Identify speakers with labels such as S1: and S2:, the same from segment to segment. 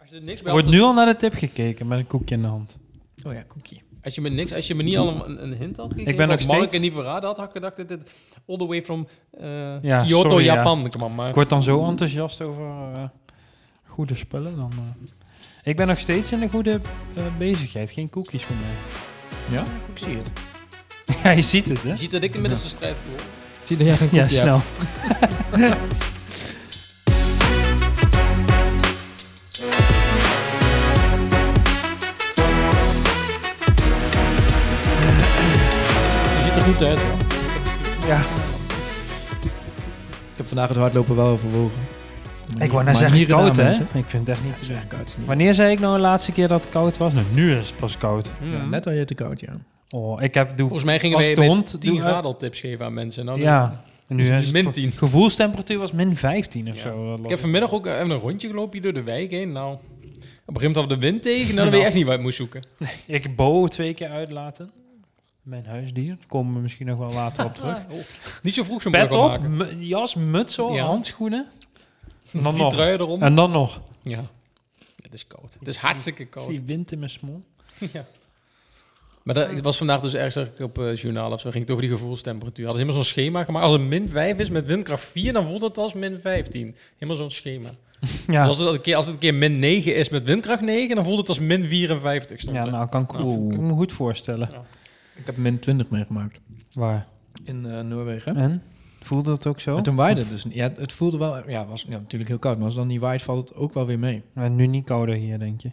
S1: Als je er niks
S2: Er
S1: bij
S2: wordt
S1: had,
S2: nu al naar de tip gekeken met een koekje in de hand.
S3: Oh ja, koekje.
S1: Als je me, niks, als je me niet al een- een, een hint had gegeven,
S2: Ik ben
S1: wat
S2: nog
S1: Mark
S2: steeds-
S1: en niet verraden had, had ik gedacht dat dit all the way from eh,
S2: Ja,
S1: Kyoto,
S2: sorry, ja.
S1: Japan kwam. Maar
S2: Ik word dan zo enthousiast over eh, goede spullen. Dan, eh. Ik ben nog steeds in de goede eh, bezigheid. Geen koekjes voor mij.
S3: Ik zie het.
S2: ja, je ziet het, hè?
S1: je ziet dat ik de middelste strijd voel.
S3: Ik zie dat jij geen koekje
S2: Ja, snel.
S1: Je ziet er goed uit. hoor.
S2: Ja.
S3: hebt. Ik heb vandaag het hardlopen wel overwogen.
S2: Ik wou
S3: Maar
S2: net zeggen
S3: hier gedaan,
S2: koud, hè?
S3: mensen.
S2: Ik vind het echt
S3: Het
S2: niet...
S3: is echt koud. het is niet-
S2: Wanneer zei ik nou de laatste keer dat het koud was? Nou, nu is het pas koud.
S3: Ja,
S1: Mhm.
S3: net al je te koud, ja.
S2: Oh, ik heb... Doe,
S1: Volgens mij gingen
S2: Als
S1: wij
S2: de
S1: bij
S2: hond
S1: 10
S2: doe-
S1: graden al tips geven aan mensen. Nou, dus-
S2: ja. En nu
S1: dus
S2: is
S1: die
S2: het
S1: min
S2: voor-
S1: 10.
S2: Gevoelstemperatuur was min 15 of
S1: Ja.
S2: zo. eh,
S1: Ik heb vanmiddag ook eh, even een rondje gelopen hier door de wijk heen. Nou, op een gegeven moment hadden we de wind tegen. Nou, dan weet je echt niet waar je moest zoeken.
S2: Ik heb Bo twee keer uitlaten. Mijn huisdier. Daar komen we misschien nog wel later op terug.
S1: Niet zo vroeg zo'n
S2: Pet
S1: morgen
S2: op,
S1: maken.
S2: mu- jas, muts op,
S1: Ja.
S2: handschoenen. En dan
S1: Die
S2: nog.
S1: truien erom.
S2: En dan nog.
S1: Ja. Het is koud. Het is hartstikke koud.
S2: Die wind in mijn smol.
S1: Maar dat ik was vandaag dus ergens zag ik op eh, journaal of zo. Ging het over die gevoelstemperatuur. Hadden ze helemaal zo'n schema gemaakt. Als het min 5 is met windkracht 4, dan voelt het als min 15. Helemaal zo'n schema.
S2: Ja,
S1: Dus als het, een keer, als het een keer min 9 is met windkracht 9, dan voelt het als min 54. Stond
S2: ja
S1: er.
S2: nou kan ik, goed-
S3: Oeh.
S2: kan ik me goed voorstellen.
S3: Ik heb min 20 meegemaakt.
S2: Waar?
S3: In eh, Noorwegen.
S2: En? Voelde dat ook zo?
S3: Maar toen waaide het dus niet. Ja, het voelde wel... Ja, was ja, natuurlijk heel koud. Maar als het dan niet waait, valt het ook wel weer mee.
S2: Maar nu niet kouder hier, denk je.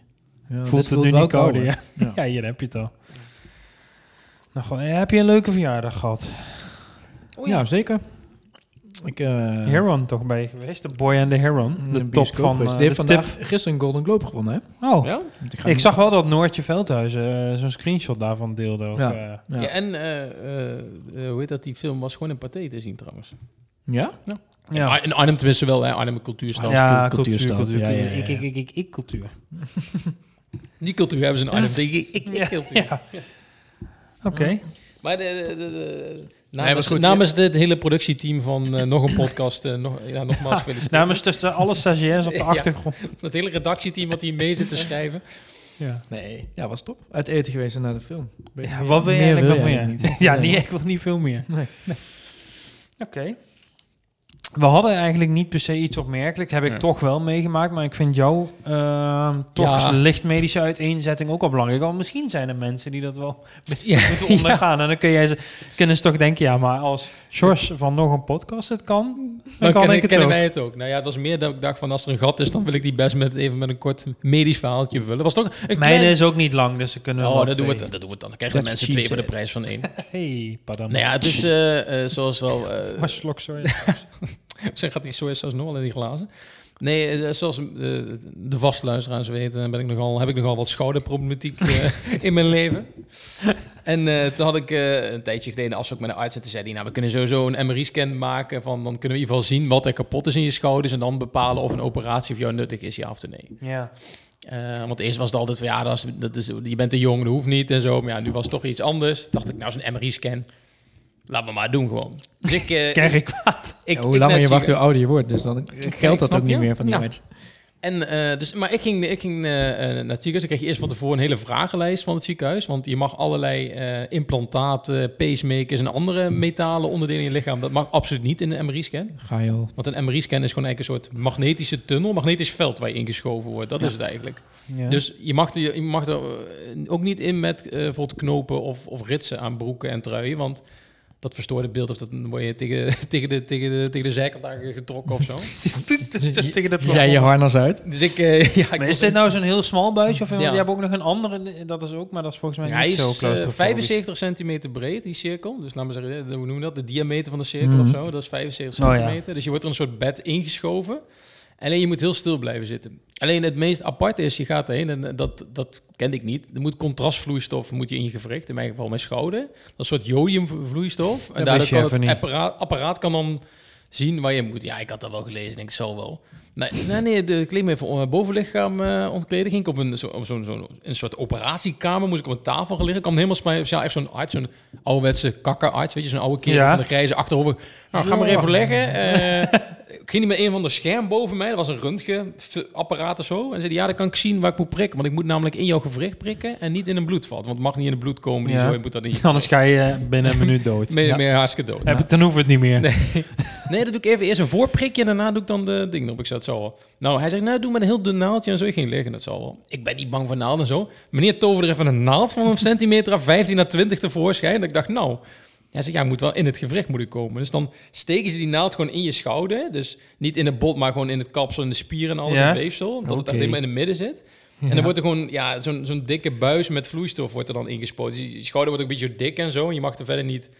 S3: Ja,
S2: Nou, Voelt
S3: dit
S2: het nu
S3: wel
S2: niet kouder?
S3: kouder.
S2: Ja. Ja. hier heb je het al. Nou, gewoon, eh, heb je een leuke verjaardag gehad?
S1: Oei.
S3: Ja, zeker. Ik, eh,
S2: Heron toch bij je geweest? De Boy and the Heron.
S3: in
S2: De, top
S3: bioscoop
S2: van
S3: geweest.
S2: eh,
S3: Die
S2: de
S3: heeft vandaag
S2: tip.
S3: gisteren een Golden Globe gewonnen, hè?
S2: Oh,
S1: Ja?
S3: Want ga
S2: ik
S3: nu-
S2: zag wel dat Noortje Veldhuizen eh, zo'n screenshot daarvan deelde. Ook,
S3: Ja.
S2: eh.
S3: Ja.
S1: Ja,
S3: Ja?
S1: en eh, eh, eh, hoe heet dat? Die film was gewoon in Pathé te zien trouwens.
S2: Ja.
S1: In Arnhem tenminste wel, hè? Arnhem een cultuurstad.
S2: Ja,
S3: cultuur-
S2: cultuur,
S3: cultuurstad.
S2: cultuur,
S3: Ja, ja, ja,
S2: cultuur. Ik,
S3: ja.
S2: ik, ik, ik, ik cultuur.
S1: Die cultuur hebben ze in Arnhem. denk Ik, ik, ik cultuur.
S2: Ja. Oké.
S1: Maar de, de, de, de-
S3: was
S1: namens,
S3: goed.
S1: namens het hele productieteam van eh, nog een podcast, eh, nog, ja, nogmaals gefeliciteerd.
S2: Dus Namens tussen alle stagiairs op de
S1: Ja.
S2: achtergrond.
S1: Het hele redactieteam wat hier mee zit te schrijven.
S2: Ja.
S3: Nee, ja, was top. Uit eten geweest en naar de film. Ben-
S2: wat wil je
S3: Meer
S2: eigenlijk nog
S3: wil je
S2: meer?
S3: eigenlijk niet.
S2: ja,
S3: Nee.
S2: niet, ik wil niet veel meer.
S3: Nee.
S2: Oké. We hadden eigenlijk niet per se iets opmerkelijks. Heb ik
S1: Nee.
S2: toch wel meegemaakt. Maar ik vind jouw ehm, toch
S1: Ja.
S2: licht medische uiteenzetting ook wel belangrijk. Al misschien zijn er mensen die dat wel
S1: Ja,
S2: moeten ondergaan. En dan kun jij ze, kunnen ze toch denken... Ja, maar als George van nog een podcast het kan... Dan,
S1: dan
S2: kan
S1: kennen,
S2: ik het
S1: kennen
S2: ook.
S1: wij het ook. Nou ja, het was meer dat ik dacht van als er een gat is, dan wil ik die best met, even met een kort medisch verhaaltje vullen. Was toch een
S2: Mijn
S1: klein...
S2: is ook niet lang, dus ze kunnen
S1: Oh,
S2: wel
S1: dat doen, we,
S2: twee.
S1: het- dat doen we het dan. Dan krijgen we
S3: That's
S1: mensen
S3: what
S1: twee
S3: she
S1: voor de
S3: said.
S1: prijs van één.
S2: Hey, pardon.
S1: nou ja, het is eh, eh, zoals wel... eh,
S2: Maar slok, sorry.
S1: Zeg, gaat die sojasaus nog wel in die glazen? Nee, eh, zoals eh, de vaste luisteraars weten, ben ik nogal, heb ik nogal wat schouderproblematiek eh, in mijn leven. En eh, toen had ik eh, een tijdje geleden een afspraak met een arts en toen zei hij, nou, we kunnen sowieso een MRI-scan maken. Van, dan kunnen we in ieder geval zien wat er kapot is in je schouders en dan bepalen of een operatie voor jou nuttig is, ja of nee.
S2: ja.
S1: Eh, want eerst was het altijd van, ja, dat is, dat is, je bent te jong, dat hoeft niet en zo. Maar ja, nu was het toch iets anders. Toen dacht ik, nou, zo'n MRI-scan, laat me maar doen gewoon. Dus ik... eh,
S2: Krijg ik kwaad.
S1: ik-
S3: Ja, hoe
S1: ik
S3: langer
S1: net
S3: je
S1: zie-
S3: wacht, hoe ouder je wordt. Dus dan geldt dat
S1: snap
S3: ook niet
S1: je.
S3: meer van die
S1: Ja.
S3: match.
S1: En, eh, dus, maar ik ging, ik ging eh, eh, naar het ziekenhuis. Ik kreeg eerst van tevoren een hele vragenlijst van het ziekenhuis. Want je mag allerlei eh, implantaten, pacemakers en andere metalen onderdelen in je lichaam. Dat mag absoluut niet in een MRI-scan.
S3: Ga je al.
S1: Want een MRI-scan is gewoon eigenlijk een soort magnetische tunnel, magnetisch veld waar je ingeschoven wordt. Dat
S2: Ja.
S1: is het eigenlijk.
S2: Ja.
S1: Dus je mag, er, je mag er eh, ook niet in met eh, bijvoorbeeld knopen of, of ritsen aan broeken en truien. Want dat verstoort het beeld of dat dan word je tegen, tegen, de, tegen, de, tegen de zijkant aan getrokken of zo.
S2: tegen de
S3: Jij je harnas uit.
S1: Dus ik... eh, ja, ik
S2: Maar
S1: was-
S2: is dit nou zo'n heel smal buisje? Of, want
S1: Ja.
S2: je hebt ook nog een andere, dat is ook, maar dat is volgens mij
S1: Hij
S2: niet zo
S1: is eh,
S2: claustrofobisch.
S1: 75 centimeter breed, die cirkel. Dus laten we zeggen, eh, hoe noemen we dat? De diameter van de cirkel
S3: Mhm.
S1: of zo. Dat is 75
S2: Hmm. Oh, ja.
S1: centimeter. Dus je wordt er een soort bed ingeschoven. Alleen je moet heel stil blijven zitten. Alleen het meest aparte is, je gaat erheen en eh, dat, dat kende ik niet. Er moet contrastvloeistof moet je in je gewricht, in mijn geval mijn schouder. Dat is een soort jodiumvloeistof. En
S2: wist
S1: daardoor
S2: je
S1: kan
S2: even
S1: het
S2: niet.
S1: apparaat, apparaat kan dan zien waar je moet. Ja, ik had dat wel gelezen. Ik denk, het zal wel. Nee, nee, nee de, ik leek me even eh, bovenlichaam eh, ontkleden. Ging ik op een, zo, op zo'n zo'n- een soort operatiekamer, moest ik op een tafel gaan liggen. Kwam helemaal speciaal, echt zo'n arts, zo'n ouderwetse kakkerarts. Weet je, zo'n oude kerel
S2: Ja.
S1: van de grijze achterover. Nou, ga maar even liggen. eh, ik ging niet met een van de scherm boven mij. Er was een röntgenapparaat of zo. En zei die, ja, dan kan ik zien waar ik moet prikken. Want ik moet namelijk in jouw gewricht prikken en niet in een bloedvat. Want het mag niet in het bloed komen. Die
S2: Ja.
S1: zo, je moet dat niet.
S2: Anders ga je eh, binnen een minuut dood.
S1: Meer,
S3: Ja.
S1: meer hartstikke dood.
S2: Heb ik, dan hoeven we het niet meer.
S1: Nee, dat doe ik even eerst een voorprikje en daarna doe ik dan de ding op. Ik zei, het zal wel. Nou, hij zegt, nou, doe maar een heel dun naaldje en zo. Ik ging liggen, dat zal wel. Ik ben niet bang voor naalden en zo. Meneer toverde er even een naald van een centimeter af 15 naar 20 tevoorschijn. En ik dacht, nou... Hij zegt, ja, je moet wel in het gewricht moet ik komen. Dus dan steken ze die naald gewoon in je schouder. Dus niet in het bot, maar gewoon in het kapsel, in de spieren en alles,
S2: Ja?
S1: in het weefsel. Dat het
S2: Oké.
S1: echt helemaal in het midden zit. En dan wordt er gewoon, ja, zo'n zo'n dikke buis met vloeistof wordt er dan ingespoten. Dus je schouder wordt ook een beetje dik en zo. En je mag er verder niet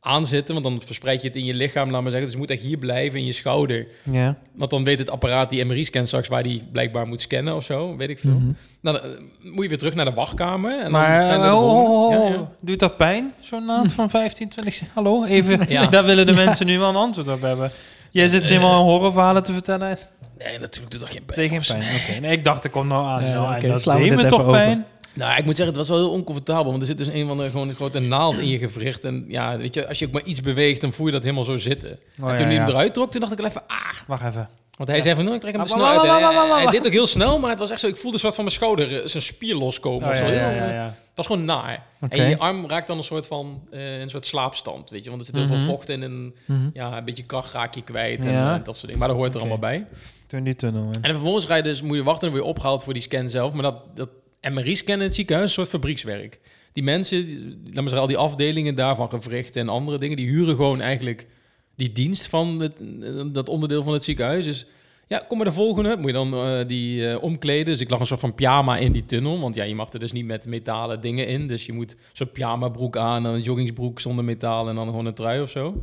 S1: aan zitten, want dan verspreid je het in je lichaam, laat maar zeggen. Dus je moet echt hier blijven in je schouder.
S2: Ja.
S1: Want dan weet het apparaat die MRI scant straks waar die blijkbaar moet scannen of zo, weet ik veel.
S3: Mhm.
S1: Nou, dan eh, moet je weer terug naar de wachtkamer. En
S2: Maar
S1: dan ga je naar
S2: eh,
S1: de
S2: oh, oh,
S1: volgende.
S2: oh,
S1: Ja, ja.
S2: doet dat pijn? Zo'n naald van 15, 20 cent? Hallo, even.
S1: Ja. Eh,
S2: Daar willen de mensen nu wel een antwoord op hebben. Jij zit ze helemaal een horrorverhalen te vertellen. en-
S1: Nee, natuurlijk doet dat geen pijn.
S2: Nee, geen pijn. Oké, nee, ik dacht, ik kom nou aan.
S3: Ja,
S2: nou,
S3: oké,
S2: en dat
S3: slaan we
S2: deed
S3: dit
S2: me
S3: even
S2: toch
S3: over.
S2: pijn?
S1: Nou, ik moet zeggen, het was wel heel oncomfortabel. Want er zit dus een van de gewoon een grote naald in je gewricht. En ja, weet je, als je ook maar iets beweegt, dan voel je dat helemaal zo
S2: Oh,
S1: zitten. en toen hij hem eruit trok, toen dacht ik al even, ah.
S2: Wacht even.
S1: Want hij zei van, nou, ik trek hem er
S2: Ah,
S1: snel
S2: wa- wa-
S1: uit.
S2: wa- wa-
S1: Hij-
S2: wa- wa-
S1: Hij
S2: wa-
S1: deed ook heel snel, maar het was echt zo, ik voelde een soort van mijn schouder, eh, zijn spier loskomen
S2: Oh,
S1: of zo.
S2: ja, ja,
S1: Heel,
S2: ja,
S1: eh,
S2: ja.
S1: Het was gewoon naar.
S2: Oké.
S1: En je arm raakt dan een soort van eh, een soort slaapstand, weet je. Want er zit heel
S2: Mhm.
S1: veel vocht in en ja, een beetje kracht raak je kwijt en,
S2: Ja.
S1: eh, dat soort dingen. Maar dat hoort er
S2: Oké.
S1: allemaal bij.
S2: Toen die tunnel in.
S1: En vervolgens ga je dus, moet je wachten en word je opgehaald voor die scan zelf. Maar dat, dat MRI-scan in het ziekenhuis is een soort fabriekswerk. Die mensen, die- laten we zeggen, al die afdelingen daarvan gewrichten en andere dingen, die huren gewoon eigenlijk die dienst van het, eh, dat onderdeel van het ziekenhuis. Dus ja, kom maar de volgende. Moet je dan eh, die eh, omkleden. Dus ik lag een soort van pyjama in die tunnel. Want ja, je mag er dus niet met metalen dingen in. Dus je moet zo'n pyjama broek aan en een joggingsbroek zonder metaal en dan gewoon een trui of zo.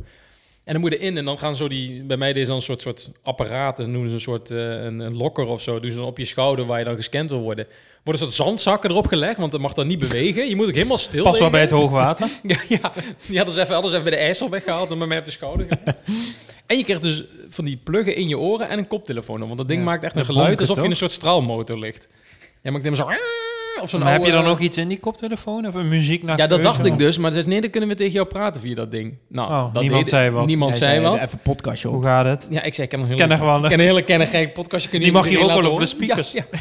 S1: En dan moet je erin en dan gaan zo die... Bij mij deze dan een soort, soort apparaat. Dat noemen ze een soort eh, een, een lokker of zo. Doen ze dan op je schouder waar je dan gescand wil worden. Worden een soort zandzakken erop gelegd, want dat mag dan niet bewegen. Je moet ook helemaal stil
S2: Pas
S1: liggen.
S2: wel bij het hoogwater.
S1: Ja, ja. die hadden ze even, hadden ze even bij de IJssel weggehaald en bij mij op de schouder gehaald. En je krijgt dus van die pluggen in je oren en een koptelefoon. op, Want dat ding
S2: Ja.
S1: maakt echt een
S2: Dat
S1: geluid
S2: bonkert
S1: alsof je in
S2: ook.
S1: een soort straalmotor ligt. Ja, maar ik neem zo... Of zo'n
S2: Maar heb je
S1: oude-
S2: dan ook iets in die koptelefoon? Of een muziek naar
S1: Ja, dat
S2: keuze?
S1: dacht ik dus. Maar ze zei, nee, dan kunnen we tegen jou praten via dat ding. Nou,
S2: Oh,
S1: dat
S2: niemand
S1: deed-
S2: zei wat.
S1: Niemand
S3: Hij
S1: zei
S3: zei,
S1: wat.
S3: Even een podcastje
S2: Hoe
S3: op.
S2: gaat het?
S1: Ja, ik zei, ik heb nog heel
S2: Kennen gewoon.
S1: ik ken een hele kenne gek podcastje. kun je
S2: Die mag
S1: iedereen
S2: hier ook
S1: laten
S2: wel over de
S1: horen.
S2: speakers.
S1: Ja,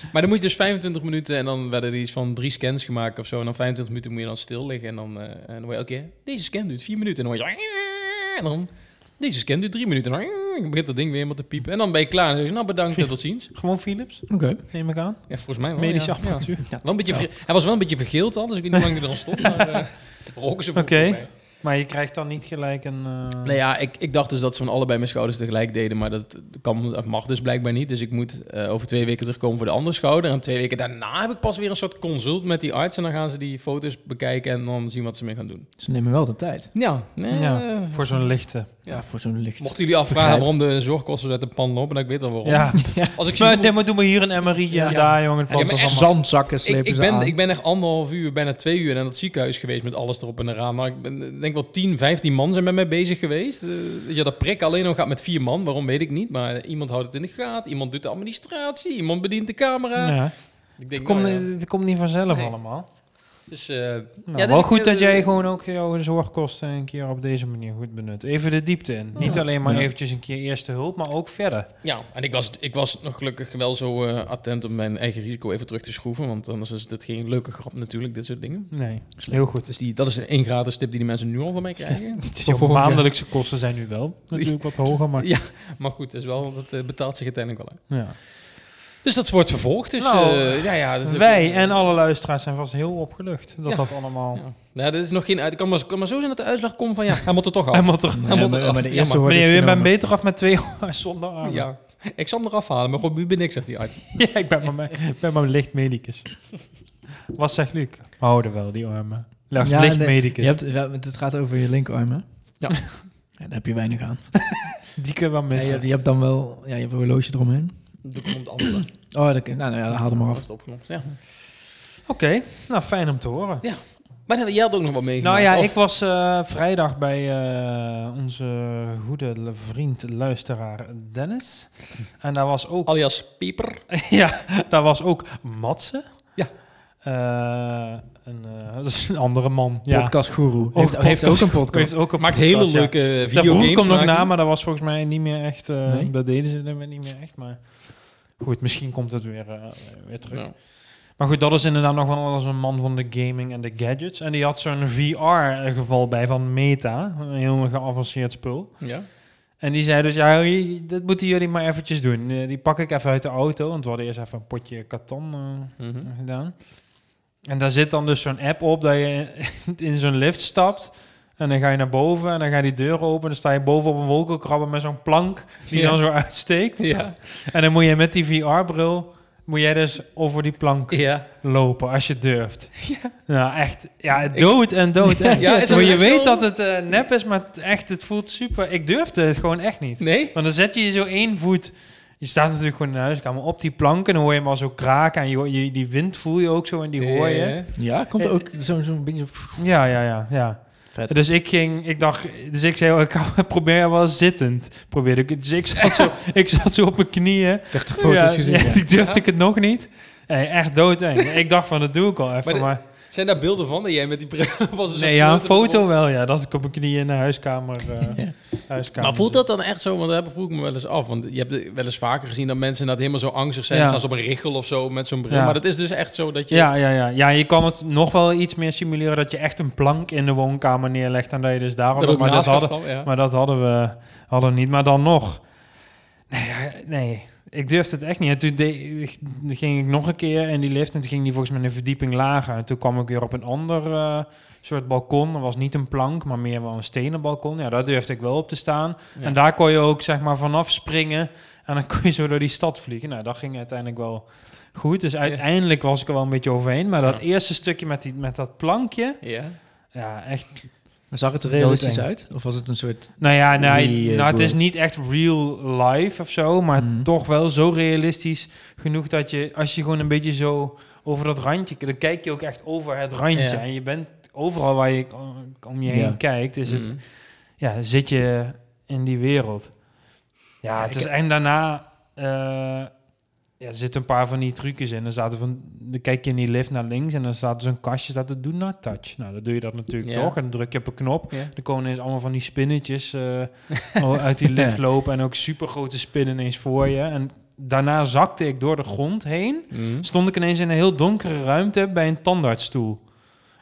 S1: ja. Maar dan moet je dus 25 minuten en dan werden er iets van drie scans gemaakt of zo. En dan 25 minuten moet je dan stil liggen. En dan, eh en dan word je elke keer, deze scan duurt vier minuten. En dan word je zo, en dan, deze scan duurt drie minuten. En dan, dan begint dat ding weer helemaal te piepen. En dan ben je klaar. En dan zeg je, nou bedankt en tot ziens.
S2: Gewoon Philips,
S3: Oké.
S2: neem ik aan.
S1: Ja, volgens mij wel.
S2: Medische
S1: ja. Ja.
S2: apparatuur.
S1: Wel een beetje verge- Hij was wel een beetje vergeeld al, dus ik weet niet hoe lang hij er al stond. Maar eh, roken ze voor
S2: Oké.
S1: mij.
S2: Maar je krijgt dan niet gelijk een... eh,
S1: Nou ja, ik, ik dacht dus dat ze van allebei mijn schouders tegelijk deden, maar dat kan, of mag dus blijkbaar niet. Dus ik moet eh, over twee weken terugkomen voor de andere schouder. En twee weken daarna heb ik pas weer een soort consult met die arts. En dan gaan ze die foto's bekijken en dan zien wat ze mee gaan doen.
S3: Ze nemen wel de tijd.
S1: Ja, eh,
S2: Ja, voor zo'n lichte.
S1: Ja.
S3: Ja, voor zo'n licht.
S1: mochten jullie afvragen
S3: Begrijp.
S1: waarom de zorgkosten uit de pan lopen, dan ik weet wel waarom.
S2: Ja,
S1: Als ik zie
S2: maar,
S1: hoe-
S2: nee, maar doe maar hier een MRI en
S1: Ja.
S2: daar, jongen.
S1: Ja,
S2: Valt
S1: maar echt-
S2: dat allemaal-
S3: Zandzakken
S1: ik,
S3: slepen
S1: ik,
S3: ze
S1: ben,
S3: aan.
S1: ik ben echt anderhalf uur, bijna twee uur naar dat ziekenhuis geweest met alles erop en eraan. Maar ik ben, ik denk wel 10, 15 man zijn met mij bezig geweest. Eh, weet je, dat prik alleen nog gaat met vier man, waarom weet ik niet. Maar iemand houdt het in de gaten, iemand doet de administratie, iemand bedient de camera.
S2: Ja.
S1: Ik
S2: Het,
S1: denk,
S2: komt,
S1: nou ja.
S2: niet- het komt niet vanzelf
S1: Nee.
S2: allemaal.
S1: Dus, eh,
S2: Nou,
S1: Ja, dus
S2: wel
S1: ik-
S2: goed dat
S1: eh,
S2: jij
S1: eh,
S2: gewoon ook jouw zorgkosten een keer op deze manier goed benut. Even de diepte in. Niet alleen maar
S3: Ja.
S2: eventjes een keer eerste hulp, maar ook verder.
S1: ja, en ik was, ik was nog gelukkig wel zo eh, attent om mijn eigen risico even terug te schroeven. Want anders is dit geen leuke grap natuurlijk, dit soort dingen.
S2: Nee, heel goed.
S1: Dus die, dat is één gratis tip die de mensen nu al van mij krijgen.
S2: Dus
S3: Voor
S2: jouw
S3: volgend jaar.
S2: maandelijkse kosten zijn nu wel natuurlijk wat hoger, maar...
S1: Ja, maar goed, dat, is wel, dat eh, betaalt zich uiteindelijk wel uit.
S2: Ja.
S1: Dus dat wordt vervolgd. Dus,
S2: Nou,
S1: eh, ja, ja, dat is-
S2: Wij en alle luisteraars zijn vast heel opgelucht dat
S1: Ja.
S2: dat allemaal...
S1: Ja. Nou, dit is nog geen uit. Kan maar, kan maar zo zijn dat de uitslag komt van ja, hij moet er toch
S2: Hij
S1: af.
S2: moet er...
S1: Hij moet
S3: maar-
S1: eraf.
S3: maar de
S1: Ja,
S3: eerste
S1: maar-
S3: wordt
S2: Meneer,
S3: dus
S2: je bent
S3: genomen.
S2: beter af met twee zonder armen. Ja.
S1: Ja, ik zal hem eraf halen, maar goed, u bent niks, zegt die arts.
S2: ik ben maar, mijn- ik ben maar een licht medicus. Wat zegt Luc? We houden wel, die armen. Lucht,
S3: Ja,
S2: licht
S3: nee.
S2: medicus.
S3: Je hebt, wel, want het gaat over je linkerarm, hè?
S1: Ja.
S3: Daar heb je weinig aan.
S2: Die kunnen we wel
S3: Ja, je,
S2: missen.
S3: hebt- je hebt dan wel... Ja, je hebt een horloge eromheen.
S1: Dan komt de andere.
S3: Oh, dat, nou, nou ja, dan haal hem maar af.
S1: Is het opgenomen, Ja.
S2: Oké, nou fijn om te horen.
S1: Maar dan- jij had ook nog wat meegemaakt.
S2: Nou ja,
S1: of-
S2: ik was eh, vrijdag bij eh, onze goede l- vriend luisteraar Dennis. En daar was ook,
S1: Alias Pieper.
S2: ja, daar was ook Matze.
S1: Ja.
S2: Eh, een, eh, dat is een andere man. Ja.
S3: Podcast Guru.
S2: Ook
S3: Heeft, heeft ook
S2: podcast.
S3: een Oh, podcast.
S2: Heeft ook een
S1: Maakt
S2: podcast,
S1: hele
S2: ja.
S1: leuke eh,
S2: Daarvoor
S1: videogames.
S2: komt nog
S1: maakt hij.
S2: na, maar dat was volgens mij niet meer echt. eh,
S3: Nee?
S2: Dat deden ze dan weer niet meer echt. Maar goed, misschien komt het weer, eh, weer terug.
S1: Ja.
S2: Maar goed, dat is inderdaad nog wel als een man van de gaming en de gadgets. En die had zo'n VR-geval bij van Meta, een heel geavanceerd spul.
S1: Ja.
S2: En die zei dus, ja, hier- dat moeten jullie maar eventjes doen. Eh, die pak ik even uit de auto, want we hadden eerst even een potje katan eh,
S1: Mhm.
S2: gedaan. En daar zit dan dus zo'n app op dat je in zo'n lift stapt. En dan ga je naar boven en dan ga je die deur open. En dan sta je boven op een wolkenkrabber met zo'n plank die
S1: Ja.
S2: dan zo uitsteekt.
S1: Ja.
S2: En dan moet je met die VR-bril, moet jij dus over die plank
S1: Ja.
S2: lopen als je durft. Ja, echt. Ja, dood en dood. En
S1: Ja,
S2: dood.
S1: is dat
S2: Maar je
S1: echt
S2: weet
S1: zo?
S2: dat het eh, nep is, maar het- echt, het voelt super. Ik durfde het gewoon echt niet.
S1: Nee?
S2: Want dan zet je je zo één voet. Je staat natuurlijk gewoon in de huiskamer op die planken. Dan hoor je hem al zo kraken. En je, hoor- je- die wind voel je ook zo en die hoor je.
S1: Ja.
S3: Ja, komt er ook zo'n zo beetje zo...
S2: Ja, ja, ja. ja.
S3: Vet.
S2: Dus ik ging, ik dacht, dus ik zei, oh, ik kan- probeer wel zittend. Probeerde ik, het. dus ik zat zo, ik zat zo op mijn knieën.
S3: Ik heb de foto's
S2: Ja,
S3: gezien.
S2: ja,
S3: ja.
S2: Ik durfde ik het nog niet. Eh, echt doodeng. ik dacht van, dat doe ik al even.
S1: Maar
S2: Maar,
S1: de- Zijn daar beelden van dat jij met die bril was?
S2: nee, ja, een foto wel. Ja, dat ik op mijn knieën in de huiskamer. eh,
S3: Ja.
S2: huiskamer
S1: Maar voelt dat dan echt zo? Want daar vroeg ik me wel eens af. Want je hebt wel eens vaker gezien dat mensen dat helemaal zo angstig zijn.
S2: Ja.
S1: Staan ze op een richel of zo met zo'n bril.
S2: Ja.
S1: Maar dat is dus echt zo dat je...
S2: Ja, ja, ja. ja, je kan het nog wel iets meer simuleren dat je echt een plank in de woonkamer neerlegt en dat je dus daarop...
S1: dat ook
S2: maar, dat
S1: naast
S2: hadden,
S1: kan staan, ja.
S2: maar dat hadden we hadden we niet. Maar dan nog. Nee, ja, nee. ik durfde het echt niet. En toen deed- ging ik nog een keer in die lift en toen ging die volgens mij een verdieping lager. En toen kwam ik weer op een ander eh, soort balkon. Dat was niet een plank, maar meer wel een stenen balkon. Ja, daar durfde ik wel op te staan.
S1: Ja.
S2: En daar kon je ook zeg maar vanaf springen en dan kon je zo door die stad vliegen. Nou, dat ging uiteindelijk wel goed. Dus uiteindelijk was ik er wel een beetje overheen. Maar dat
S1: Ja.
S2: eerste stukje met, die, met dat plankje,
S1: Ja.
S2: ja, echt
S3: Maar zag het er realistisch
S2: Doodeng.
S3: uit? Of was het een soort...
S2: Nou ja, nou,
S3: Die, eh,
S2: nou, het is
S3: world.
S2: niet echt real life of zo, maar
S3: Mhm.
S2: toch wel zo realistisch genoeg dat je, als je gewoon een beetje zo over dat randje, dan kijk je ook echt over het randje.
S1: Ja.
S2: En je bent overal waar je om- om je heen
S3: Ja.
S2: kijkt, is het,
S1: Mm.
S2: ja, zit je in die wereld. Ja,
S1: Ja,
S2: het
S1: ik-
S2: is, en daarna eh, ja, er zitten een paar van die trucjes in. Dan, staat er van, dan kijk je in die lift naar links en dan staat er zo'n kastje dat er do not touch. Nou, dan doe je dat natuurlijk
S1: Ja.
S2: toch en dan druk je op een knop.
S1: Ja.
S2: Er komen ineens allemaal van die spinnetjes eh, al uit die lift lopen en ook super grote spinnen ineens voor je. En daarna zakte ik door de grond heen.
S1: Mm.
S2: Stond ik ineens in een heel donkere ruimte bij een tandartsstoel.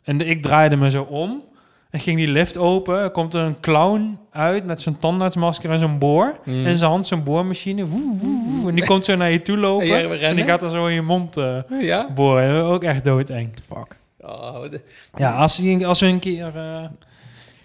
S2: En de- ik draaide me zo om en ging die lift open. Er komt er een clown uit met zo'n tandartsmasker en zo'n boor.
S1: Mm.
S2: En zijn hand zo'n boormachine. Woe, woe, woe. En die komt zo naar je toe lopen.
S1: En jij rennen?
S2: en die gaat dan zo in je mond eh,
S1: Ja?
S2: boren. Ook echt doodeng.
S3: Fuck.
S1: Oh, wat-
S2: Ja, als, die- als we een keer... eh,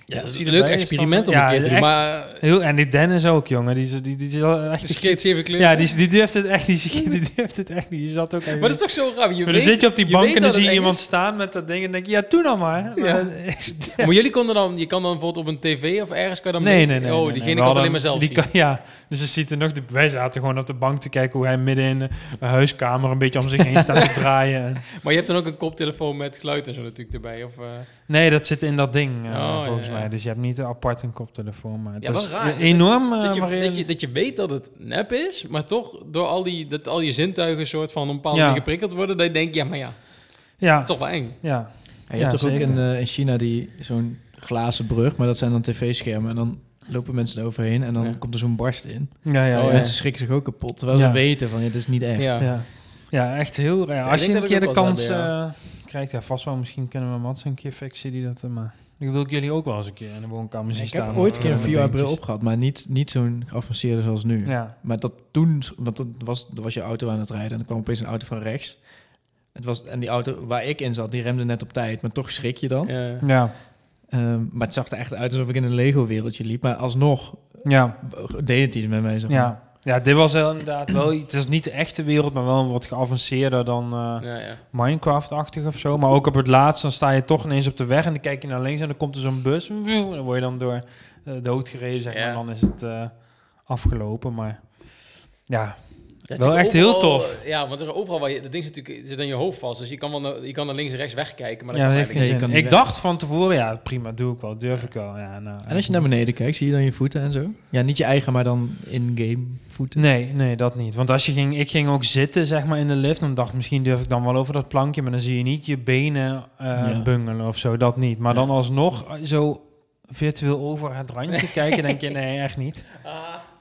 S1: ja, dat is
S2: zie
S1: een
S2: je
S1: leuk
S2: erbij,
S1: experiment om
S2: Sander?
S1: een keer
S2: Ja,
S1: te doen.
S2: echt.
S1: Maar eh,
S2: Heel, en die Dennis ook, jongen. Die, is- die, die, is al echt...
S1: de skates even kleur.
S2: ja, die, die durft het echt niet. Die durft het echt niet. Je zat ook even...
S1: Maar dat is toch zo raar? Je
S2: maar dan
S1: weet-
S2: zit je op die
S1: je
S2: bank
S1: weet
S2: en dan
S1: dat
S2: zie je
S1: het eng
S2: iemand staan met dat ding en denk je, ja, doe nou maar. Maar
S1: Ja.
S2: dat is-
S1: Maar jullie konden dan, je kan dan bijvoorbeeld op een tv of ergens kan je dan
S2: nee, nee,
S1: mee-
S2: nee. nee,
S1: Oh,
S2: nee.
S1: diegene
S2: We
S1: kan het
S2: hadden-
S1: alleen maar zelf
S2: die
S1: zien.
S2: kan- ja, dus dan ziet er nog... De, wij zaten gewoon op de bank te kijken hoe hij midden in een huiskamer een beetje om zich heen staat te draaien. En-
S1: Maar je hebt dan ook een koptelefoon met geluid en zo natuurlijk erbij. Of, eh,
S2: Nee, dat zit in dat ding, eh,
S1: Oh,
S2: volgens
S1: ja, ja.
S2: mij. Dus je hebt niet apart een koptelefoon. Maar het
S1: Ja, wel
S2: is
S1: raar.
S2: enorm... eh,
S1: dat, je,
S2: waarin-
S1: dat, je, dat je weet dat het nep is, maar toch door al die, dat al je zintuigen soort van op een bepaalde
S2: Ja.
S1: manier geprikkeld worden, dat je denkt, ja, maar ja,
S2: Ja,
S1: dat is toch wel eng.
S2: ja.
S3: Ja, je
S2: Ja,
S3: hebt toch ook
S2: zeker.
S3: in, eh, in China die zo'n glazen brug, maar dat zijn dan tv-schermen. En dan lopen mensen eroverheen en dan
S1: Ja.
S3: komt er zo'n barst in.
S2: Ja, ja,
S3: En
S1: Oh,
S2: ja.
S3: Mensen schrikken zich ook kapot, terwijl
S2: Ja.
S3: ze weten van, ja, dit is niet echt.
S1: Ja.
S2: Ja. ja, echt heel raar.
S1: Ja,
S2: Als
S1: ik
S2: je een
S1: denk
S2: keer
S1: dat
S2: de
S1: ik ook wel
S2: kans
S1: eens heb, ja.
S2: eh, krijgt, ja, vast wel. Misschien kunnen we Mats een keer fixen die dat... eh, maar ik wil ik jullie ook wel eens een keer in de woonkamer zien
S3: Ik
S2: staan.
S3: heb ooit een keer een
S2: met beentjes.
S3: VR-bril opgehad, maar niet, niet zo'n geavanceerde zoals nu.
S2: Ja,
S3: Maar dat toen, want dat was, dat was je auto aan het rijden en er kwam opeens een auto van rechts. Het was, en die auto waar ik in zat, die remde net op tijd, maar toch schrik je dan.
S1: Ja.
S2: ja,
S3: Ehm, maar het zag er echt uit alsof ik in een Lego-wereldje liep. Maar alsnog
S2: ja,
S3: deed het iets met mij. Zeg maar.
S2: ja. Ja, dit was wel inderdaad wel... iets- Het is niet de echte wereld, maar wel wat geavanceerder dan... eh,
S1: Ja, ja.
S2: Minecraft-achtig of zo. Maar ook op het laatst, dan sta je toch ineens op de weg en dan kijk je naar links en dan komt er zo'n bus. En dan word je dan door eh, doodgereden, zeg maar.
S1: Ja.
S2: En dan is het eh, afgelopen. Maar ja,
S1: Dat
S2: Wel
S1: is
S2: echt
S1: overal-
S2: heel tof.
S1: Ja, want er is overal waar je, dat ding zit natuurlijk zit aan je hoofd vast. Dus je kan, wel naar, je kan naar links en rechts wegkijken, maar dat
S2: Ja,
S1: kan
S2: heeft geen
S1: eigenlijk
S2: zin.
S3: je kan niet
S2: Ik
S3: weg.
S2: dacht van tevoren, ja, prima, doe ik wel, durf ik wel. Ja, nou,
S3: En als je naar beneden kijkt, zie je dan je voeten en zo? Ja, niet je eigen, maar dan in-game voeten.
S2: Nee, nee, dat niet. Want als je ging, ik ging ook zitten, zeg maar, in de lift. Dan dacht ik, misschien durf ik dan wel over dat plankje. Maar dan zie je niet je benen eh,
S3: Ja.
S2: bungelen of zo. Dat niet. Maar
S3: Ja.
S2: dan alsnog eh, zo virtueel over het randje kijken, denk je, nee, echt niet.
S1: niet. Ah,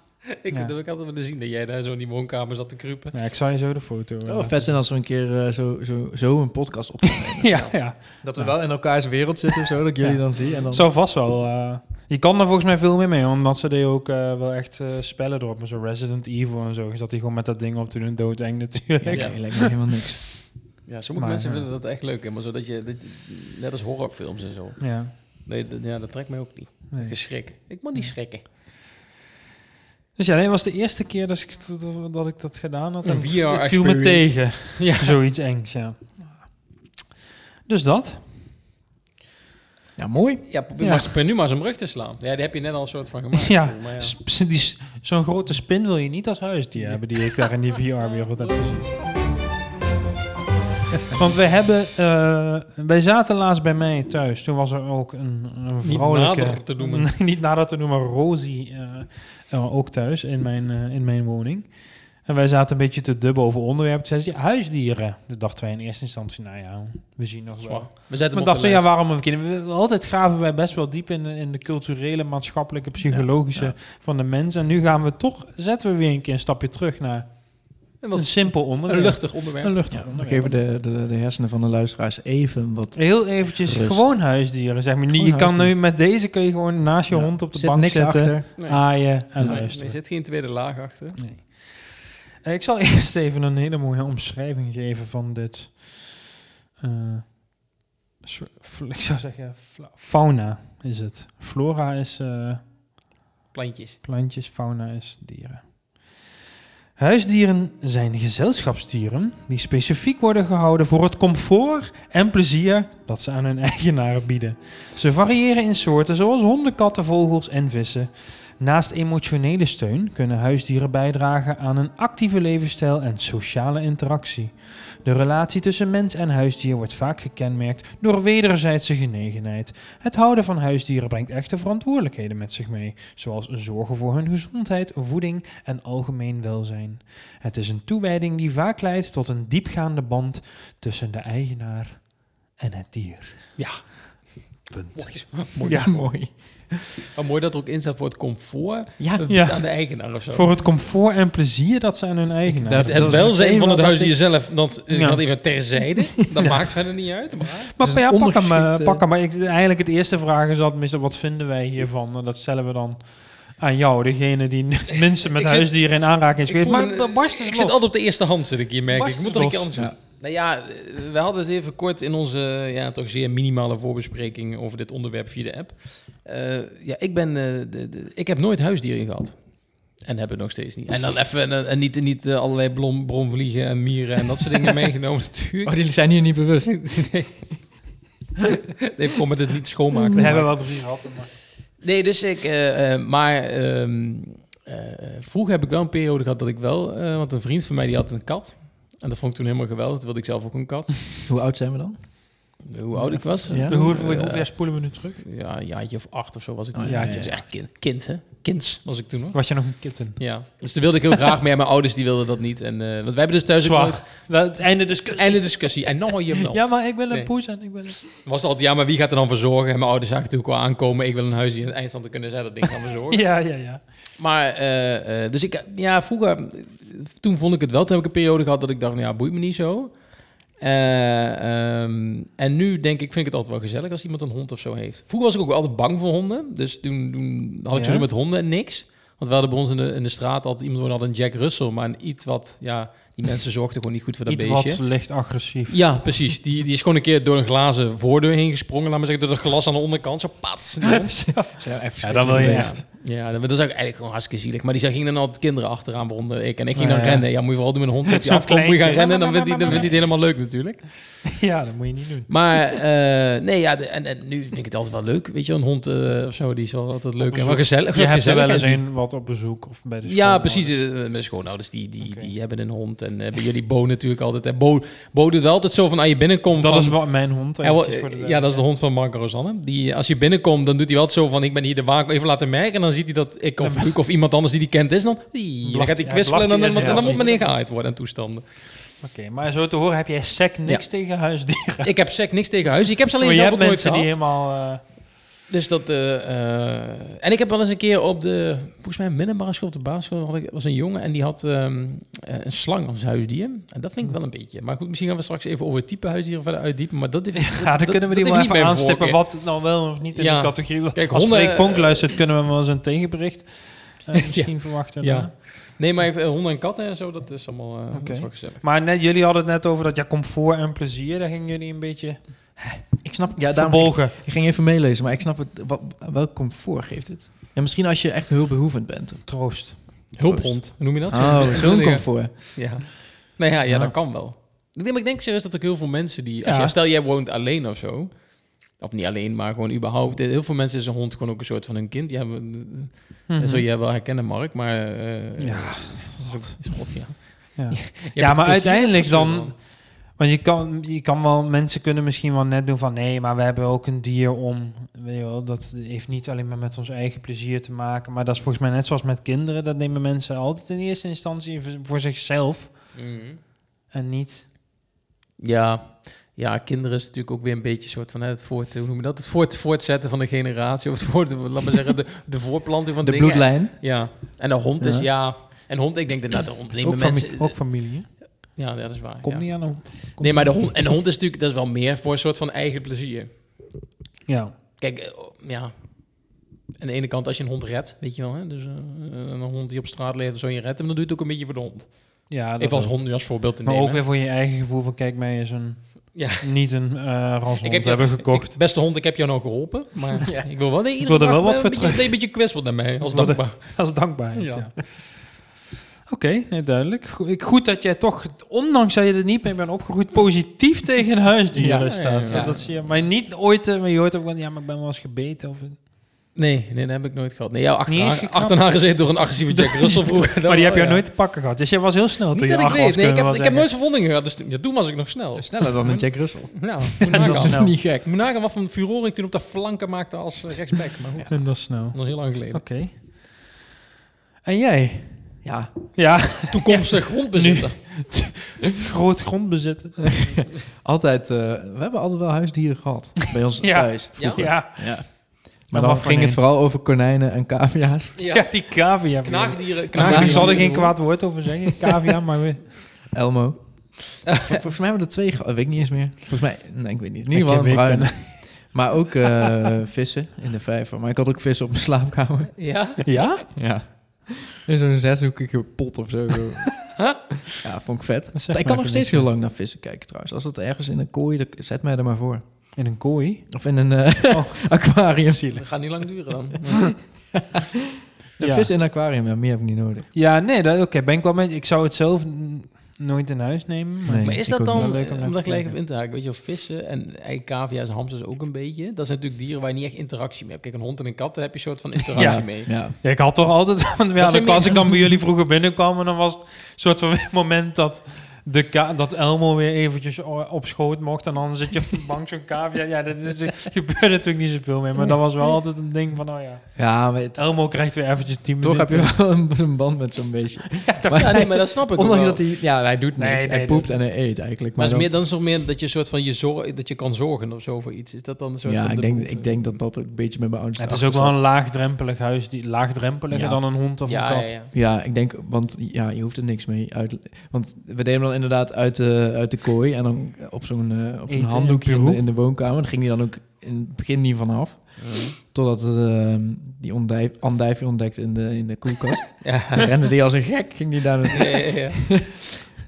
S1: ik
S2: Ja.
S1: heb ik altijd willen zien dat jij daar zo in die woonkamer zat te kruipen.
S2: Nou, ik zal je zo de foto.
S3: Het zou wel Oh, vet zijn als we een keer eh, zo, zo, zo een podcast op.
S2: ja, ja.
S3: dat we wel in elkaars wereld zitten of zo, dat ik jullie
S2: Ja.
S3: dan zie. En dan...
S2: Zo vast wel. eh, je kan daar volgens mij veel meer mee, omdat ze deed ook eh, wel echt eh, spellen erop. Maar zo Resident Evil en zo. Zat hij gewoon met dat ding op te doen, doodeng natuurlijk.
S3: Ja,
S1: Ja.
S3: oké, lijkt me helemaal niks.
S1: Ja, sommige
S2: Maar,
S1: mensen
S2: ja.
S1: vinden dat echt leuk, hè, maar zo dat je, dat, net als horrorfilms en zo.
S2: Ja.
S1: Nee, dat- ja, dat trekt mij ook niet.
S2: Nee.
S1: Geschrik. Ik moet niet schrikken.
S2: Dus ja, nee, was de eerste keer dat ik dat, dat ik dat gedaan had.
S1: Een
S2: En het-
S1: VR
S2: het viel me
S1: experience.
S2: tegen. Ja. Zoiets engs, ja. Dus dat.
S3: Ja, mooi.
S1: Ja, probeer
S2: Ja.
S1: maar- probeer nu maar zo'n brug te slaan. Ja, die heb je net al een soort van gemaakt.
S2: Ja.
S1: Maar ja.
S2: Sp- die s- Zo'n grote spin wil je niet als huisdier hebben die ik daar in die VR-wereld heb gezien. Want we hebben, eh, wij zaten laatst bij mij thuis. Toen was er ook een, een vrouwelijke,
S1: nader te noemen.
S2: niet nader te noemen, Rosie, eh, eh, ook thuis in mijn, eh, in mijn woning. En wij zaten een beetje te dubben over onderwerpen. Toen zei ze, ja, huisdieren. Toen dachten wij in eerste instantie, nou ja, we zien nog wel.
S1: Zwaar. We zetten
S2: Maar
S1: hem op de
S2: dachten, ja,
S1: lijst.
S2: waarom een kinderen? We- Altijd graven wij best wel diep in de, in de culturele, maatschappelijke, psychologische
S3: Ja, ja.
S2: van de mens. En nu gaan we toch, zetten we weer een keer een stapje terug naar
S1: En
S2: een
S1: wat-
S2: simpel onderwerp.
S1: Een luchtig onderwerp.
S2: Een luchtig
S3: Ja, we
S2: onderwerp.
S3: geven de, de, de hersenen van de luisteraars even wat...
S2: Heel eventjes
S3: Rust.
S2: gewoon huisdieren, zeg maar.
S3: Gewoon
S2: je kan nu
S3: huisdieren.
S2: met deze kun je gewoon naast je
S3: Ja,
S2: hond op de
S3: zit
S2: bank
S3: niks
S2: zetten,
S3: achter.
S1: Nee.
S2: aaien en
S1: Ah, Nee,
S2: luisteren.
S1: Er zit geen tweede laag achter.
S2: Nee. Eh, Ik zal eerst even een hele mooie omschrijving geven van dit. eh, soort- fl- ik zou zeggen, fla- fauna is het. Flora is eh,
S1: Plantjes.
S2: plantjes, fauna is dieren. Huisdieren zijn gezelschapsdieren die specifiek worden gehouden voor het comfort en plezier dat ze aan hun eigenaren bieden. Ze variëren in soorten zoals honden, katten, vogels en vissen. Naast emotionele steun kunnen huisdieren bijdragen aan een actieve levensstijl en sociale interactie. De relatie tussen mens en huisdier wordt vaak gekenmerkt door wederzijdse genegenheid. Het houden van huisdieren brengt echte verantwoordelijkheden met zich mee, zoals zorgen voor hun gezondheid, voeding en algemeen welzijn. Het is een toewijding die vaak leidt tot een diepgaande band tussen de eigenaar en het dier.
S1: Ja.
S2: Punt.
S1: Mooi,
S2: Ja.
S3: mooi.
S1: Maar mooi dat er ook in staat voor het comfort.
S3: Ja,
S1: eh,
S2: Ja.
S1: Aan de eigenaar of zo.
S2: Voor het comfort en plezier dat ze aan hun eigenaar.
S3: Dat-
S1: het welzijn van het huisdier zelf, dat is
S2: Ja.
S1: dat even terzijde. Dat maakt verder niet uit. Maar
S2: Maar
S3: Het is
S2: ja,
S3: een
S2: pak hem, eh,
S3: ondergeschikt,
S2: pak hem. Maar ik, eigenlijk het eerste vraag is altijd, meestal, wat vinden wij hiervan? En dat stellen we dan aan jou, degene die het minste met
S1: Ik zit-
S2: huisdieren in aanraking is geweest.
S1: voel
S2: Maar
S1: me-
S2: dat barst
S1: ik
S2: is
S1: zit
S2: los.
S1: altijd op de eerste hand, zit ik hier, merk ik. Ik
S2: Barst
S1: moet
S2: is
S1: er een keer
S2: los.
S1: anders
S3: Ja.
S1: doen. Nou ja, eh, we hadden het even kort in onze ja, toch zeer minimale voorbespreking over dit onderwerp via de app. Eh, ja, ik, ben, eh, de, de- ik heb nooit huisdieren gehad. En heb het nog steeds niet. En dan even eh, en niet, niet eh, allerlei blom, bronvliegen en mieren en dat soort dingen meegenomen natuurlijk.
S3: Oh, die zijn hier niet bewust.
S1: Even gewoon met het niet schoonmaken.
S2: We
S1: te
S2: hebben
S1: maken.
S2: wat ruzie gehad. Maar...
S1: Nee, dus ik. eh, eh, maar ehm eh, vroeger heb ik wel een periode gehad dat ik wel. eh, want een vriend van mij die had een kat. En dat vond ik toen helemaal geweldig. Toen wilde ik zelf ook een kat.
S3: Hoe oud zijn we dan?
S1: Hoe oud ik was.
S3: Ja.
S2: Hoe- hoe-
S1: Eh,
S2: hoe ver spoelen we nu terug?
S1: Ja, een jaartje of acht of zo was ik
S3: Oh,
S1: toen.
S3: ja,
S1: ja,
S3: ja,
S1: is
S3: ja.
S1: echt kind, kind, hè? Kinds was ik toen nog.
S2: Was je nog een kitten?
S1: Ja. Dus toen wilde ik heel graag meer. Mijn ouders die wilden dat niet. En, eh, want wij hebben dus thuis ook
S2: Zwaar.
S1: nooit...
S2: Nou, het einde discussie.
S1: En de discussie. En nou, je wel.
S2: Ja, maar ik wil een
S1: Nee.
S2: poes en ik wil een...
S1: Was altijd, ja, maar wie gaat er dan verzorgen? En mijn ouders zagen natuurlijk wel aankomen. Ik wil een huis die in het eindstand dan kunnen zij dat ding gaan verzorgen.
S2: Ja, ja, ja.
S1: Maar, eh, eh, dus ik, eh, ja, vroeger, eh, toen vond ik het wel. Toen heb ik een periode gehad dat ik dacht, nou ja, boeit me niet zo. Eh, ehm, en nu denk ik, vind ik het altijd wel gezellig als iemand een hond of zo heeft. Vroeger was ik ook altijd bang voor honden. Dus toen, toen had ik
S2: Ja?
S1: sowieso met honden niks. Want we hadden bij ons in de, in de straat altijd iemand woonde had een Jack Russell, maar een iets wat, ja, Die mensen zorgden gewoon niet goed voor dat
S2: Iets
S1: beestje.
S2: wat licht agressief.
S1: Ja, precies. Die, die is gewoon een keer door een glazen voordeur heen gesprongen. Laat maar zeggen, door het glas aan de onderkant. Zo pats.
S2: Ah, Ja, dan wil je
S1: Ja.
S2: echt.
S1: Ja, dat dat is ook eigenlijk gewoon hartstikke zielig. Maar die zei- ging dan altijd kinderen achteraan bronnen. Ik en ik ging
S2: Oh, Ja,
S1: dan
S2: ja.
S1: rennen. Ja, moet je vooral doen met een hond. Als die
S2: Zo'n
S1: afkomt, moet je gaan
S2: kleintje.
S1: rennen. Dan vindt hij dan vindt hij het helemaal leuk natuurlijk.
S2: Ja, dat moet je niet doen.
S1: Maar eh, nee, ja, de- en, en nu vind ik het altijd wel leuk. Weet je, een hond eh, of zo, die is wel altijd leuk. En wel
S2: bezoek.
S1: gezellig.
S2: Je
S1: wat
S2: hebt er wel
S1: gezelligheid
S2: eens
S1: die-
S2: een wat op bezoek of bij de school.
S1: Ja, precies. eh, Mijn schoonouders die, die,
S2: Oké.
S1: die hebben een hond. En eh, bij jullie Bo natuurlijk altijd. hè. Bo, Bo doet wel altijd zo van, als je binnenkomt...
S2: Dat
S1: van-
S2: is wat mijn hond.
S1: Ja, wel,
S2: eventjes voor de-
S1: ja, dat is de hond van Marco Rosanne. Die, eh, als je binnenkomt, dan doet hij wel zo van... ik ben hier de waak, even laten merken. En dan ziet hij dat ik of Luc of iemand anders die die kent is. Dan, "Hie." dan
S2: Blaft
S1: gaat hij
S2: hij,
S1: kwispelen en
S2: blaft
S1: dan,
S2: hij
S1: en dan,
S2: eerst, ja,
S1: moet
S2: precies.
S1: meneer gehaaid worden aan toestanden.
S2: Oké, maar zo te horen heb jij sec niks tegen huisdieren.
S1: ik heb sec niks tegen huis. Ik heb ze alleen
S2: Maar Oh, je
S1: zelf
S2: hebt
S1: ook nooit
S2: mensen die
S1: gehad.
S2: helemaal... eh,
S1: Dus dat... eh, eh, en ik heb wel eens een keer op de... Volgens mij middelbare school, op de basisschool... Had ik, was een jongen en die had ehm, eh, een slang als huisdier. En dat vind ik wel een beetje... Maar goed, misschien gaan we straks even over het type huisdieren verder uitdiepen. Maar dat heeft...
S2: Ja, dan
S1: dat-
S2: kunnen we
S1: dat
S2: die
S1: heeft
S2: wel
S1: niet
S2: even
S1: mijn voorkeur.
S2: aanstippen wat nou wel of niet in
S1: Ja.
S2: de categorie.
S1: Kijk,
S2: Als
S1: honden-
S2: Freek Vonk luistert, kunnen we hem wel eens een tegenbericht eh, misschien verwachten.
S1: Ja. Nee, maar even, eh, honden en katten en zo, dat is allemaal... eh dat is wel gezellig.
S2: Maar net, jullie hadden het net over dat ja, comfort en plezier, daar gingen jullie een beetje
S3: Ik snap, ja, daarom,
S2: verbolgen.
S3: ik ging even meelezen, maar ik snap het, wat, welk comfort geeft het? Ja, misschien als je echt hulpbehoevend bent.
S2: Troost.
S1: Hulphond, hoe noem je dat?
S3: Oh, zo'n
S1: Ja.
S3: comfort.
S1: Ja. Nou ja, ja,
S3: Ja.
S1: dat kan wel. Ik denk, maar ik denk serieus dat ook heel veel mensen die... Als
S2: Ja.
S1: jij- stel, jij woont alleen of zo. Of niet alleen, maar gewoon überhaupt. eh, Heel veel mensen is een hond gewoon ook een soort van hun kind. Die hebben, Dat zul jij wel herkennen, Mark. Maar... eh,
S2: Mhm. Ja,
S1: is ook- is God, ja.
S2: Ja.
S1: Je hebt
S2: Ja,
S1: het
S2: maar
S1: plezier
S2: uiteindelijk
S1: van zo'n
S2: dan-
S1: hond.
S2: Want je kan, je kan wel, mensen kunnen misschien wel net doen van nee, maar we hebben ook een dier om. Weet je wel, dat heeft niet alleen maar met ons eigen plezier te maken. Maar dat is volgens mij net zoals met kinderen. Dat nemen mensen altijd in eerste instantie voor- voor zichzelf.
S1: Mhm.
S2: En niet.
S1: Ja. ja, kinderen is natuurlijk ook weer een beetje soort van hè, het, voort, hoe noem je dat? het voort, voortzetten van de generatie. Of het voort, laat maar zeggen, de, de voortplanting van
S3: De
S1: dingen.
S3: bloedlijn.
S1: Ja, en een hond is
S3: Ja.
S1: ja. En hond, ik denk dat de hond nemen
S2: Ook, fami-
S1: mensen.
S2: ook familie. hè?
S1: Ja, dat is waar.
S2: Kom
S1: ja.
S2: niet aan een. kom
S1: Nee, maar de
S2: niet-
S1: hond, en de hond is natuurlijk, dat is wel meer voor een soort van eigen plezier.
S2: Ja.
S1: Kijk, eh, ja. Aan de ene kant, als je een hond redt, weet je wel, hè? dus eh, een hond die op straat leeft of zo, en je redt hem, dan doe je het ook een beetje voor de hond.
S2: ja dat
S1: Even als
S2: ook.
S1: hond nu als voorbeeld te
S2: Maar
S1: nemen.
S2: ook weer voor je eigen gevoel van kijk, mij is een.
S1: Ja.
S2: Niet een eh rashond
S1: Ik heb je-
S2: hebben gekocht.
S1: Ik- beste hond, ik heb jou nou geholpen, maar
S3: Ja.
S1: ik wil wel nee,
S2: Ik wil er wel wat voor
S1: een beetje, een beetje kwispelt naar mij, als
S2: Ik wil er-
S1: dankbaar.
S2: Als dankbaarheid,
S1: Ja.
S2: ja. Oké, nee, duidelijk. Go- ik- Goed dat jij toch, ondanks dat je er niet mee bent opgegroeid, positief tegen huisdieren
S1: Ja,
S2: staat.
S1: ja, ja.
S2: Dat zie je. Maar niet ooit, eh, maar je hoort ook wel, ja, maar ik ben wel eens gebeten. Of,
S1: Nee, nee, dat heb ik nooit gehad. Nee, jou
S2: Niet eens
S1: achterna,
S2: geknapt.
S1: achterna gezeten door een agressieve Jack Russell vroeger. Dat
S2: maar die
S1: wel,
S2: heb jij
S1: ja.
S2: nooit te pakken gehad. Dus jij was heel snel toen
S1: Niet
S2: je
S1: dat ik
S2: acht
S1: weet.
S2: was,
S1: Nee, ik
S2: kunnen
S1: heb,
S2: we
S1: ik
S2: wel
S1: heb nooit verwondingen gehad. Dus toen, ja, toen was ik nog snel.
S3: Sneller dan een Jack Russell.
S1: Ja,
S2: En dat is
S1: moet
S2: snel.
S3: Niet gek.
S1: nagaan wat voor een furore ik toen op de flanken maakte als eh, rechtsback. Maar goed,
S2: zeggen. En dat snel. Oké.
S1: dat is heel lang geleden.
S2: En jij?
S3: Ja,
S2: Ja,
S1: Toekomstig grondbezitter.
S2: groot grondbezit.
S3: altijd. eh, we hebben altijd wel huisdieren gehad bij ons
S2: Ja.
S3: thuis.
S1: Ja?
S2: Ja.
S3: Ja.
S2: Maar
S3: Maar
S2: wat
S3: dan
S2: voor
S3: ging het
S2: een?
S3: vooral over konijnen en cavia's.
S1: Ja.
S2: ja, die cavia.
S1: Knaagdieren.
S2: Ik zal er geen
S1: kwaad.
S2: kwaad woord over zeggen. Cavia, maar we...
S3: Elmo. Vol- Volgens mij hebben we er twee gehad. Weet ik niet eens meer. Volgens mij, nee, ik weet niet. In ieder
S2: Ik
S3: geval een
S2: weet het
S3: bruine. Maar ook eh, vissen in de vijver. Maar ik had ook vissen op mijn slaapkamer.
S1: Ja?
S2: Ja?
S3: Ja. In zo'n zeshoekige pot of zo. ja, vond ik vet.
S2: Dat zegt mij
S3: Ik
S2: even
S3: kan nog
S2: niks,
S3: steeds heel lang naar vissen kijken trouwens. Als het ergens in een kooi, dan zet mij er maar voor.
S2: In een kooi?
S3: Of in een eh, aquarium.
S2: Zielig.
S1: Dat gaat niet lang duren dan.
S3: De
S2: Ja.
S3: vissen in een aquarium, ja, meer heb ik niet nodig.
S2: Ja, nee, dat- oké, ben ik wel met. Ik zou het zelf n- nooit in huis nemen. Maar
S3: Nee.
S1: maar is
S3: ik
S1: dat
S3: ook
S2: wel
S1: dan,
S2: leuk
S1: eh,
S2: om naar
S1: om
S2: te
S1: daar gelijk
S2: kijken.
S1: even in te haken, weet je, wel, vissen en ei, cavia's en hamsters ook een beetje. Dat zijn natuurlijk dieren waar je niet echt interactie mee hebt. Kijk, een hond en een kat, daar heb je een soort van interactie
S2: Ja.
S1: mee.
S3: Ja.
S2: Ja, ik had toch altijd. Want ja,
S1: zijn
S2: dan,
S1: meer-
S2: als ik dan bij jullie vroeger binnenkwam, en dan was het een soort van moment dat. De ka- dat Elmo weer eventjes o- op schoot mocht en dan zit je op de bank zo'n cavia. Ja, dat is, er gebeurt natuurlijk niet zoveel mee, maar dat was wel altijd een ding van, oh ja,
S3: Ja, maar het-
S2: Elmo krijgt weer eventjes 10
S3: toch heb
S2: minuten.
S3: je wel een, een band met zo'n beestje.
S1: Ja, nee, maar dat snap ik ook
S3: Ondanks
S1: wel.
S3: dat hij... Ja, hij doet niks.
S2: Nee, nee,
S3: hij poept en hij eet eigenlijk.
S1: Maar
S3: Maar
S1: is meer,
S3: dan,
S1: dan is het meer dat je een soort van je zorg, dat je kan zorgen of zo voor iets. Is dat dan een soort
S3: ja,
S1: van
S3: ik
S1: de eh?
S3: denk,
S1: behoefte?
S3: ik denk dat dat ook een beetje met mijn ouders
S2: Ja, het is ook
S3: erachter
S2: wel een
S3: zat.
S2: laagdrempelig huis, die, laagdrempeliger
S3: Ja.
S2: dan een hond of
S1: ja,
S2: een
S1: ja,
S2: kat.
S1: ja.
S3: Ja, ik denk... Want ja, je hoeft er niks mee uit... Want we deden hem dan inderdaad uit de, uit de kooi. En dan op zo'n eh, op zo'n
S2: Eten in
S3: handdoekje in
S2: Peru.
S3: de, in de woonkamer. Dan ging hij dan ook in het begin niet vanaf. Totdat het, eh, die ondijf, andijfje ontdekt in de, in de koelkast.
S1: Ja.
S3: Dan rende die als een gek. Ging die daar naartoe.
S1: Ja, ja, ja.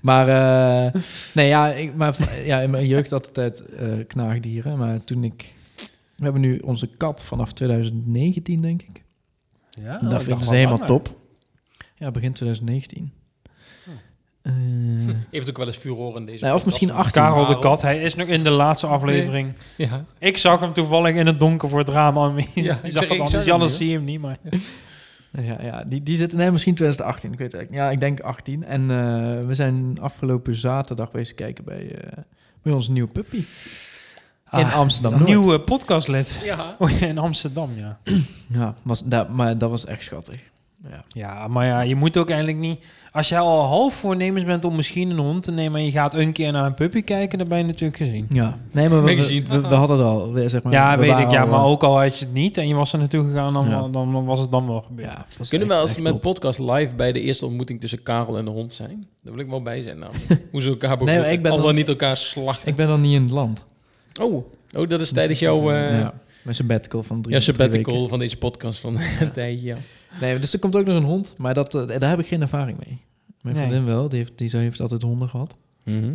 S3: Maar, eh, nee, ja, ik, maar v- ja, in mijn jeugd had altijd eh knaagdieren. Maar toen ik... We hebben nu onze kat vanaf 2019, denk ik.
S2: Ja, Oh,
S3: En dat vind ik dus helemaal top. Ja, begin 2019. Eh,
S2: Hm.
S1: Heeft ook wel eens furoren in deze
S3: nou, of
S1: podcast.
S3: misschien 18.
S2: Karel
S1: Nou.
S2: de Kat, hij is nog in de laatste aflevering.
S1: Ja.
S2: Ik zag hem toevallig in het donker voor het raam. aan.
S1: ik
S2: Ja,
S1: zeg,
S2: ik
S1: ik zag
S2: zag het
S1: hem
S2: anders.
S1: niet,
S2: Jannes
S1: hoor.
S2: zie hem niet, maar...
S3: Eh, Ja, ja die, die zitten... Nee, misschien 2018. Ik weet het eigenlijk. Ja, ik denk 18. En eh, we zijn afgelopen zaterdag bezig kijken bij, eh, bij onze nieuwe puppy. in
S2: Ah,
S3: Amsterdam
S2: een
S3: Noord.
S2: nieuwe podcastlid.
S1: ja.
S2: Oh ja, in Amsterdam, ja.
S3: Ja, was, dat, maar dat was echt schattig. Ja.
S2: Ja, maar ja, je moet ook eigenlijk niet... Als jij al half voornemens bent om misschien een hond te nemen... en je gaat een keer naar een puppy kijken, dan ben je natuurlijk gezien.
S3: ja. Nee, maar we, we,
S1: Magazine.
S3: we- we hadden het al. we- Zeg maar,
S2: ja,
S3: we
S2: weet
S3: waren
S2: ik. Ja,
S3: al,
S2: maar
S3: eh,
S2: ook al had je het niet en je was er naartoe gegaan... dan,
S3: Ja.
S2: dan, dan was het dan wel gebeurd.
S3: Ja, dat was
S1: Kunnen we
S3: echt-
S1: als
S3: echt
S1: we met
S3: top.
S1: podcast live bij de eerste ontmoeting tussen Karel en de hond zijn? Daar wil ik wel bij zijn namelijk. Hoe ze elkaar begroeten.
S3: maar ik ben
S1: Al dan
S3: dan-
S1: niet elkaar slachten.
S3: Ik ben dan niet in het land.
S1: Oh, oh, dat is
S3: Dus
S1: tijdens
S3: dat is,
S1: jouw...
S3: eh,
S1: eh
S3: ja, mijn sabbatical van drie
S1: Ja,
S3: drie weken.
S1: sabbatical van deze podcast van een tijdje. Ja.
S3: Nee, dus er komt ook nog een hond, maar dat, eh, daar heb ik geen ervaring mee. Mijn
S2: Nee.
S3: vriendin wel, die heeft, die zij heeft altijd honden gehad. Mhm.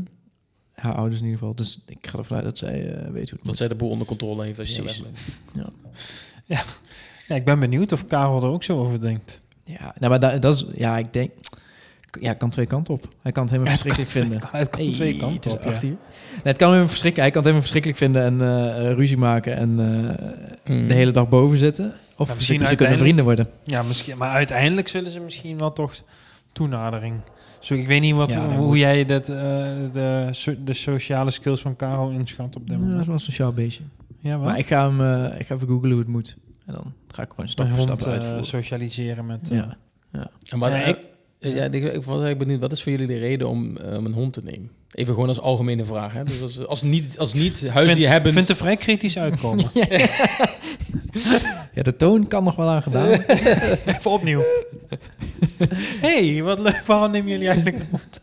S3: Haar ouders in ieder geval. Dus ik ga ervan uit dat zij eh, weet hoe het
S1: Dat
S3: moet.
S1: zij de boel onder controle heeft als je
S3: Precies.
S1: weg bent.
S2: Ja, ik ben benieuwd of Karel er ook zo over denkt.
S3: Ja, nou, maar da- dat is... Ja, ik denk... Ja, kan twee kanten op. Hij kan het helemaal verschrikkelijk vinden.
S2: Het kan
S3: Hey,
S2: twee
S3: het
S2: kanten
S3: is
S2: op, ja.
S3: acht uur. Nee, het kan hem verschrikken. Hij kan het helemaal verschrikkelijk vinden en eh, eh, ruzie maken en eh,
S1: Hmm. Mhm.
S3: de hele dag boven zitten. Of
S2: Ja, misschien
S3: ze- ze, kunnen
S2: uiteindelijk-
S3: vrienden worden.
S2: Ja, misschien, maar uiteindelijk zullen ze misschien wel toch toenadering. Zo, ik weet niet wat,
S3: Ja, dat
S2: hoe
S3: moet.
S2: jij dat, eh, de, so- de sociale skills van Karel inschat op dit
S3: Ja, dat is
S2: moment.
S3: wel een sociaal beestje.
S2: Ja, wel.
S3: Maar ik ga hem eh, ik ga even googlen hoe het moet. En dan ga ik gewoon stap
S2: Mijn
S3: voor
S2: hond
S3: stap
S2: eh,
S3: uitvoeren.
S2: socialiseren met... eh,
S3: ja.
S1: En wat,
S2: Nee,
S1: eh,
S2: ik-
S1: eh, ja, ik, ik was eigenlijk benieuwd, wat is voor jullie de reden om, eh, om een hond te nemen? Even gewoon als algemene vraag. Hè? Dus als, als niet, als niet huisdier
S2: vind,
S1: hebben.
S2: vindt er vrij kritisch uitkomen.
S3: ja, de toon kan nog wel aan gedaan.
S2: Even opnieuw. hey, wat leuk. Waarom nemen jullie eigenlijk een hond?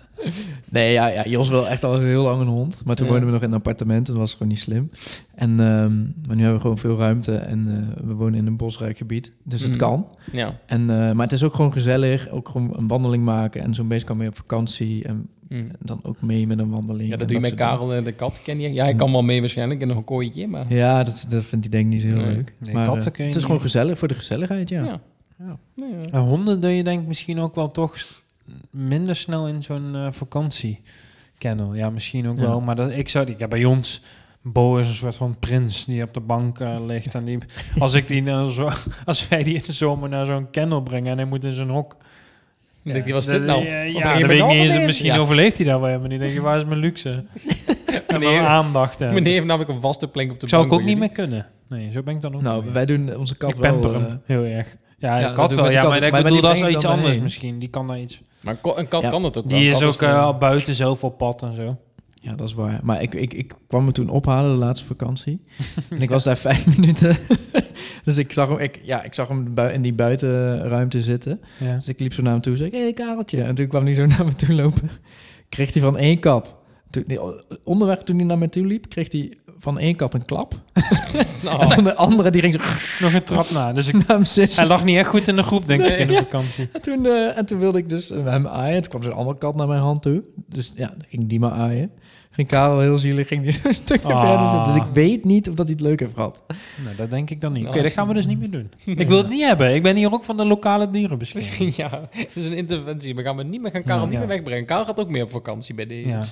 S3: Nee, ja, ja, Jos wil echt al heel lang een hond. Maar toen
S1: Ja.
S3: woonden we nog in een appartement en dat was gewoon niet slim. En, ehm, maar nu hebben we gewoon veel ruimte en eh, we wonen in een bosrijk gebied. Dus het
S1: Mhm.
S3: kan.
S1: Ja.
S3: En, eh, maar het is ook gewoon gezellig. Ook gewoon een wandeling maken. En zo'n beest kan mee op vakantie. En
S1: Mhm.
S3: dan ook mee met een wandeling.
S1: ja,
S3: en
S1: dat doe je met
S3: soort
S1: Karel en de kat, ken je? Ja, hij kan wel mee waarschijnlijk in een kooitje, maar...
S3: dingen. Ja, dat, dat vindt hij denk ik niet zo heel
S1: Nee.
S3: leuk.
S2: Nee,
S3: maar,
S2: katten
S3: eh,
S2: kun je
S3: het is
S2: niet.
S3: gewoon gezellig voor de gezelligheid, ja.
S1: Ja.
S3: Ja.
S1: Nee, ja.
S2: Nou, honden doe je denk ik misschien ook wel toch s- minder snel in zo'n eh vakantie kennel. Ja, misschien ook
S3: Ja.
S2: wel. Maar dat, ik zou die, ja, bij ons. Bo is een soort van prins die op de bank eh, ligt. En die, als, ik die nou zo, als wij die in de zomer naar zo'n kennel brengen en hij moet in zijn hok.
S1: Ik
S2: Ja,
S1: denk, die was
S2: dat-
S1: dit nou?
S2: Ja,
S1: Wat ben
S2: ja,
S1: je
S2: dat
S1: met
S2: weet ik
S1: z'n
S2: niet eens.
S1: allen
S2: Misschien
S1: in? Ja.
S2: overleeft hij daar wel. Maar die denken, waar is mijn luxe? en mijn
S1: Meneer.
S2: aandacht. En
S1: Meneer, nam ik een vaste plek op de
S2: zou ik
S1: bank
S2: ook
S1: voor
S2: niet
S1: jullie.
S2: meer kunnen. Nee, zo ben ik dan ook niet
S3: Nou,
S2: meer.
S3: wij doen onze kat
S2: ik
S3: wel...
S2: pamper hem
S3: eh,
S2: heel erg. Ja,
S3: ja,
S2: de
S3: dat
S2: kat
S3: doen we
S2: wel.
S3: met de
S2: Ja,
S3: kat.
S2: maar ik
S3: Maar die
S2: bedoel, dat is
S3: brengen
S2: iets
S3: dan
S2: anders
S3: heen.
S2: misschien. Die kan daar iets
S1: Maar een ko- een kat
S3: Ja.
S1: kan dat ook wel.
S2: Die
S1: Een
S2: is
S1: kat
S2: ook eh, buiten zelf op pad en zo.
S3: Ja, dat is waar. Maar ik, ik, ik kwam me toen ophalen de laatste vakantie. En ik was daar vijf minuten. dus ik zag hem, ik, ja, ik zag hem bui- in die buitenruimte zitten.
S2: Ja.
S3: Dus ik liep zo naar hem toe en zei: Hé, hey, Kareltje. En toen kwam hij zo naar me toe lopen. Kreeg hij van één kat. Toen, nee, onderweg toen hij naar me toe liep, kreeg hij van één kat een klap.
S1: Nou,
S3: En van de andere, die ging zo
S2: Nog een trap na. Dus ik,
S3: naar hem zitten.
S2: hij lag niet echt goed in de groep, denk ik, in de
S3: Nee.
S2: vakantie.
S3: En toen, eh, en toen wilde ik dus eh, hem aaien. Toen kwam zo'n andere kat naar mijn hand toe. Dus ja, dan ging die maar aaien. Ging Karel heel zielig, ging die zo'n stukje
S2: Ah.
S3: verder zitten. Dus ik weet niet of dat hij het leuk heeft gehad.
S2: Nou, dat denk ik dan niet. Oké,
S1: Nou,
S2: dat gaan we dus niet meer doen. Ik wil het niet hebben. Ik ben hier ook van de lokale dierenbescherming.
S1: ja, het is een interventie. We gaan het niet meer gaan Karel
S2: Ja.
S1: niet meer
S2: Ja.
S1: wegbrengen. Karel gaat ook meer op vakantie bij deze.
S2: Ja.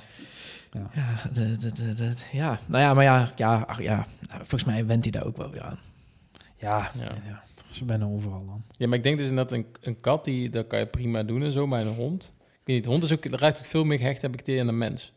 S3: Ja, dat, dat, dat, dat- ja, nou ja, maar ja, ja, ach, ja. Nou, volgens mij went hij daar ook wel weer aan.
S2: Ja.
S1: Ja.
S2: ja. Ze wennen overal dan.
S1: Ja, maar ik denk dus inderdaad een, een kat, die, dat kan je prima doen en zo, maar een hond... Ik weet niet, de hond is ook, daar ruikt ook veel meer gehecht, heb ik tegen een mens.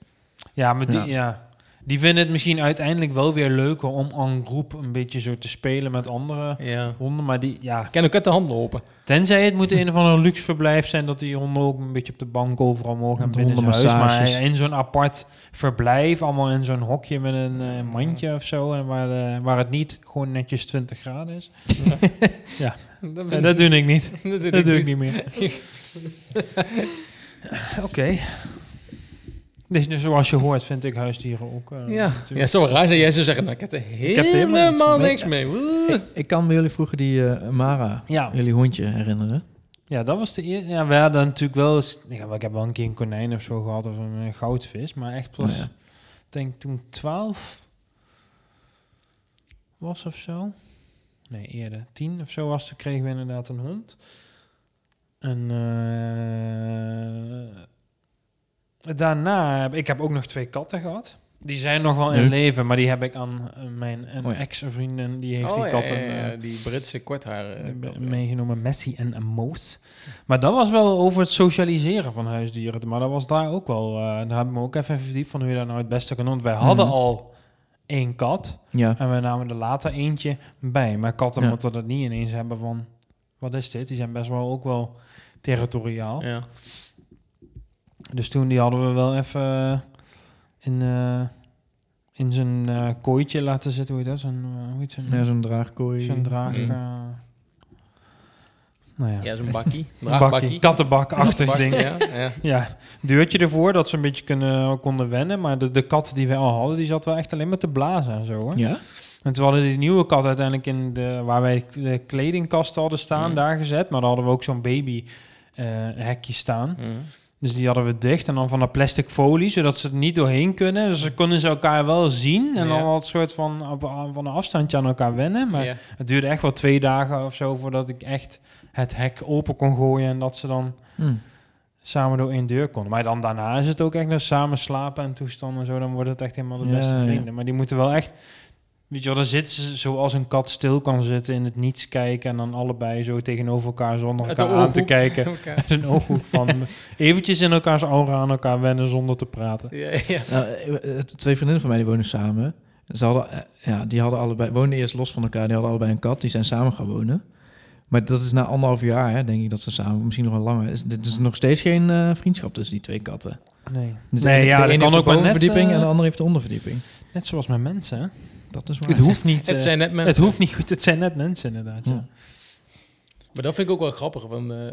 S2: Ja, maar die, ja.
S3: Ja.
S2: die vinden het misschien uiteindelijk wel weer leuker om aan groep een beetje zo te spelen met andere
S1: Ja.
S2: honden. Maar die, ja,
S1: Ik kan ook uit de hand lopen.
S2: Tenzij het moet een of ander luxe verblijf zijn dat die honden ook een beetje op de bank overal mogen en
S3: De
S2: binnen zijn huis. Maar
S3: hondenmassages.
S2: in zo'n apart verblijf, allemaal in zo'n hokje met een eh, mandje of zo, en waar, eh, waar het niet gewoon netjes 20 graden is.
S1: Dat,
S2: En dat doe ik niet.
S1: dat doe
S2: Dat doe ik
S1: niet.
S2: niet meer. Oké. Dus, dus zoals je hoort vind ik huisdieren ook. eh,
S1: Ja.
S2: natuurlijk.
S1: ja, zo raar dat jij zou zeggen, nou, ik heb er
S2: heb er helemaal
S1: helemaal, niks mee. Woe.
S3: Ik, ik kan me jullie vroeger die eh, Mara,
S2: Ja.
S3: jullie hondje, herinneren.
S2: Ja, dat was de eerste. Ja, we hadden natuurlijk wel eens... Ik heb, ik heb wel een keer een konijn of zo gehad of een, eh, goudvis. Maar echt pas,
S3: Oh, ja.
S2: ik denk toen 12 was of zo. Nee, eerder. 10 of zo was, toen kregen we inderdaad een hond. En eh, daarna heb ik heb ook nog twee katten gehad. Die zijn nog wel in
S3: Leuk.
S2: leven, maar die heb ik aan eh, mijn een
S3: Oh ja.
S2: ex-vriendin. Die heeft
S1: Oh,
S2: die
S1: ja,
S2: katten
S1: ja, ja,
S2: eh,
S1: die Britse kortharen. eh, kat, ja.
S2: meegenomen. Messi en een Moos. Maar dat was wel over het socialiseren van huisdieren. Maar dat was daar ook wel... eh daar hebben we ook even in verdiept van hoe je dat nou het beste kan doen. Want wij hadden
S3: Mhm.
S2: al één kat.
S3: Ja.
S2: En we namen er later eentje bij. Maar katten
S3: Ja.
S2: moeten dat niet ineens hebben van... Wat is dit? Die zijn best wel ook wel territoriaal.
S1: Ja.
S2: Dus toen die hadden we wel even eh, in... eh, in zijn eh, kooitje laten zitten, hoe heet dat? Zo'n, eh, hoe heet zo'n-
S3: Ja, zo'n draagkooi.
S2: zo'n draag...
S3: ding.
S2: eh, nou ja,
S1: Ja, zo'n bakkie.
S2: Een bakkie,
S1: Draagbakkie.
S2: kattenbakachtig
S1: Bakkie,
S2: ding. Ja.
S1: Ja, ja.
S2: deurtje ervoor, dat ze een beetje kunnen, eh, konden wennen. Maar de, de kat die we al hadden, die zat wel echt alleen maar te blazen en zo. Hoor.
S3: Ja?
S2: En toen hadden die nieuwe kat uiteindelijk in de, waar wij de kledingkast hadden staan,
S1: Mm.
S2: daar gezet. Maar daar hadden we ook zo'n baby eh, hekje staan.
S1: Mhm.
S2: Dus die hadden we dicht en dan van dat plastic folie, zodat ze er niet doorheen kunnen. Dus ze konden ze elkaar wel zien en dan
S1: Ja.
S2: al een soort van, op- eh, van een afstandje aan elkaar wennen. Maar
S1: Ja.
S2: het duurde echt wel twee dagen of zo voordat ik echt het hek open kon gooien en dat ze dan
S3: Hm.
S2: samen door één deur konden. Maar dan daarna is het ook echt naar samen slapen en toestanden en zo. Dan wordt het echt helemaal de
S3: Ja,
S2: beste
S3: ja.
S2: vrienden. Maar die moeten wel echt... Weet je wel, dan zitten ze zoals een kat stil kan zitten in het niets kijken... en dan allebei zo tegenover elkaar zonder
S1: Uit de
S2: elkaar aan te
S1: ooghoek.
S2: kijken.
S1: Elkaar.
S2: Uit een ooghoek van... eventjes in elkaars aura aan elkaar wennen zonder te praten.
S1: Ja, ja.
S3: Nou, eh, eh, twee vriendinnen van mij die wonen samen. Ze hadden, eh, ja, die hadden allebei, woonden eerst los van elkaar. Die hadden allebei een kat. Die zijn samen gaan wonen. Maar dat is na anderhalf jaar, hè, denk ik, dat ze samen, misschien nog wel langer. Is, dit is nog steeds geen eh, vriendschap tussen die twee katten.
S2: Nee,
S3: Dus
S2: nee
S3: de-
S2: ja,
S3: de
S2: dat
S3: een
S2: kan
S3: heeft
S2: ook
S3: de
S2: maar net,
S3: bovenverdieping en de
S2: eh,
S3: ander heeft de onderverdieping.
S2: net zoals met mensen. hè.
S3: Dat is waar.
S2: Het hoeft niet...
S1: Het
S2: eh,
S1: zijn net mensen.
S2: het hoeft niet goed, het zijn net mensen inderdaad. Ja.
S3: Ja.
S1: Maar dat vind ik ook wel grappig, want eh,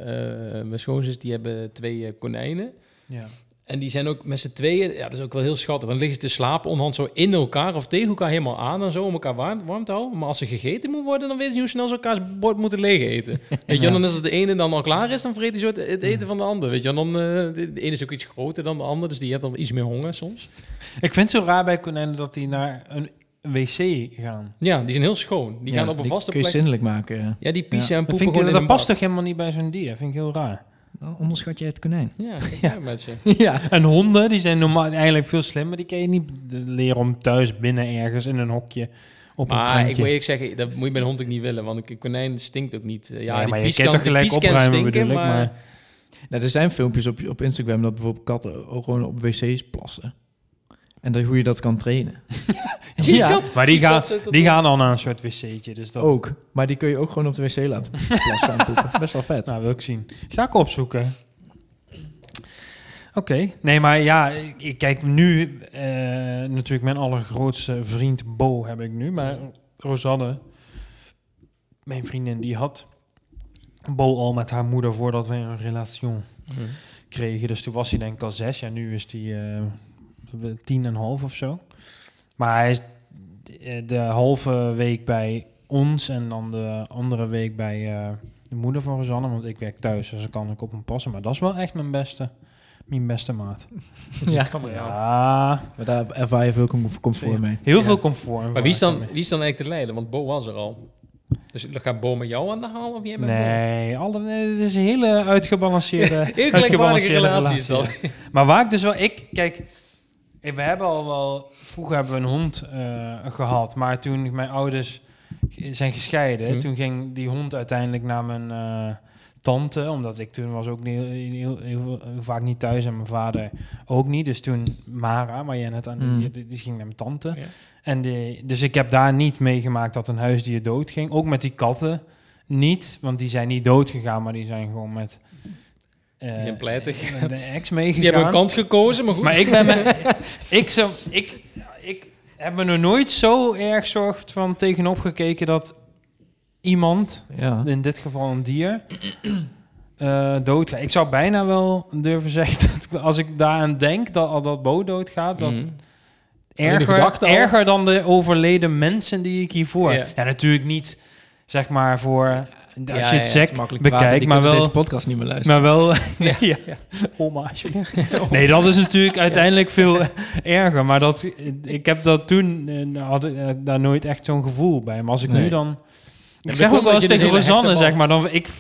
S1: eh, mijn schoonzus die hebben twee eh, konijnen.
S2: Ja.
S1: En die zijn ook met z'n tweeën, ja, dat is ook wel heel schattig. Dan liggen ze te slapen onderhand zo in elkaar of tegen elkaar helemaal aan en zo om elkaar warm, warm te houden. Maar als ze gegeten moet worden, dan weten ze hoe snel ze elkaars bord moeten leeg eten. Weet je, wel, dan is het de ene dan al klaar is, dan vreet hij zo het, het eten van de ander. Weet je, wel. En dan eh, de, de ene is ook iets groter dan de ander, dus die heeft dan iets meer honger soms.
S2: Ik vind het zo raar bij konijnen dat die naar een wc gaan.
S1: Ja, die zijn heel schoon. Die
S3: Ja,
S1: gaan op een vaste
S3: kun je
S1: plek.
S3: zinnelijk maken. ja.
S1: Ja, die pissen en
S2: Dat,
S1: poepen
S2: vind ik,
S1: gewoon
S2: dat,
S1: in een
S2: past
S1: bak.
S2: toch helemaal niet bij zo'n dier? vind ik heel raar.
S3: Dan onderschat jij het konijn.
S1: Ja, kijk daar met ze.
S3: ja.
S2: En honden, die zijn normaal eigenlijk veel slimmer. Die kan je niet leren om thuis binnen ergens in een hokje op een
S1: Maar ik
S2: kraantje.
S1: moet eerlijk zeggen, dat moet je bij een hond ook niet willen, want een konijn stinkt ook niet. Eh, Ja,
S2: Nee,
S1: die
S2: maar je
S1: pies
S2: kan
S1: kan,
S2: toch
S1: die
S2: gelijk
S1: pies kan
S2: opruimen
S1: stinken,
S2: bedoel ik, maar...
S3: Nou, er zijn filmpjes op, op Instagram dat bijvoorbeeld katten ook gewoon op wc's plassen. En dat, hoe je dat kan trainen.
S1: Zie je
S3: Ja.
S1: dat?
S2: Maar die,
S1: Zie je
S2: gaan,
S1: dat? Zit dat
S2: die
S1: in?
S2: gaan al naar een soort wc'tje, dus dat
S3: Ook. Maar die kun je ook gewoon op de wc laten plassen en poepen. Best wel vet.
S2: nou, wil ik zien. Ga ik opzoeken. Oké, nee, maar ja, ik ik kijk nu eh, natuurlijk mijn allergrootste vriend Bo heb ik nu, maar Rosanne, mijn vriendin, die had Bo al met haar moeder voordat we een relatie
S1: Mhm.
S2: kregen. Dus toen was hij denk ik al zes. Ja, nu is hij eh tien en een half of zo. Maar hij is de- de halve week bij ons en dan de andere week bij eh, de moeder van Rosanne. Want ik werk thuis, dus dan kan ik op hem passen. Maar dat is wel echt mijn beste, mijn beste maat.
S3: ja.
S2: Ja,
S3: Maar daar ervaar je veel com- comfort mee.
S2: heel
S1: Nou. Ja.
S2: veel comfort.
S1: Maar wie is, dan, wie is dan eigenlijk de leider? Want Bo was er al. Dus gaat Bo met jou aan de haal of jij met Bo?
S2: Nee, alle, nee, het is een hele uitgebalanceerde,
S1: Heel gelijkwaardige
S2: uitgebalanceerde
S1: relatie is
S2: relatie,
S1: dat.
S2: Maar waar ik dus wel... Ik, kijk, eh, we hebben al wel... Vroeger hebben we een hond eh, gehad. Maar toen mijn ouders g- zijn gescheiden...
S1: Mhm.
S2: Toen ging die hond uiteindelijk naar mijn eh, tante. Omdat ik toen was ook niet, heel, heel, heel- heel vaak niet thuis. En mijn vader ook niet. Dus toen Mara, waar jij net aan...
S3: Mm.
S2: Die, die ging naar mijn tante.
S1: Mhm. Ja.
S2: En die, dus ik heb daar niet meegemaakt dat een huisdier doodging. Ook met die katten niet. Want die zijn niet dood gegaan, maar die zijn gewoon met... eh,
S1: zijn pleitig.
S2: met De ex meegegaan.
S1: Die hebben een kant gekozen, maar goed.
S2: Maar ik ben me, ik, zo, ik, ik heb me er nooit zo erg zorg van tegenop gekeken dat iemand,
S3: Ja.
S2: in dit geval een dier, eh doodgaat. Ik zou bijna wel durven zeggen dat ik- als ik daaraan denk dat al dat boot doodgaat, dat
S1: Mhm.
S2: erger,
S1: gedachte al.
S2: erger dan de overleden mensen die ik hiervoor.
S1: Ja.
S2: Ja, natuurlijk niet zeg maar voor,
S1: ja,
S2: als je het
S1: ja,
S2: sec
S3: makkelijk
S2: bekijkt, maar wel,
S3: deze podcast niet meer luisteren.
S2: maar wel, nee, ja. Oma, alsjeblieft. Nee, dat is natuurlijk uiteindelijk veel erger, maar dat, ik heb dat toen, eh, had, ik, eh, daar nooit echt zo'n gevoel bij, maar als ik nu
S3: Nee.
S2: dan, ik
S1: dat
S2: zeg
S1: komt
S2: ook wel
S1: omdat
S2: eens
S1: je
S2: tegen
S1: dus hele hechte
S2: Rosanne, zeg
S1: band-
S2: maar, dan, ik,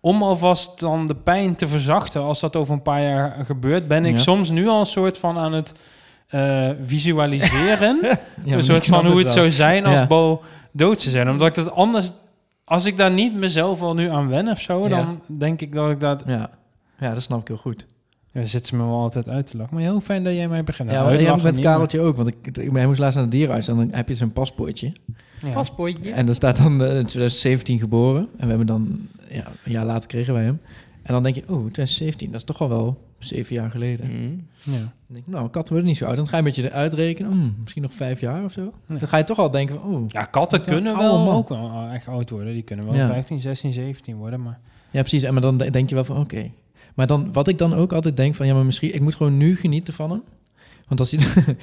S2: om alvast dan de pijn te verzachten, als dat over een paar jaar gebeurt, ben ik
S3: Ja.
S2: soms nu al een soort van aan het eh, visualiseren
S3: Ja,
S2: Nou, een
S3: maar
S2: soort
S3: ik snap
S2: van hoe het,
S3: wel.
S2: zou zijn als
S3: Ja.
S2: Bo dood zou zijn. Omdat ik dat anders... Als ik daar niet mezelf al nu aan wen of zo,
S3: Ja.
S2: dan denk ik dat ik dat...
S3: Ja. ja, dat snap ik heel goed.
S2: Ja, zit ze me wel altijd uit te lachen. Maar heel fijn dat jij mij begint.
S3: ja,
S2: Nou,
S3: maar jij
S2: uitlachen
S3: met
S2: niet, maar-
S3: Kareltje ook, want ik, ik, hij moest laatst naar de dierenarts en dan heb je zijn paspoortje.
S2: Ja.
S1: Paspoortje.
S3: En dan staat dan eh, 2017 geboren en we hebben dan, ja, een jaar later kregen wij hem. En dan denk je, oh, 2017, dat is toch al wel zeven jaar geleden.
S1: Mm.
S2: Ja.
S3: Dan denk ik, nou, katten worden niet zo oud. Dan ga je een beetje eruit rekenen, mm, misschien nog vijf jaar of zo.
S2: Ja.
S3: Dan ga je toch al denken van, oh,
S2: Ja, katten
S3: Wat een
S2: kunnen
S3: oude
S2: wel
S3: man.
S2: ook wel eh, echt oud worden. Die kunnen wel
S3: Ja.
S2: 15, 16, 17 worden. Maar
S3: Ja, precies. En maar dan de- denk je wel van, oké. Maar dan, wat ik dan ook altijd denk van, ja, maar misschien, ik moet gewoon nu genieten van hem. Want als hij,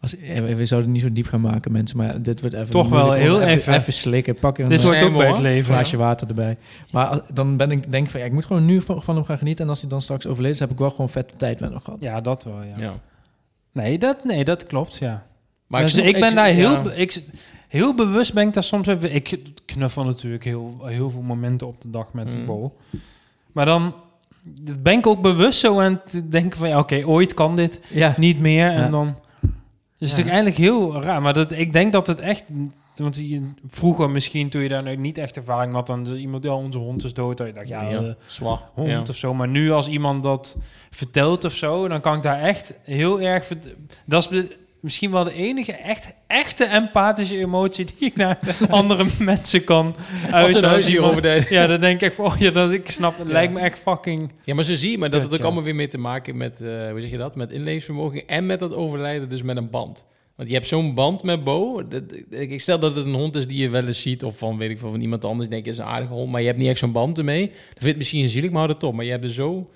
S3: als, ja, we we zouden het niet zo diep gaan maken, mensen, maar dit wordt even...
S2: Toch wel
S3: moeilijk.
S2: heel
S3: even,
S2: even.
S3: Even slikken, pakken een
S2: dit hoort ook
S1: zijn we,
S2: bij het
S1: hoor.
S3: een
S2: leven.
S3: glaasje
S2: ja.
S3: water erbij. Maar als- dan ben ik, denk van, ja, ik moet gewoon nu van, van hem gaan genieten. En als hij dan straks overleden is, heb ik wel gewoon vette tijd met hem gehad.
S2: Ja, dat wel, ja.
S1: Ja.
S2: Nee, dat, nee, dat klopt, ja.
S1: Maar
S2: dus
S1: snap-
S2: ik ben
S1: ik-
S2: daar heel,
S1: ja.
S2: be- ik, heel bewust ben ik daar soms even. Ik knuffel natuurlijk heel, heel veel momenten op de dag met de
S1: Mm.
S2: bol. Maar dan dat ben ik ook bewust zo aan het denken van ja, oké, ooit kan dit
S3: Ja,
S2: niet meer. En
S3: Ja.
S2: dan dus het is het
S3: Ja.
S2: eigenlijk heel raar. Maar dat, ik denk dat het echt. Want je- vroeger misschien, toen je daar nou niet echt ervaring had, dan iemand, ja, onze hond is dood. Dat je dacht, ja, eh,
S1: zwaar.
S2: hond
S1: Ja.
S2: of zo. Maar nu als iemand dat vertelt of zo, dan kan ik daar echt heel erg... verd- Dat is be- misschien wel de enige echt, echte empathische emotie die ik naar andere mensen kan
S1: Als
S2: uiten.
S1: een huis
S2: iemand-
S1: hierover deed.
S2: Ja, dan denk ik van, oh ja, dat, ik snap, het lijkt me echt fucking...
S1: Ja, maar ze zien, maar dat
S2: Kut,
S1: het ook
S2: ja.
S1: allemaal weer mee te maken met, eh, hoe zeg je dat, met inleefvermogen en met dat overlijden, dus met een band. Want je hebt zo'n band met Bo. Dat- Ik ik stel dat het een hond is die je wel eens ziet of van, weet ik veel, van iemand anders denk je, is een aardige hond, maar je hebt niet echt zo'n band ermee. Dat vind je het misschien zielig, maar hou het op. Maar je hebt er zo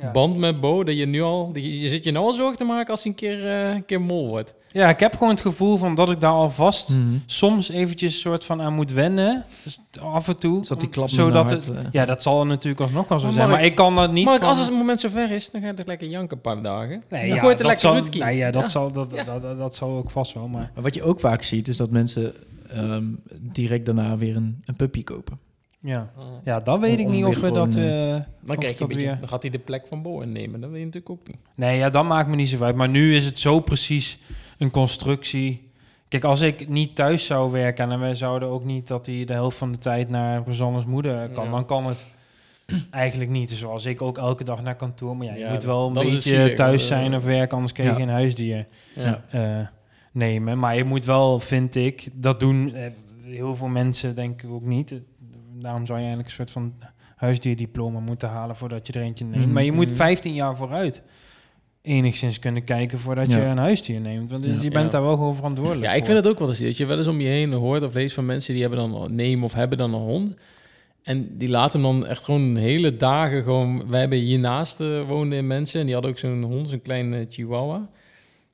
S2: Ja.
S1: band met Bo dat je nu al, dat je, je zit je nou al zorgen te maken als hij een keer, eh, een keer mol wordt.
S2: Ja, ik heb gewoon het gevoel van dat ik daar alvast
S3: Mhm.
S2: soms eventjes een soort van aan moet wennen. Dus af en toe.
S3: Zodat die
S2: om-
S3: klap
S2: zodat
S3: zodat
S2: het, Ja, dat zal natuurlijk alsnog wel zo
S1: Maar
S2: zijn.
S1: Mark-
S2: Maar ik kan dat niet
S1: maar
S2: van-
S1: als het moment zover is, dan ga je toch lekker janken een paar dagen.
S2: Nee,
S1: dan gooit er
S2: dat
S1: lekker
S2: zal-
S1: uitkind.
S2: nou ja, dat, Zal, dat,
S1: Ja.
S2: Dat, dat, dat zal ook vast wel, maar...
S3: Maar wat je ook vaak ziet, is dat mensen ehm, direct daarna weer een, een puppy kopen.
S2: Ja,
S1: Ah.
S2: ja dan weet
S3: Om-
S2: ik
S3: om
S2: niet
S3: weer
S2: of we
S3: gewoon,
S2: dat...
S3: eh,
S2: eh,
S1: Dan,
S2: Of
S1: kijk je
S2: dat
S1: een beetje,
S2: weer-
S1: dan gaat hij de plek van Bo innemen. Dat wil je natuurlijk ook niet.
S2: nee, ja, dat maakt me niet zo uit. Maar nu is het zo precies een constructie. Kijk, als ik niet thuis zou werken... en wij zouden ook niet dat hij de helft van de tijd naar Rosanne's moeder kan...
S1: Ja.
S2: dan kan het eigenlijk niet. Dus zoals ik ook elke dag naar kantoor... maar ja, je
S1: Ja,
S2: moet wel een
S1: dat is het
S2: beetje
S1: zielig,
S2: thuis
S1: eh,
S2: zijn of werken... anders krijg je
S3: ja.
S2: geen huisdier.
S3: Ja.
S2: eh, nemen. Maar je moet wel, vind ik, dat doen eh, heel veel mensen denk ik ook niet. Eh, Daarom zou je eigenlijk een soort van huisdierdiploma moeten halen voordat je er eentje neemt.
S3: Mhm.
S2: Maar je moet
S1: Mhm.
S2: 15 jaar vooruit enigszins kunnen kijken voordat je
S3: Ja.
S2: een huisdier neemt. Want dus
S3: Ja.
S2: je bent
S1: Ja.
S2: daar wel gewoon verantwoordelijk
S1: Ja, ik vind het ook wel eens. Dat je wel eens om je heen hoort of leest van mensen die hebben dan nemen of hebben dan een hond. En die laten hem dan echt gewoon hele dagen gewoon... Wij hebben hiernaast eh, woonden mensen en die hadden ook zo'n hond, zo'n kleine chihuahua.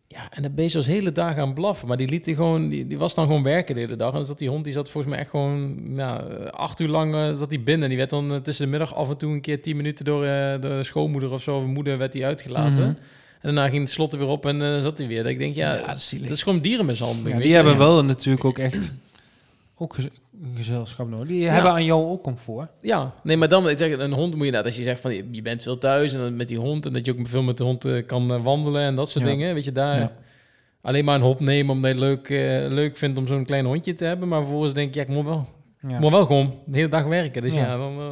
S1: Ja, en dat beest was hele dagen aan het blaffen. Maar die liet die gewoon... Die, die was dan gewoon werken de hele dag. En dan zat die hond, die zat volgens mij echt gewoon... Nou, eh, acht uur lang eh, zat die binnen. Die werd dan eh, tussen de middag af en toe een keer tien minuten... door eh, de schoonmoeder of zo, of moeder, werd die uitgelaten.
S2: Mhm.
S1: En daarna ging het slot er weer op en eh, zat hij weer. Dat ik denk, ja,
S3: dat is zielig.
S1: dat is gewoon dierenmishandeling.
S2: Ja,
S1: weet
S2: die
S1: je?
S2: hebben
S1: Ja.
S2: wel natuurlijk ook echt ook gez- gezelschap nodig. Die hebben aan jou ook comfort.
S1: Ja, nee, maar dan ik zeg, een hond moet je dat. Als je zegt van je je bent veel thuis en dan met die hond en dat je ook veel met de hond eh, kan eh, wandelen en dat soort
S2: Ja.
S1: dingen. Weet je daar.
S3: Ja.
S1: Alleen maar een hond nemen omdat je het leuk, eh, leuk vindt om zo'n klein hondje te hebben. Maar vervolgens denk je, ja, ik moet wel,
S2: Ja.
S1: ik moet wel gewoon de hele dag werken. Dus ja,
S2: Ja.
S1: dan. eh,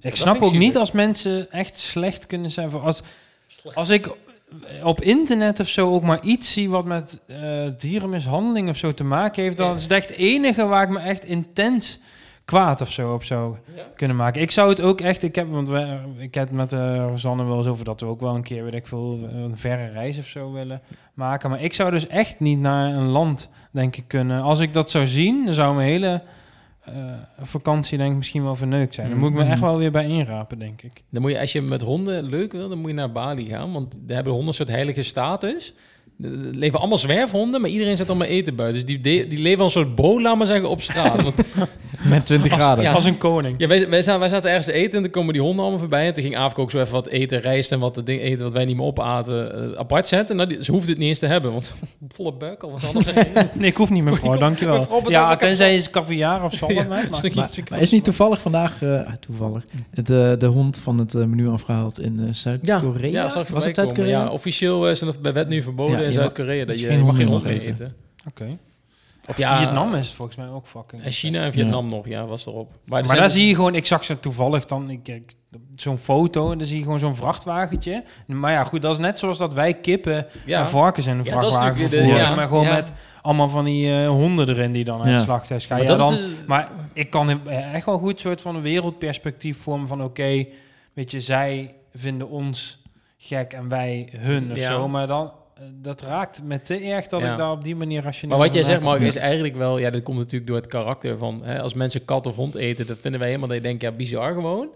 S2: Ik
S1: Dat
S2: snap
S1: vind ik
S2: ook niet
S1: zielig.
S2: als mensen echt slecht kunnen zijn. Voor als, als ik op internet of zo ook maar iets zie wat met eh, dierenmishandeling of zo te maken heeft, dan
S1: Ja.
S2: is het echt het enige waar ik me echt intens kwaad of zo op zou kunnen maken. Ik zou het ook echt, ik heb, want we, ik heb het met eh Rosanne wel eens over dat we ook wel een keer, weet ik veel, een verre reis of zo willen maken. Maar ik zou dus echt niet naar een land, denk ik, kunnen. Als ik dat zou zien, dan zou mijn hele eh, vakantie, denk ik, misschien wel verneukt zijn. Dan moet ik me
S1: Mm.
S3: Mhm.
S2: echt wel weer bij inrapen, denk ik.
S1: Dan moet je, als je met honden leuk wil, dan moet je naar Bali gaan. Want daar hebben honden een soort heilige status. Er leven allemaal zwerfhonden, maar iedereen zet allemaal eten buiten. Dus die, de- die leven als een soort bola, maar zeggen, op straat. Want
S3: Met 20
S1: Als-
S3: graden.
S1: ja.
S2: Als een koning.
S1: Ja, wij, wij, zaten, wij zaten ergens te eten en toen komen die honden allemaal voorbij. En toen ging Aafke ook zo even wat eten, rijst en wat ding, eten wat wij niet meer opaten eh, apart zetten. Nou, die, ze hoefde het niet eens te hebben, want volle buik al was anders.
S2: Nee, ik hoef niet, mevrouw. Dankjewel.
S1: Mevrouw, bedankt,
S2: ja,
S1: ik heb
S2: tenzij is caviar of zo.
S1: Ja,
S2: wat mij maakt.
S1: stukje-
S3: Maar, maar is niet toevallig vandaag, eh, ah, toevallig, het, eh, de hond van het eh, menu afgehaald in eh, Zuid-Korea?
S1: Ja, zag ik
S3: was het
S1: voorbij komen.
S3: Zuid-Korea?
S1: Ja, officieel eh, is het bij wet nu verboden
S3: Ja, je
S1: in
S3: mag-
S1: Zuid-Korea
S3: dat
S1: dat
S3: je
S1: je,
S3: geen
S1: je mag geen
S3: honden
S1: hond
S3: mag
S1: meer
S3: eten.
S1: eten.
S2: Oké. Of
S1: Ja.
S2: Vietnam is het volgens mij ook fucking.
S1: En China en Vietnam nog, ja, was erop. er
S2: Maar
S1: zijn
S2: daar
S1: dus-
S2: zie je gewoon, ik zag ze toevallig dan, ik, ik- zo'n foto, en dan zie je gewoon zo'n vrachtwagentje. Maar ja, goed, dat is net zoals dat wij kippen en
S1: ja.
S2: varkens in
S1: Ja,
S2: een
S1: dat is
S2: vrachtwagen
S1: natuurlijk de-
S2: vervoeren,
S1: ja,
S2: maar gewoon
S1: ja.
S2: met allemaal van die eh, honden erin die dan uit
S3: Ja.
S2: het slachthuis gaan.
S1: Maar
S2: Ja,
S1: dat
S2: dan,
S1: is dus-
S2: maar ik kan hem, eh, echt wel goed soort van een wereldperspectief vormen van, oké, weet je, zij vinden ons gek en wij hun of
S1: Ja.
S2: zo, maar dan, eh, dat raakt me te erg dat
S1: Ja.
S2: ik daar op die manier rationeel
S1: Maar wat jij
S2: van
S1: zegt,
S2: nakom.
S1: Mark, is eigenlijk wel... Ja, dat komt natuurlijk door het karakter van... Hè, als mensen kat of hond eten, dat vinden wij helemaal... Dat je denkt, ja, bizar gewoon.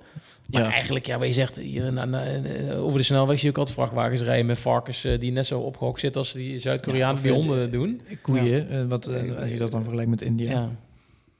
S1: Maar
S3: Ja.
S1: eigenlijk, ja, wat je zegt... Hier, na- na- eh, over de snelweg zie je ook altijd vrachtwagens rijden met varkens... eh, die net zo opgehokt zitten als die Zuid-Koreanen
S3: Ja,
S1: die
S3: of-
S1: honden doen.
S3: Koeien, eh, wat, eh, als je dat dan vergelijkt met India.
S1: Ja.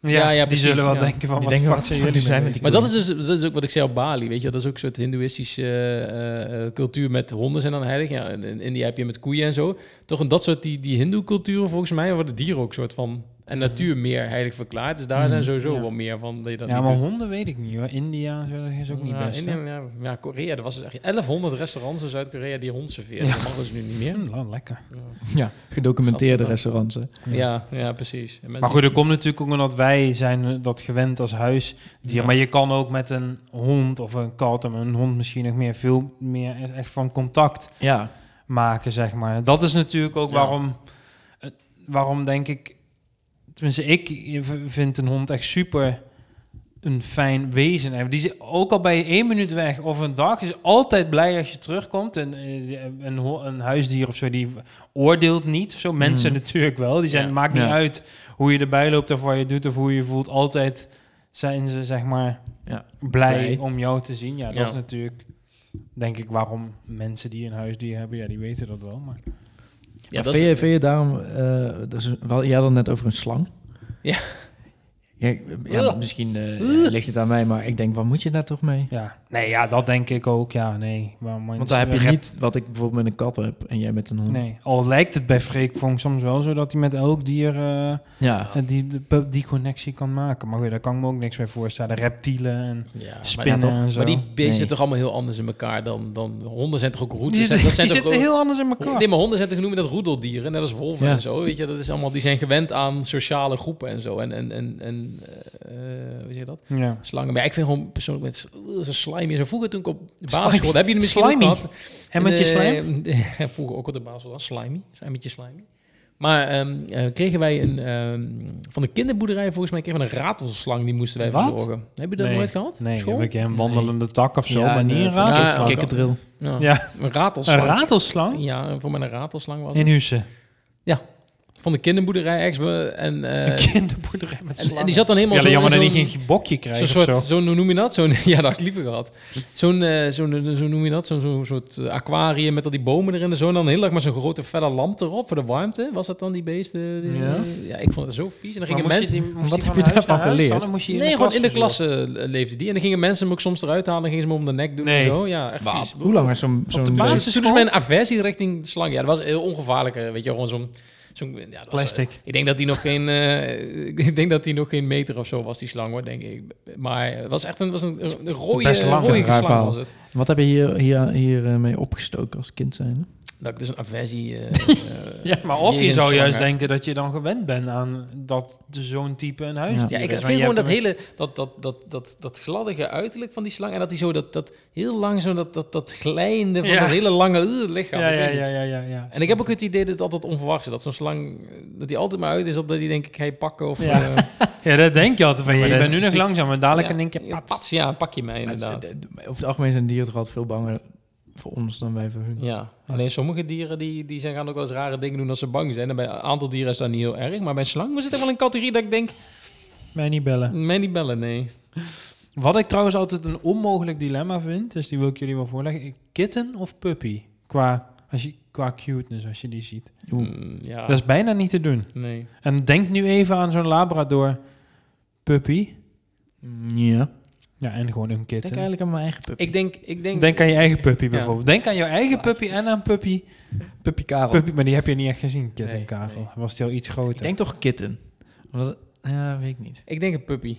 S2: Ja,
S1: Ja, ja,
S2: die
S1: precies,
S2: zullen wel
S1: ja.
S2: denken van,
S3: Die
S2: wat de
S3: denken,
S2: fuck
S3: wat
S2: zijn
S3: fuck
S2: jullie
S3: zijn
S2: mee
S3: met die
S1: Maar dat is dus dat is ook wat ik zei op Bali, weet je. wel. Dat is ook een soort hindoeïstische eh, eh, cultuur met honden zijn dan heilig. Ja, in in India heb je met koeien en zo. Toch en dat soort, die, die hindoe-culturen volgens mij... worden dieren ook soort van... en natuur meer heilig verklaard. Dus daar
S3: Mhm.
S1: zijn sowieso
S2: Ja.
S1: wel meer van dat je dat
S2: ja,
S1: niet
S2: maar
S1: doet.
S2: honden weet ik niet hoor. India en zo, dat is ook niet
S1: ja,
S2: best.
S1: India,
S2: hè?
S1: ja, ja, Korea, er was dus echt 1100 restaurants in Zuid-Korea die hond serveren.
S2: Ja.
S1: Dat mag dus nu niet meer.
S2: Hm, nou, lekker.
S3: Ja, gedocumenteerde
S1: Grappig,
S3: restaurants. hè.
S1: Ja, ja precies. En mensen-
S2: Maar goed, dat komt natuurlijk ook omdat wij zijn eh, dat gewend als huisdier.
S1: Ja.
S2: Maar je kan ook met een hond of een kat en een hond misschien nog meer veel meer e- echt van contact
S3: Ja,
S2: maken, zeg maar. Dat is natuurlijk ook
S1: Ja.
S2: waarom, eh, waarom denk ik, tenminste ik eh, v- vind een hond echt super een fijn wezen. En Die is ook al bij je één minuut weg of een dag is altijd blij als je terugkomt. En eh, die- een, ho- een huisdier of zo die oordeelt niet. Of zo mensen
S3: Mm.
S2: natuurlijk wel. Die zijn
S1: Ja.
S2: maakt niet
S3: Ja.
S2: uit hoe je erbij loopt of wat je doet of hoe je je voelt. Altijd zijn ze zeg maar
S3: Ja.
S2: blij,
S3: Blij.
S2: om jou te zien. Ja, dat
S1: Ja.
S2: is natuurlijk denk ik waarom mensen die een huisdier hebben, ja, die weten dat wel. Maar
S1: ja,
S3: maar
S1: dat
S3: vind, je,
S1: is,
S3: vind je daarom... eh, dat is, wel, jij had het net over een slang.
S1: Ja.
S3: Ja, ik- ja,
S1: Ugh.
S3: misschien eh, ligt het aan mij, maar ik denk, wat moet je daar toch mee?
S2: ja, nee, ja, dat denk ik ook. Ja, nee. Waarom moet
S3: Want daar heb je
S2: rep-
S3: niet wat ik bijvoorbeeld met een kat heb en jij met een hond.
S2: Nee, al lijkt het bij Freek Vonk soms wel zo dat hij met elk dier eh,
S3: Ja,
S2: eh, die, die connectie kan maken. Maar goed, daar kan ik me ook niks bij voorstellen. Reptielen en
S1: ja, maar-
S2: spinnen
S3: toch?
S2: en zo.
S1: Maar die beesten
S3: Nee.
S1: zitten toch allemaal heel anders in elkaar dan, dan honden zijn toch ook
S2: Die
S1: roedels.
S2: zitten,
S1: dat zijn
S2: die
S1: toch
S2: zitten
S1: ook-
S2: heel anders in elkaar.
S1: Nee, maar honden zijn toch genoemd met roedeldieren, net als wolven
S3: Ja.
S1: en zo. Weet je, dat is allemaal, die zijn gewend aan sociale groepen en zo. En, en, en, en eh, eh, hoe zeg je dat?
S2: Ja.
S1: Slangen. Maar ja, ik vind gewoon persoonlijk met zo'n slimy. Zo vroeger toen ik op de basisschool,
S2: Slimy.
S1: heb je er misschien ook
S2: Slimy.
S1: gehad?
S2: En met je
S1: Eh,
S2: slijm?
S1: vroeger ook op de basisschool was slimy. Slijmetje slimy. Maar ehm, eh, kregen wij een, ehm, van de kinderboerderij volgens mij kregen we een ratelslang die moesten wij
S2: Wat?
S1: verzorgen. Heb je dat
S2: Nee.
S1: nooit gehad?
S2: Nee,
S1: op
S2: heb
S1: school?
S2: ik een wandelende tak of zo,
S3: Ja,
S2: maar
S3: en,
S2: niet
S3: eh,
S2: een
S3: van-
S1: Ja,
S2: ratelslang.
S1: oké.
S3: kikkerdril.
S1: Ja.
S2: Ja,
S1: Een
S2: een
S1: ratelslang.
S2: ratelslang
S1: ja, voor mij een ratelslang was. het.
S2: in Husse.
S1: Van de kinderboerderij ergens. We, en, eh,
S2: Een kinderboerderij met
S1: en,
S2: slangen.
S1: en die zat dan helemaal
S2: ja,
S1: zo
S2: jammer
S1: in
S2: dat je
S1: zo'n-
S2: geen bokje krijgt
S1: Zo'n
S2: of
S1: soort,
S2: zo.
S1: zo'n, hoe noem je dat? Zo'n, ja, dat had ik liever gehad. Zo'n, eh zo'n, eh, zo noem je dat? Zo'n, zo'n soort eh, aquarium met al die bomen erin en zo. En dan heel lang maar zo'n grote felle lamp erop voor de warmte. Was dat dan die beesten? Die-
S2: Ja.
S1: ja, ik vond het zo vies. En dan gingen
S2: Maar moest
S1: mensen...
S2: die- moest
S3: wat
S2: die
S3: heb
S2: van
S3: je
S2: huis
S3: daarvan
S2: naar huis?
S3: geleerd?
S2: Dan moest je
S1: nee, gewoon in de
S2: klas
S1: klas eh, leefde die. En dan gingen mensen hem ook soms eruit halen en gingen ze hem om de nek doen
S2: Nee.
S1: en zo. Ja, echt vies.
S3: Hoe lang is zo'n... zo'n
S2: de
S1: Dus
S2: basis-
S3: beest?
S1: toen- toen is mijn aversie richting de slang. Ja, dat was heel ongevaarlijk. eh, Weet je, gewoon zo'n... zo'n ja, dat was, eh,
S2: Plastic.
S1: ik denk dat hij nog geen, eh, ik denk dat hij nog geen meter of zo was die slang, hoor, denk ik. Maar het was echt een, was een, een rode,
S2: Best lang,
S1: rode
S2: een raar
S1: slang
S3: verhaal.
S1: was het.
S3: Wat heb je hier, hier, hier eh, mee opgestoken als kind zijn?
S1: Dat ik dus een aversie. eh, eh,
S2: Ja, maar of je
S1: jegens
S2: zou juist
S1: slangen.
S2: denken dat je dan gewend bent aan dat de- zo'n type een
S1: Ja,
S2: huisdier
S1: ik
S2: is. Maar
S1: vind
S2: je
S1: gewoon dat
S2: hebt hem-
S1: hele dat, dat, dat, dat, dat gladdige uiterlijk van die slang en dat hij zo dat, dat heel langzaam dat, dat, dat glijden van
S2: Ja.
S1: dat hele lange eh, lichaam.
S2: Ja,
S1: ik weet
S2: ja,
S1: niet.
S2: ja, ja, ja, ja.
S1: En ik heb ook het idee dat het altijd onverwachts is. Dat zo'n slang, eh, dat hij altijd maar uit is op dat hij denk ik, hey, pakken of...
S2: Ja.
S1: eh,
S2: Ja, dat denk je altijd van. Je
S3: Maar
S2: bent
S3: dat is
S2: nu nog
S3: precies-
S2: langzaam, maar dadelijk
S1: ja,
S2: in één keer
S1: ja,
S2: pat.
S1: pats, ja, pak je mij inderdaad.
S3: Over het algemeen zijn dieren toch altijd veel banger voor ons dan wij voor hun.
S1: Ja, alleen sommige dieren die, die zijn, gaan ook wel eens rare dingen doen als ze bang zijn. En bij een aantal dieren is dat niet heel erg. Maar bij slangen zit er wel een categorie dat ik denk, "Mm,
S2: Mij niet bellen.
S1: mij niet bellen, nee.
S2: Wat ik trouwens altijd een onmogelijk dilemma vind, dus die wil ik jullie wel voorleggen. Kitten of puppy? Qua, als je, qua cuteness, als je die ziet.
S3: Oeh.
S1: Mm, ja,
S2: Dat is bijna niet te doen.
S1: nee.
S2: En denk nu even aan zo'n labrador puppy.
S3: Ja.
S2: Ja, en gewoon een
S3: Ik denk
S2: kitten.
S3: eigenlijk aan mijn eigen puppy.
S1: Ik denk, ik denk,
S2: Denk aan je eigen puppy bijvoorbeeld. Denk aan jouw eigen
S1: Ja.
S2: puppy en aan puppy.
S3: Puppy Karel.
S2: puppy. Maar die heb je niet echt gezien, Kit
S1: Nee,
S2: en Karel.
S1: nee.
S2: Hij Was die al iets groter?
S3: Ik denk toch kitten. Omdat, ja, weet ik niet.
S1: ik denk een puppy.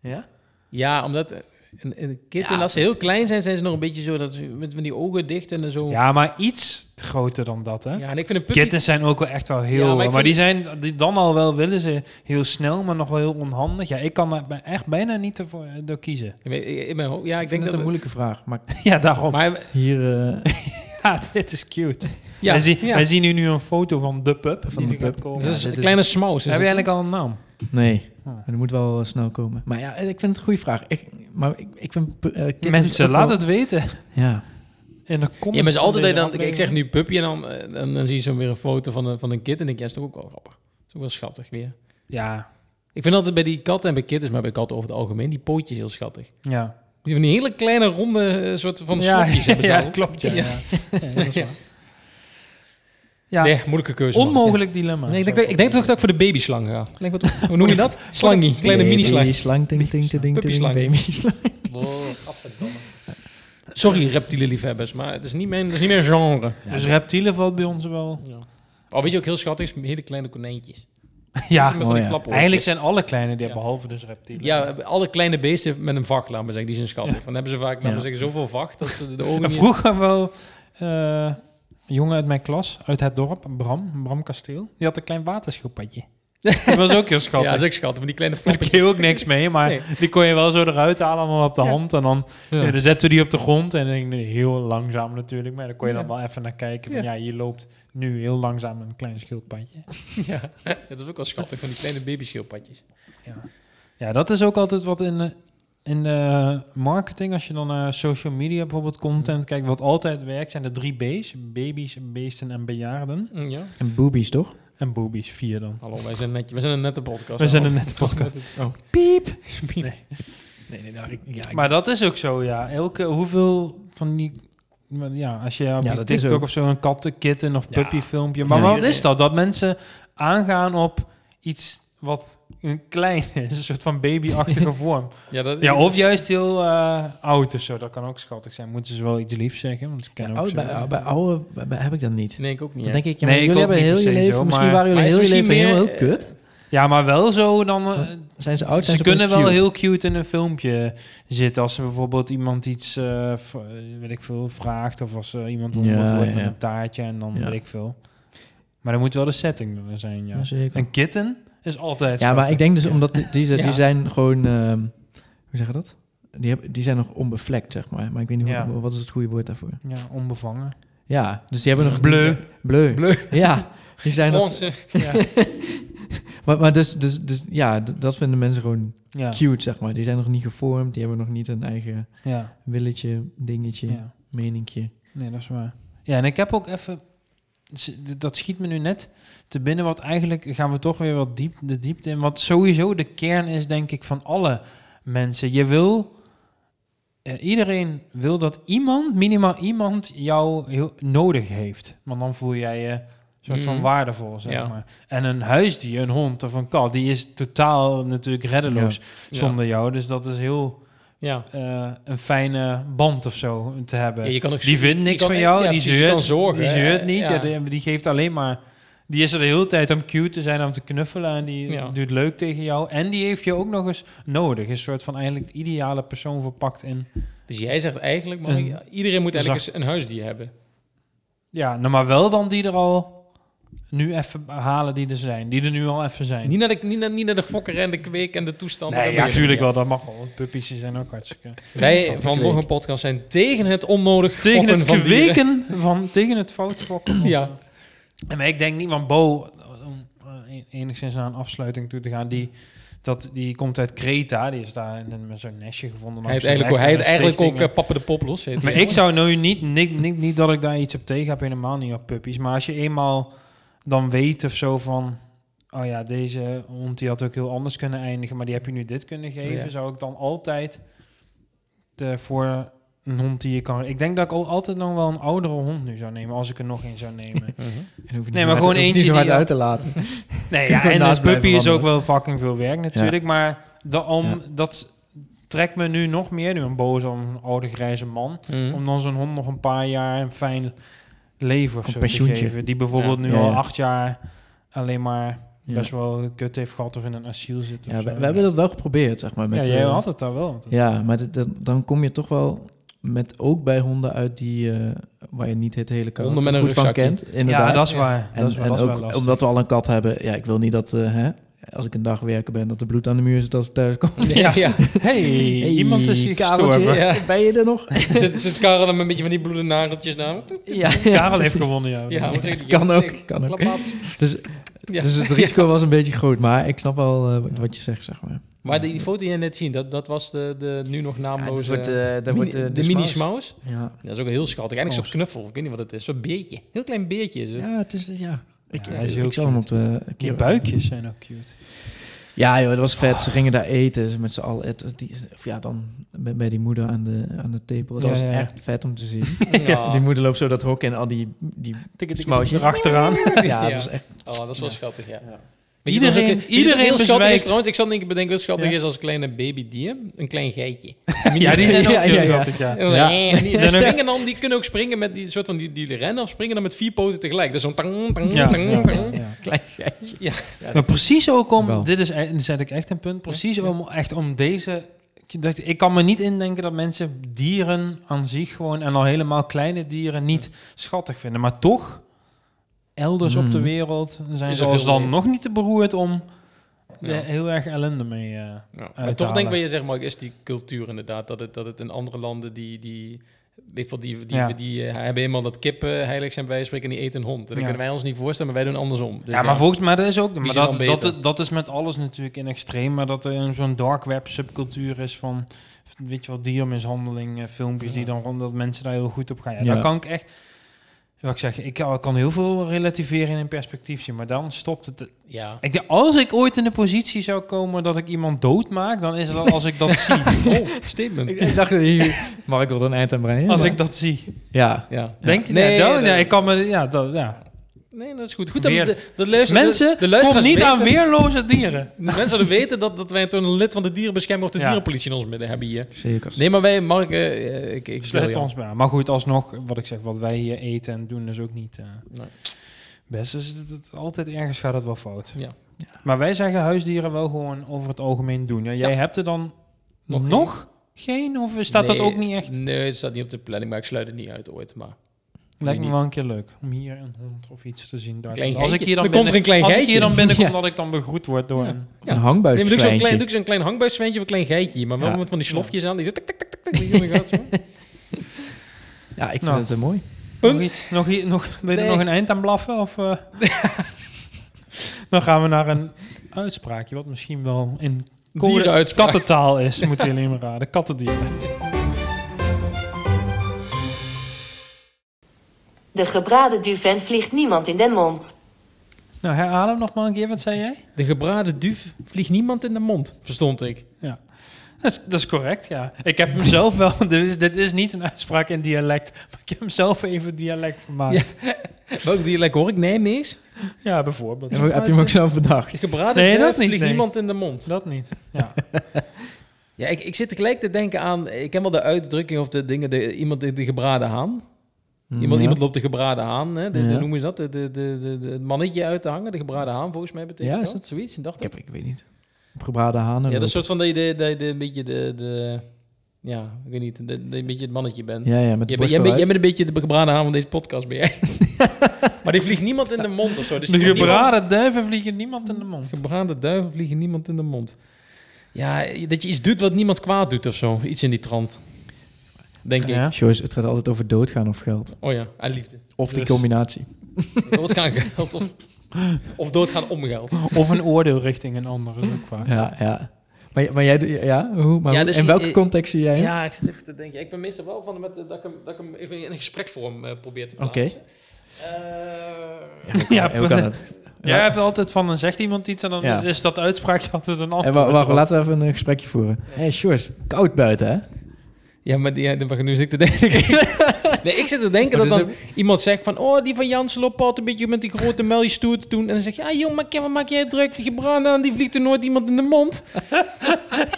S3: Ja?
S1: Ja, omdat eh, een, een kitten,
S3: Ja.
S1: als ze heel klein zijn, zijn ze nog een beetje zo dat ze met, met die ogen dicht en dan zo.
S2: Ja, maar iets groter dan dat, hè?
S1: Ja, en ik vind een puppy.
S2: Kittens zijn ook wel echt wel heel...
S1: Ja, maar
S2: maar
S1: ik
S2: die
S1: vind-
S2: zijn die dan al wel willen ze heel snel, maar nog wel heel onhandig. Ja, ik kan daar bij- echt bijna niet ervoor, eh, door kiezen.
S1: Ik weet- ik- in mijn hoofd- ja,
S3: Ik
S1: ik
S3: vind
S1: denk
S3: dat
S1: dat
S3: een moeilijke vraag. Maar
S2: ja, daarom.
S1: Maar
S3: hier eh,
S2: ja, dit is cute.
S1: ja,
S2: wij, zien,
S1: ja.
S2: wij zien hier nu een foto van de pup.
S3: Van
S2: die
S3: de
S2: er gaat
S3: pup.
S2: komen.
S1: dat
S3: Ja,
S1: is
S3: dit
S1: een
S3: is-
S1: kleine smaus.
S2: Heb je eigenlijk al een naam?
S3: Nee,
S2: Ah.
S3: maar dat moet wel eh, snel komen. Maar ja, ik vind het een goede vraag. Ik, maar ik, ik vind eh, kittens
S2: Mensen,
S3: ook
S2: laat
S3: wel-
S2: het weten
S3: Ja,
S2: in de comments.
S1: Ja, maar ze
S2: van
S1: altijd
S2: deze
S1: dan, ik
S2: aflevering.
S1: zeg nu puppy en dan, eh, dan, dan zie je zo weer een foto van een, van een kit en denk je, ja, is toch ook wel grappig. is ook wel schattig weer.
S2: Ja,
S1: Ik vind altijd bij die katten en bij kittens, maar bij katten over het algemeen, die pootjes heel schattig.
S2: ja.
S1: Die van die hele kleine ronde eh, soort van
S2: ja,
S1: slofjes hebben ze
S2: ja,
S1: al.
S2: klopt. Ja,
S1: Ja.
S2: ja. Ja, dat is waar. Ja,
S1: Nee, moeilijke keuze. man.
S2: onmogelijk dilemma.
S1: Nee, ik, denk,
S2: Zo.
S1: dat- ik denk toch dat ik voor de babyslang ga. Lijkt me toch- Hoe noem je dat? Slangie, kleine
S3: Baby
S1: mini-slang.
S3: slang, ting, ting, ting, ting, ting,
S1: Puppyslang.
S3: baby slang.
S1: Sorry, reptielenliefhebbers, maar het is niet mijn, het is niet mijn genre.
S2: Dus reptielen valt bij ons wel.
S1: Oh, weet je ook heel schattig? is? Hele kleine konijntjes.
S2: Oh Ja,
S1: Met van die
S3: ja.
S1: flapoortjes.
S2: Eigenlijk zijn alle kleine die
S1: Ja.
S2: behalve dus reptielen.
S1: Ja, alle kleine beesten met een vacht, laten we zeggen, die zijn schattig. Want dan hebben ze vaak, laten
S3: Ja.
S1: we zeggen, zoveel vacht dat ze de ogen
S2: En
S1: niet-
S2: vroeger wel eh, een jongen uit mijn klas, uit het dorp, Bram, Bram Kasteel. Die had een klein waterschildpadje. dat was ook heel
S1: Ja,
S2: schattig.
S1: dat is ook schattig, maar die kleine
S2: Daar
S1: flappetjes.
S2: kreeg ook niks mee, maar
S1: Nee.
S2: die kon je wel zo eruit halen en dan op de
S1: Ja.
S2: hand. En dan,
S1: Ja.
S2: ja, dus- dan zetten we die op de grond en dan, heel langzaam natuurlijk. Maar dan kon je
S1: Ja.
S2: dan wel even naar kijken. Van,
S1: Ja.
S2: ja. je loopt nu heel langzaam een klein schildpadje.
S1: Ja, dat is ook wel schattig, van die kleine babyschildpadjes.
S2: Ja, dat is ook altijd wat in, eh, in de marketing, als je dan naar social media bijvoorbeeld content kijkt, wat altijd werkt, zijn de drie B's. Baby's, beesten en bejaarden.
S1: Mm, Ja.
S3: En boobies, toch?
S2: En boobies, vier dan.
S1: Hallo, wij zijn, net, wij zijn een nette podcast.
S2: We zijn een
S1: Hallo.
S2: nette podcast.
S1: Oh.
S2: Piep! Nee.
S3: Nee, nee, daar, ik- ja, ik-
S2: Maar dat is ook zo, ja. Elke, hoeveel van die... maar Ja, als je op
S3: Ja,
S2: die
S3: dat is
S2: TikTok
S3: ook.
S2: of zo een katten, kitten of
S1: Ja.
S2: puppy filmpje... Maar
S3: Ja.
S2: wat is dat? Dat mensen aangaan op iets wat een klein is. Een soort van babyachtige vorm.
S1: Ja, dat,
S2: Ja, of juist heel eh, oud of zo. Dat kan ook schattig zijn. Moeten ze wel iets liefs zeggen? Want ze
S3: ja,
S2: kennen ook
S3: oude,
S2: zo.
S3: Oh,
S2: eh.
S3: bij, bij oude bij- bij- heb ik dat niet.
S1: Nee, ik ook niet.
S3: Dan
S1: hè.
S3: denk ik, ja,
S2: Nee,
S3: maar
S2: ik
S3: jullie
S2: ook
S3: hebben
S2: niet per
S3: heel je
S2: se
S3: leven,
S2: zo,
S3: misschien
S2: maar-
S3: waren jullie
S1: Maar
S3: heel
S1: is
S3: je leven
S1: misschien
S3: heel,
S1: meer, eh,
S3: heel kut.
S2: Ja, maar wel zo dan... eh,
S3: Zijn ze oud, zijn
S2: ze
S3: ze
S2: kunnen wel
S3: opeens cute.
S2: heel cute in een filmpje zitten. Als ze bijvoorbeeld iemand iets, eh, v- eh, weet ik veel, vraagt. Of als eh, iemand
S3: Ja,
S2: ontmoet wordt
S3: ja.
S2: met een taartje en dan
S3: Ja.
S2: weet ik veel. Maar dan moet wel de setting er zijn, ja.
S3: Ja, zeker.
S2: Een kitten is altijd
S3: Ja, maar
S2: schattig.
S3: ik denk dus omdat die, die, die
S1: Ja.
S3: zijn gewoon, ehm, hoe zeg je dat? Die, hebben, die zijn nog onbevlekt, zeg maar. Maar ik weet niet hoe,
S2: Ja.
S3: wat is het goede woord daarvoor.
S2: Ja, onbevangen.
S3: Ja, dus die hebben nog...
S2: Bleu.
S3: Bleu.
S1: Bleu.
S3: Ja, die zijn nog...
S1: Franse.
S2: Ja.
S3: Maar, maar dus, dus, dus ja, d- dat vinden mensen gewoon
S2: ja.
S3: cute, zeg maar. Die zijn nog niet gevormd, die hebben nog niet een eigen
S2: ja.
S3: willetje, dingetje,
S2: ja.
S3: meninkje.
S2: Nee, dat is waar. Ja, en ik heb ook even... s- d- Dat schiet me nu net te binnen, wat eigenlijk gaan we toch weer wat diep de diepte in. Wat sowieso de kern is, denk ik, van alle mensen. Je wil... eh, iedereen wil dat iemand, minimaal iemand, jou heel, nodig heeft. Want dan voel jij je soort van
S1: Mhm.
S2: waardevol, zeg
S1: Ja.
S2: maar. En een huisdier, een hond of een kat, die is totaal natuurlijk reddeloos zonder jou. Dus dat is heel
S1: Ja.
S2: eh, een fijne band of zo te hebben.
S1: Ja, je kan ook
S2: Die e- vindt niks
S1: je kan-
S2: van jou,
S1: ja,
S2: die
S1: precies, je
S2: zeurt,
S1: kan zorgen,
S2: die
S1: hè.
S2: zeurt niet,
S1: Ja.
S2: ja, die, die geeft alleen maar... Die is er de hele tijd om cute te zijn, om te knuffelen en die
S1: Ja.
S2: doet leuk tegen jou. En die heeft je ook nog eens nodig. Een soort van eigenlijk het ideale persoon verpakt in...
S1: Dus jij zegt eigenlijk, maar
S2: Een
S1: iedereen moet eigenlijk eens een huisdier hebben.
S2: Ja, nou maar wel dan die er al nu even halen die er zijn. Die er nu al even zijn.
S1: Niet naar, de, niet, naar, niet naar de fokker en de kweek en de toestand.
S2: nee, ja, natuurlijk wel, dat mag wel. want Puppies die zijn ook hartstikke...
S1: Wij van Nog een Podcast zijn tegen het onnodig
S2: Tegen
S1: fokken
S2: het
S1: van dieren.
S2: kweken van... Tegen het fout fokken.
S1: Ja.
S2: Ja, Maar ik denk niet, want Bo, om eh, enigszins naar een afsluiting toe te gaan, die, dat, die komt uit Kreta. Die is daar in een- met zo'n nestje gevonden.
S1: Hij heeft eigenlijk, ook- hij heeft eigenlijk ook eh, Papa de Pop los. heet
S2: maar
S1: hij.
S2: ik zou nu niet, niet, niet, niet dat ik daar iets op tegen heb, helemaal niet op puppies. Maar als je eenmaal dan weet of zo van, oh ja, deze hond die had ook heel anders kunnen eindigen, maar die heb je nu dit kunnen geven,
S1: Ja.
S2: zou ik dan altijd de, voor een hond die je kan... Ik denk dat ik al, altijd nog wel een oudere hond nu zou nemen, als ik er nog een zou nemen.
S1: Mhm.
S3: En hoef je niet
S2: maar
S3: zo hard-
S2: gewoon
S3: hoef je
S2: eentje
S3: niet zo hard
S2: die-
S3: uit te laten.
S2: Nee,
S3: Kun je
S2: ja,
S3: gewoon
S2: en
S3: naast
S2: een puppy
S3: blijven
S2: is ook wel fucking veel werk natuurlijk. Maar da- om,
S3: Ja.
S2: dat trekt me nu nog meer, nu een boos om een oude grijze man,
S3: Hm?
S1: Mm.
S2: om dan zo'n hond nog een paar jaar een fijn leven of
S3: Een
S2: zo
S3: pensioentje.
S2: te geven. Die bijvoorbeeld
S1: Ja.
S2: nu
S3: Ja,
S2: al
S3: ja.
S2: acht jaar alleen maar
S3: Ja.
S2: best wel kut heeft gehad of in een asiel zit. of
S3: Ja, we,
S2: zo.
S3: we hebben dat wel geprobeerd, zeg maar. Met,
S2: ja, jij
S3: eh,
S2: had het daar wel.
S3: Ja, maar dit- dat- dan kom je toch wel met ook bij honden uit die eh, waar je niet het hele karakter
S1: Honden met een
S3: goed van
S1: rugzakje.
S3: kent. Inderdaad.
S2: Ja, dat is waar.
S3: en
S2: dat is, waar,
S3: en
S2: dat is wel
S3: ook
S2: lastig.
S3: omdat we al een kat hebben. Ja, ik wil niet dat eh, hè, als ik een dag werken ben dat er bloed aan de muur zit als ik thuis kom.
S1: Ja, ja.
S2: hey, iemand is hier
S3: Kareltje,
S2: gestorven.
S1: Ja.
S3: Ben je er nog?
S1: zit, zit Karel dan met een beetje van die bloedende nageltjes na?
S3: ja,
S2: Karel heeft
S3: precies.
S2: gewonnen, ja.
S1: Oh, Ja, wat zeg je?
S3: kan
S1: Ja,
S3: ook,
S1: zeg.
S3: kan ook.
S1: Klapmaat.
S3: Dus,
S1: Ja.
S3: dus het risico was een beetje groot, maar ik snap wel eh, wat- wat je zegt, zeg maar.
S1: Maar die foto die je net zien, dat, dat was de, de nu nog naamloze...
S3: dat
S1: mini- eh, de mini smaus.
S3: eh, Ja.
S1: Dat is ook heel schattig. Eigenlijk een soort knuffel. Ik weet niet wat het is. Zo'n beertje. Heel klein beertje is het.
S3: ja, het is, ja. Ik,
S2: Ja,
S3: ik-
S2: hij is
S3: ik
S2: heel
S3: zal hem op
S2: cute.
S3: de...
S2: Je buikjes zijn ook cute.
S3: Ja, joh, dat was vet. Ze gingen daar eten ze met z'n allen. Het- het- die- Of ja, dan bij, bij die moeder aan de, aan de tepel. Dat
S2: Ja,
S3: was
S2: ja, ja.
S3: echt vet om te zien.
S1: Ja.
S3: Die moeder loopt zo dat hok en al die, die smausjes.
S2: Erachteraan.
S3: Ja,
S1: Ja.
S3: dat was echt...
S1: Oh, dat is wel schattig, ja.
S3: Ja.
S1: Weet je wat
S2: Iedereen-
S1: ook- weet je wat
S2: iedereen
S1: heel schattig is
S2: bezwijkt.
S1: trouwens. Ik zat denk ik bedenken wat schattig
S2: Ja.
S1: is als kleine babydier. Een klein geitje.
S2: Ja, die zijn ook
S3: Ja,
S2: heel
S3: ja, ja.
S2: schattig, ja.
S1: En
S3: Ja.
S1: die, die
S2: Zijn ook-
S1: springen dan, die kunnen ook springen met die soort van die, die rennen of springen dan met vier poten tegelijk. Dus zo'n tang, tang,
S2: Ja.
S1: tang,
S2: Ja.
S1: tang.
S2: Ja.
S3: Klein geitje.
S2: Maar precies ook
S3: Wel.
S2: om, dit is, e- zet ik echt een punt, precies om, echt om deze... ik dacht, Ik kan me niet indenken dat mensen dieren aan zich gewoon, en al helemaal kleine dieren, niet schattig vinden. Maar toch, elders op de
S3: Mhm.
S2: wereld zijn
S1: er
S2: ze ons
S1: veel
S2: dan
S1: meer.
S2: nog niet te beroerd om er
S1: Ja.
S2: heel erg ellende mee... eh.
S1: Ja, maar
S2: uithalen.
S1: toch denk ik wat je zegt, Mark, is die cultuur inderdaad. Dat het, dat het in andere landen die... die Weet ik veel, die, die,
S2: Ja.
S1: die, eh, hebben helemaal dat kippen heilig zijn wij spreken en die eten een hond. En dat
S2: Ja.
S1: kunnen wij ons niet voorstellen, maar wij doen andersom. Dus
S2: ja, maar volgens mij dat is ook. Maar
S1: zijn
S2: dat,
S1: dan
S2: dat,
S1: beter?
S2: dat is met alles natuurlijk in extreem. Maar dat er een zo'n dark web subcultuur is van. Weet je wel, diermishandeling, eh, filmpjes die dan rond dat mensen daar heel goed op gaan. Ja,
S3: Ja.
S2: Dan kan ik echt. Wat ik zeg, ik eh, kan kan heel veel relativeren en in perspectief zien. Maar dan stopt het.
S1: Ja.
S2: Ik, denk, als ik ooit in de positie zou komen dat ik iemand doodmaak, dan is dat als ik dat zie.
S1: Oh, statement.
S3: Ik, ik dacht, dat hier, Mark wil er een eind aan brengen.
S2: Als
S3: maar-
S2: ik dat zie.
S3: Ja.
S1: Ja.
S2: Denk je
S1: Nee,
S2: nee, dat?
S1: dat-
S2: Nee, ik kan me. Ja, dat, ja.
S1: Nee, dat is goed. Goed dat
S2: Weer-
S1: de, de luister-
S2: Mensen,
S1: de, de
S2: kom
S1: luisteraars
S2: niet
S1: weten-
S2: aan weerloze dieren.
S1: De mensen zouden weten dat, dat wij toen een lid van de dierenbescherming of de
S2: Ja.
S1: dierenpolitie in ons midden hebben hier.
S3: Zeker.
S1: Nee, maar wij, Mark, eh, eh, ik, ik wil
S2: Sluit
S1: jou.
S2: Dus ons maar. aan. Maar goed, alsnog, wat ik zeg, wat wij hier eten en doen, is ook niet eh,
S1: Nee.
S2: best. Dus het, het- altijd ergens gaat het wel fout.
S1: Ja.
S3: Ja.
S2: Maar wij zeggen huisdieren wel gewoon over het algemeen doen. Ja, jij hebt er dan
S1: Nog
S2: nog,
S1: geen.
S2: geen? Of staat
S1: Nee,
S2: dat ook niet echt?
S1: Nee, het staat niet op de planning, maar ik sluit het niet uit ooit. Maar
S2: Lijkt me
S1: niet.
S2: wel een keer leuk om hier een hond of iets te zien. Daar.
S1: Klein
S2: als ik
S1: geitje.
S2: hier dan
S1: Er komt er een klein
S2: als ik hier
S1: geitje.
S2: dan binnenkom,
S3: Ja.
S2: dat ik dan begroet word door
S1: Ja.
S2: een...
S3: Of Een
S1: nee, maar doe ik zo'n klein, doe
S3: hangbuitkwijntje.
S1: ik zo'n klein hangbuisventje of een klein geitje, maar wel
S3: Ja.
S1: met van die slofjes aan. Die zo tik tik tik tik tik. die in de gaten, zo.
S3: Ja, ik vind
S2: Nou.
S3: het eh, mooi.
S2: Nog
S1: Punt.
S2: iets? Nog, i- nog, wil je
S1: Nee.
S2: er nog een eind aan blaffen? Of, eh? dan gaan we naar een uitspraakje, wat misschien wel in code
S1: Dierenuitspraak.
S2: kattentaal is, moeten jullie me raden. Kattendialect.
S4: De gebraden duven vliegt niemand in den mond.
S2: Nou, herhaal hem nog maar een keer, wat zei jij?
S1: De gebraden duif vliegt niemand in de mond, verstond ik.
S2: Ja. Dat is, dat is correct, ja. Ik heb hem zelf wel, dit is, dit is niet een uitspraak in dialect, maar ik heb hem zelf even dialect gemaakt.
S1: Welk dialect hoor ik? Nee, niks.
S2: Ja, bijvoorbeeld.
S3: En heb je hem ook zelf bedacht?
S1: De gebraden
S2: Nee,
S1: duif
S2: dat niet,
S1: vliegt
S2: nee.
S1: niemand in de mond.
S2: Dat niet. Ja.
S1: Ja, ik, ik zit tegelijk te denken aan... Ik ken wel de uitdrukking of de dingen... De, iemand de, de gebraden haan. Iemand,
S3: Mm, Ja.
S1: iemand loopt de gebraden haan. Hè? De, de-
S3: Ja.
S1: noemen ze dat? De, de, de, de- de- het mannetje uit te hangen. De gebraden haan, volgens mij betekent
S3: Ja, is
S1: dat.
S3: dat?
S1: Zoiets, dacht
S3: Ik, heb, ik weet niet. Gebraden hanen.
S1: Ja, dat is een soort van dat je de, de, de, een beetje de, de... Ja, ik weet niet. dat je een beetje het mannetje bent.
S3: Ja, ja, met de
S1: Jij,
S3: borst
S1: bent, jij, bent, jij
S3: vooruit.
S1: bent een beetje de gebraden haan van deze podcast, ben jij. maar die vliegt niemand in de mond of zo. Dus
S2: De
S1: die komt niemand-
S2: gebraden duiven vliegen niemand in de mond.
S1: Gebraden duiven vliegen niemand in de mond. Ja, dat je iets doet wat niemand kwaad doet of zo. Iets in die trant. Denk ik.
S2: Ja.
S3: Joyce, het gaat altijd over doodgaan of geld.
S1: Oh ja, aan liefde.
S3: Of die
S2: Dus-
S3: combinatie.
S1: Doodgaan geld of, of doodgaan om geld.
S2: Of een oordeel richting een ander, dat is ook vaak.
S3: Ja, ja. Maar, maar jij, ja, hoe, maar
S1: Ja,
S3: hoe-
S1: dus
S3: in
S1: die-
S3: welke
S1: eh,
S3: context zie jij hem?
S1: Ja, ik zit even te denken. Ik ben meestal wel van met, eh, dat, ik hem, dat ik hem even in een gespreksvorm eh, probeer te plaatsen.
S3: Oké.
S1: Eh,
S3: hoe kan-
S2: Ja,
S3: hoe kan het?
S2: Jij hebt altijd van, dan zegt iemand iets en dan
S3: Ja.
S2: is dat uitspraakje altijd een
S3: En
S2: antwoord.
S3: wa- wacht,
S2: erop.
S3: laten we even een gesprekje voeren. Hé, hey, Sjors, koud buiten, hè?
S1: ja, maar die, eh, nu zit ik te denken. Nee, ik zit te denken
S3: Maar
S1: dat dan
S3: dus
S1: iemand zegt van... Oh, die van Jansen loopt altijd een beetje met die grote melkstoet toen. En dan zeg je... Ah, jong, maar Ken, wat maak jij druk? Die gebranden aan, die vliegt er nooit iemand in de mond.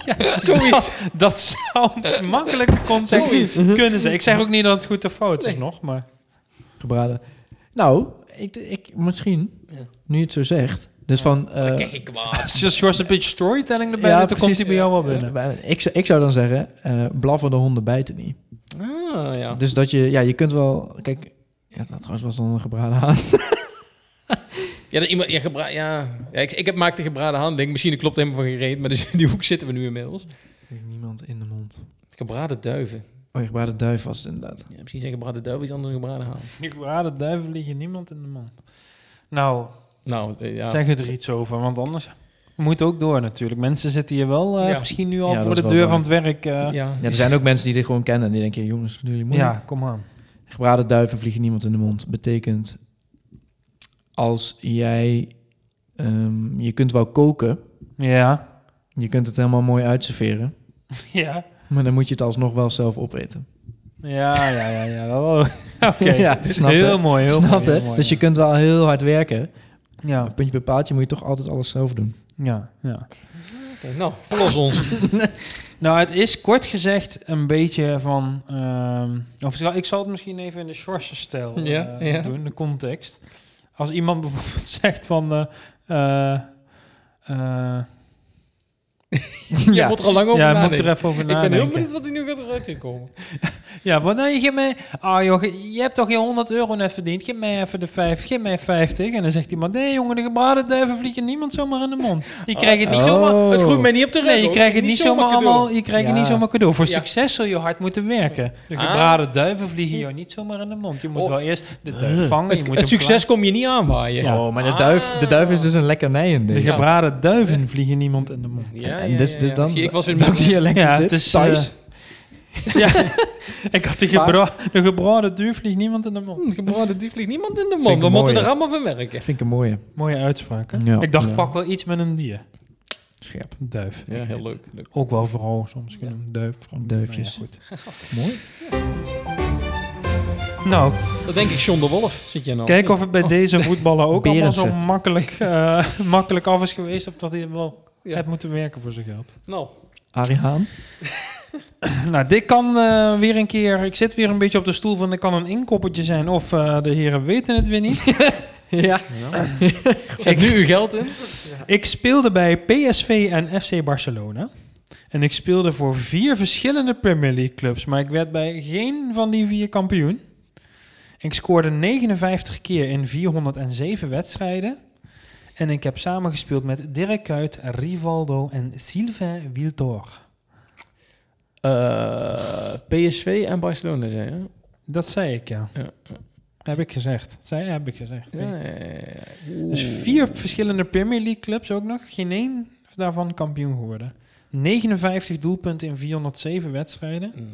S1: ja, zoiets.
S2: Dat zou een makkelijke context kunnen zijn. Ik zeg ook niet dat het goed of fout is nog, maar...
S3: Gebraden. Nou, ik, ik, misschien,
S1: Ja.
S3: nu je het zo zegt. Dus van... eh,
S1: Kijk, ik kwaad.
S2: Als je een beetje storytelling erbij doet, dan komt hij bij jou wel binnen.
S3: Ja, eh, ik, zou- ik zou dan zeggen, eh blaffende honden bijten niet.
S1: Ah, ja.
S3: Dus dat je, ja, je kunt wel... Kijk, ja, dat trouwens was dan een gebraden haan.
S1: Ja, dat iemand, ja, gebra- ja. ja ik, ik heb, maak de gebraden hand. Denk, misschien klopt helemaal van geen reet, maar dus in die hoek zitten we nu inmiddels.
S3: Niemand in de mond.
S1: Gebraden duiven.
S3: Oh, je gebraden duif was het inderdaad.
S1: Ja, misschien zijn gebraden duiven iets anders dan gebraden haan.
S2: Die gebraden ah, duiven liggen niemand in de mond. Nou,
S1: Nou, eh, ja.
S2: zeg er iets over, want anders... We moeten ook door natuurlijk. Mensen zitten hier wel eh,
S1: Ja.
S2: misschien nu al
S3: Ja,
S2: voor
S3: dat
S2: de
S3: is
S2: deur
S3: wel
S2: van het werk. eh, ja.
S1: ja.
S3: Ja, er zijn ook mensen die dit gewoon kennen en die denken, jongens, wat doen jullie moeilijk.
S2: kom aan.
S3: Gebraden duiven vliegen niemand in de mond. Betekent, als jij... ehm, je kunt wel koken,
S2: Ja.
S3: je kunt het helemaal mooi uitserveren,
S2: Ja.
S3: maar dan moet je het alsnog wel zelf opeten.
S2: Ja, ja, ja. ja. dat- Oké.
S3: Ja,
S2: Dit is
S3: snap, hè?
S2: heel mooi, heel
S3: Snap
S2: mooi. heel
S3: hè?
S2: mooi,
S3: dus je
S2: ja.
S3: kunt wel heel hard werken.
S2: Ja,
S3: Maar puntje bij paaltje moet je toch altijd alles zelf doen.
S2: ja, ja.
S1: Oké, nou, los ons.
S2: Nou, het is kort gezegd een beetje van... ehm, of ik zal- ik zal het misschien even in de Schwarzenstijl stijl
S1: Ja,
S2: eh,
S1: ja.
S2: doen, de context. Als iemand bijvoorbeeld zegt van... eh, eh, eh,
S1: Je moet er al lang over
S2: ja,
S1: nadenken.
S2: moet er even over
S1: ik ben
S2: nadenken.
S1: heel benieuwd wat hij nu gaat eruit in komen.
S2: Ja, want nou, je geeft mij... Ah joh, je- je hebt toch geen 100 euro net verdiend? Geef mij even de 5, geef mij 50. En dan zegt iemand... Nee jongen, de gebraden duiven vliegen niemand zomaar in de mond. Je krijgt het niet
S3: Oh.
S2: zomaar...
S1: Het groeit mij niet op de rug.
S2: Nee, je
S1: hoor.
S2: krijgt het niet zomaar,
S1: cadeau.
S2: allemaal, je krijgt het
S3: Ja.
S2: niet zomaar cadeau. Voor
S1: Ja.
S2: succes zul je hard moeten werken. Ah. De gebraden duiven vliegen jou niet zomaar in de mond. Je moet
S1: Oh.
S2: wel eerst de duif vangen. je
S1: Het,
S2: moet
S1: het
S2: hem
S1: succes kom je niet aanwaaien.
S2: Ja.
S3: Oh, maar de
S1: Ah.
S3: duif, de duif is dus een lekkernij in
S2: klaar-
S3: deze.
S2: De gebraden duiven vliegen niemand in de mond.
S1: Ah, Ja,
S3: en
S1: ja,
S3: dus,
S1: ja,
S3: dus
S1: ja.
S3: dan,
S1: Ik was weer
S3: welk
S1: met
S3: dialect
S2: Ja,
S3: is dit?
S2: het is, eh,
S3: Thais?
S2: Ja, ik had de, gebra de gebraden duif vliegt niemand in de mond.
S1: een gebraden dief vliegt niemand in de
S3: Vind
S1: mond.
S3: ik
S1: We moeten
S3: mooi.
S1: er allemaal van merken.
S3: vind ik een mooie.
S2: Mooie uitspraak. hè?
S3: Ja.
S2: ik dacht,
S3: Ja.
S2: pak wel iets met een dier.
S3: Scherp.
S2: Duif.
S1: Ja, heel leuk. leuk.
S2: Ook wel vooral soms kunnen we een duif. vrouwen.
S3: Duifjes.
S2: Nou, ja,
S3: Mooi.
S2: goed. nou
S1: Dat denk ik, John de Wolf. Zit jij nou?
S2: Kijk of
S3: Oh.
S2: het bij deze voetballer ook allemaal zo
S3: Berendsen.
S2: makkelijk, eh, makkelijk af is geweest. Of dat hij wel
S1: Ja.
S2: heeft moeten werken voor zijn geld.
S1: Nou,
S3: Arie Haan.
S2: Nou, dit kan eh, weer een keer... Ik zit weer een beetje op de stoel van... Er kan een inkoppertje zijn of eh, de heren weten het weer niet.
S3: Ja.
S1: zet nu uw geld in.
S2: ik speelde bij PSV en FC Barcelona. En ik speelde voor vier verschillende Premier League clubs. Maar ik werd bij geen van die vier kampioen. Ik scoorde 59 keer in 407 wedstrijden. En ik heb samengespeeld met Dirk Kuyt, Rivaldo en Sylvain Wiltor.
S1: Eh, PSV en Barcelona zijn, hè?
S2: Dat zei ik, ja.
S1: Ja.
S2: Heb ik gezegd. Zij heb ik gezegd.
S1: Ja,
S2: Dus vier verschillende Premier League clubs ook nog. Geen één daarvan kampioen geworden. 59 doelpunten in 407 wedstrijden.
S1: Nou,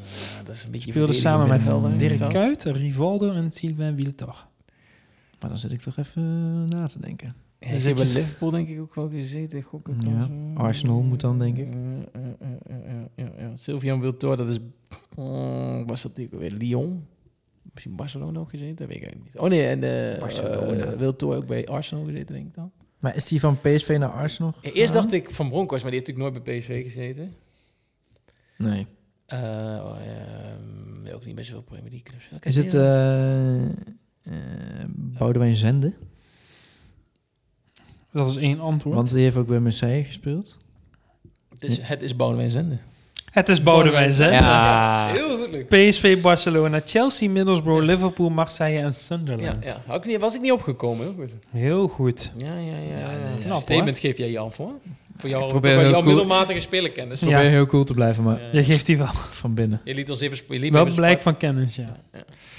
S1: dat is een beetje
S2: Speelde samen met
S3: middenvelder.
S2: Dirk Kuyt, Rivaldo en Sylvain Wiltor.
S3: Maar dan zit ik toch even na te denken.
S1: Hij
S2: zit
S1: zit bij
S2: je-
S1: Liverpool denk ik ook wel gezeten. Gok ik dan
S3: Dus Ja,
S1: zo.
S3: Arsenal moet dan, denk ik.
S1: Eh, eh, eh, eh, eh, ja, ja. Sylvian Wiltor, dat is... eh, was dat natuurlijk weer Lyon? Misschien Barcelona ook gezeten? Dat weet ik eigenlijk niet. Oh nee, en eh,
S3: Barcelona.
S1: eh, Wiltor ook bij Arsenal gezeten, denk ik dan.
S3: Maar is die van PSV naar Arsenal?
S1: Ja, Eerst dacht ik van Broncos, maar die heeft natuurlijk nooit bij PSV gezeten.
S3: Nee.
S1: Eh, oh, ehm, ook niet bij zoveel Premier League clubs. Welke
S3: Is het
S1: die-
S3: eh eh Boudewijn Zende?
S2: Dat is één antwoord.
S3: Want die heeft ook bij Marseille gespeeld.
S1: het is, het is Boudewijn Zenden.
S2: het is Boudewijn Zend.
S1: Ja. Heel goed leuk.
S2: PSV, Barcelona, Chelsea, Middlesbrough, Liverpool, Marseille en
S1: Ja,
S2: Sunderland.
S1: ja. Had ik niet, was ik niet opgekomen. Heel goed.
S2: Heel goed.
S1: Ja, ja, ja.
S3: ja.
S1: Knap, Statement geef jij Jan voor. Voor jou,
S3: probeer
S1: voor
S3: heel
S1: jouw
S3: cool-
S1: middelmatige spelenkennis.
S2: Ja.
S3: Probeer heel cool te blijven, maar
S1: Ja.
S2: Je geeft die wel,
S3: van binnen.
S1: Je liet ons even... sp- Je liet me
S2: wel
S1: even
S2: blijk
S1: sparren.
S2: van kennis, ja.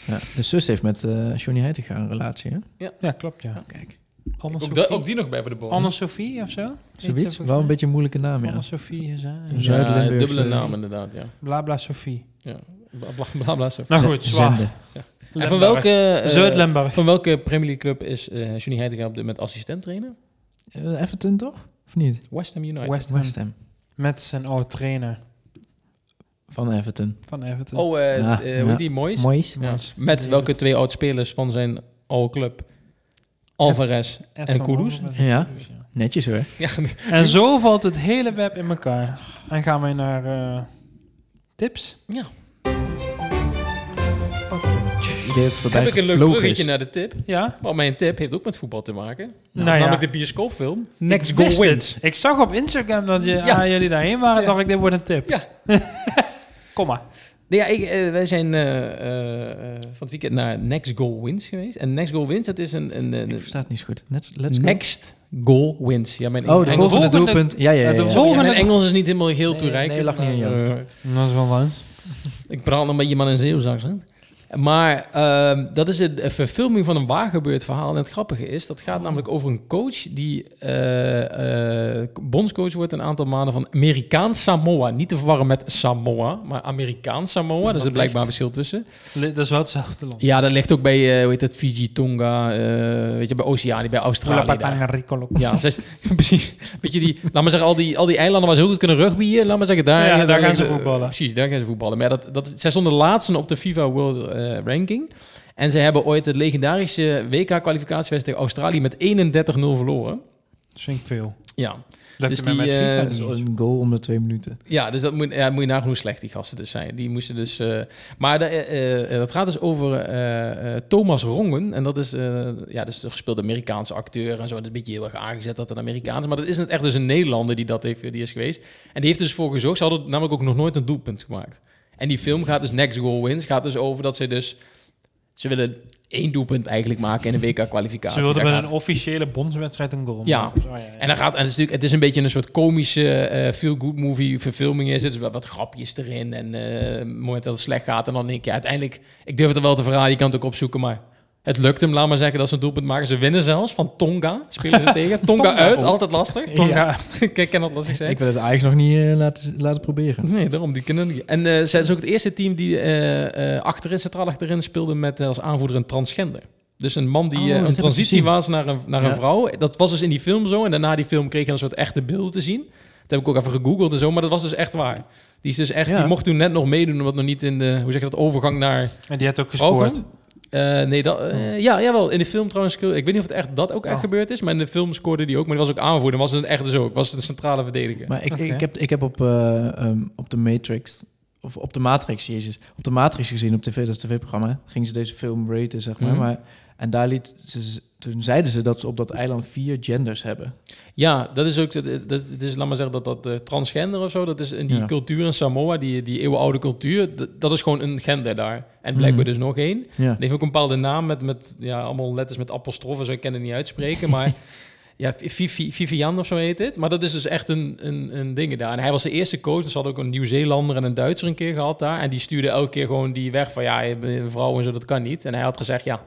S3: Ja. De zus heeft met eh, Johnny Heitinga een relatie, hè?
S2: Ja, klopt, ja.
S3: Kijk.
S1: Oh, Ook,
S2: Anne-Sophie
S1: da- ook die nog bij voor de bonus.
S2: Anne-Sophie of zo?
S3: Zoiets? Wel een beetje een moeilijke naam, ja.
S2: Anne-Sophie, is, hè?
S3: Ja. Zuid-Limburgse-
S1: dubbele naam inderdaad, ja.
S2: bla bla Sophie.
S1: ja. Bla, bla, bla, bla, zo.
S2: Nou goed, zwaar.
S3: Zende.
S1: en van welke, eh,
S2: Zuid-Lemberg.
S1: van welke Premier League club is eh Johnny Heitinga op dit moment assistent trainer?
S3: Eh, Everton toch? Of niet?
S1: West Ham United.
S2: West Ham.
S3: West Ham.
S2: Met zijn oude trainer.
S3: van Everton.
S2: van Everton.
S1: Oh, eh
S3: Ja,
S1: eh,
S3: ja.
S1: hoe heet die? Moyes?
S3: Moois.
S1: Ja. Met welke twee oud-spelers van zijn oude club? Alvarez en Kudus?
S3: Ja. Netjes hoor.
S1: Ja,
S2: En zo valt het hele web in elkaar. En gaan wij naar eh, tips.
S3: Ik deed het voorbij
S1: heb ik een leuk
S3: gevlogen
S1: bruggetje
S3: is.
S1: naar de tip.
S2: Ja.
S1: Maar mijn tip heeft ook met voetbal te maken. Dat
S2: Nou
S1: is
S2: ja.
S1: namelijk de bioscoopfilm Next
S2: Ik
S1: Goal
S2: wist
S1: Wins.
S2: het. Ik zag op Instagram dat je,
S1: Ja.
S2: ah, jullie daarheen waren.
S1: Ja.
S2: dacht ik, dit wordt een tip.
S1: Ja.
S2: Kom maar.
S1: Nee, ja, ik, eh, wij zijn eh, eh, eh, van het weekend naar Next Goal Wins geweest. En Next Goal Wins, dat is een... een, een-
S3: Ik versta het niet zo goed. Let's, let's go.
S1: next Goal Wins. Ja, mijn
S3: Oh, de
S1: Engels-
S2: volgende-
S3: volgende doelpunt. Ja, ja, ja.
S2: de
S3: ja.
S2: volgende-
S1: Ja, mijn Engels is niet helemaal heel
S3: Nee,
S1: toereikend.
S3: nee, lag niet aan
S1: maar,
S3: jou.
S1: eh,
S2: Dat is wel waar.
S1: Ik praat nog met je man in Zeeuws Maar ehm, dat is een een verfilming van een waargebeurd verhaal. En het grappige is, dat gaat namelijk over een coach die eh, eh, bondscoach wordt een aantal maanden van Amerikaans Samoa. Niet te verwarren met Samoa, maar Amerikaans Samoa. Dus Er zit blijkbaar een verschil tussen.
S2: Li- Dat is wel hetzelfde land.
S1: Ja, dat ligt ook bij, eh, hoe heet het, Fiji, Tonga, eh, weet je, bij Oceanië, bij Australië. daar.
S2: Ricolo.
S1: Ja, zes, precies. Beetje die, laat maar zeggen, al die, al die eilanden waar ze heel goed kunnen rugbyen. Laat maar zeggen, daar,
S2: Ja, daar gaan ze voetballen.
S1: Precies, daar gaan ze voetballen. Maar dat, dat, zij stonden laatste op de FIFA World eh, Ranking. En ze hebben ooit het legendarische WK-kwalificatiewedstrijd tegen Australië met 31-0 verloren.
S2: Dat vind ik veel.
S1: Ja,
S2: Dat
S1: Dus
S2: je
S1: die,
S2: met
S1: eh,
S2: FIFA
S3: Dat is
S2: niet.
S3: een goal om de twee minuten.
S1: ja dus dat moet, ja, moet je nagaan hoe slecht die gasten dus zijn. Die moesten dus... eh, maar de- eh, eh, dat gaat dus over eh, eh, Thomas Rongen. En dat is, eh, ja, dat is een gespeelde Amerikaanse acteur en zo. Dat is een beetje heel erg aangezet dat een Amerikaan is. Maar dat is het echt dus een Nederlander die dat heeft, die is geweest. En die heeft dus voor gezorgd. Ze hadden namelijk ook nog nooit een doelpunt gemaakt. En die film gaat dus Next Goal Wins. Gaat dus over dat ze dus... Ze willen één doelpunt eigenlijk maken in een WK-kwalificatie.
S2: Ze wilden
S1: Daar
S2: met
S1: gaat-
S2: een officiële bondswedstrijd een goal
S1: Ja.
S2: maken. Zo, ja, ja.
S1: en dan gaat, en het is natuurlijk, het is een beetje een soort komische eh feel-good movie verfilming. Er zitten wel wat grapjes erin en eh, op het moment dat het slecht gaat en dan denk je uiteindelijk, ik durf het er wel te verraden, je kan het ook opzoeken, maar het lukt hem, laat maar zeggen, dat ze een doelpunt maken. Ze winnen zelfs van Tonga, spelen ze tegen. Tonga,
S2: Tonga
S1: uit,
S2: ook.
S1: altijd lastig.
S2: Tonga.
S1: ik ken dat lastig zijn.
S3: Ik wil het eigenlijk nog niet eh, laten, laten proberen.
S1: Nee, daarom, die kunnen niet. En eh zij is ook het eerste team die eh, eh, achterin, centraal achterin speelde met eh, als aanvoerder een transgender. Dus een man die
S3: Oh,
S1: eh,
S3: dat heb
S1: een
S3: ik
S1: transitie
S3: gezien.
S1: was naar een, naar een
S3: Ja.
S1: vrouw. Dat was dus in die film zo. En daarna die film kreeg je een soort echte beelden te zien. Dat heb ik ook even gegoogeld en zo, maar dat was dus echt waar. Die, is dus echt,
S3: Ja.
S1: die mocht toen net nog meedoen, omdat nog niet in de, hoe zeg je dat, overgang naar
S2: En die had ook
S1: vrouwen.
S2: gescoord.
S1: Eh, nee, dat,
S3: Oh.
S1: eh, ja, jawel. In de film trouwens, ik weet niet of het echt, dat ook echt
S2: Oh.
S1: gebeurd is, maar in de film scoorde die ook. Maar die was ook aanvoerder, was het echt zo. Ik was een centrale verdediger.
S3: Maar ik,
S2: Oké.
S3: ik, heb, ik heb op, eh, ehm, op de Matrix, of op de Matrix, jezus, op de Matrix gezien op tv, dat is tv-programma, gingen ze deze film raten, zeg maar.
S1: Mhm.
S3: maar en daar liet ze, toen zeiden ze dat ze op dat eiland vier genders hebben.
S1: Ja, dat is ook. Dat, dat, het is, laat maar zeggen dat dat eh, transgender of zo. Dat is in die
S3: Ja.
S1: cultuur in Samoa, die, die eeuwenoude cultuur. Dat, dat is gewoon een gender daar. En blijkbaar
S3: Mhm.
S1: dus nog één. Die
S3: Ja.
S1: heeft ook een bepaalde naam met, met ja, allemaal letters met apostrofen. Zo ik kan het niet uitspreken, maar. Ja, Vivi- Vivian of zo heet het. Maar dat is dus echt een, een, een ding daar. En hij was de eerste coach. Dus ze hadden ook een Nieuw-Zeelander en een Duitser een keer gehad daar. En die stuurde elke keer gewoon die weg van... ja, je bent een vrouw en zo, dat kan niet. En hij had gezegd, ja,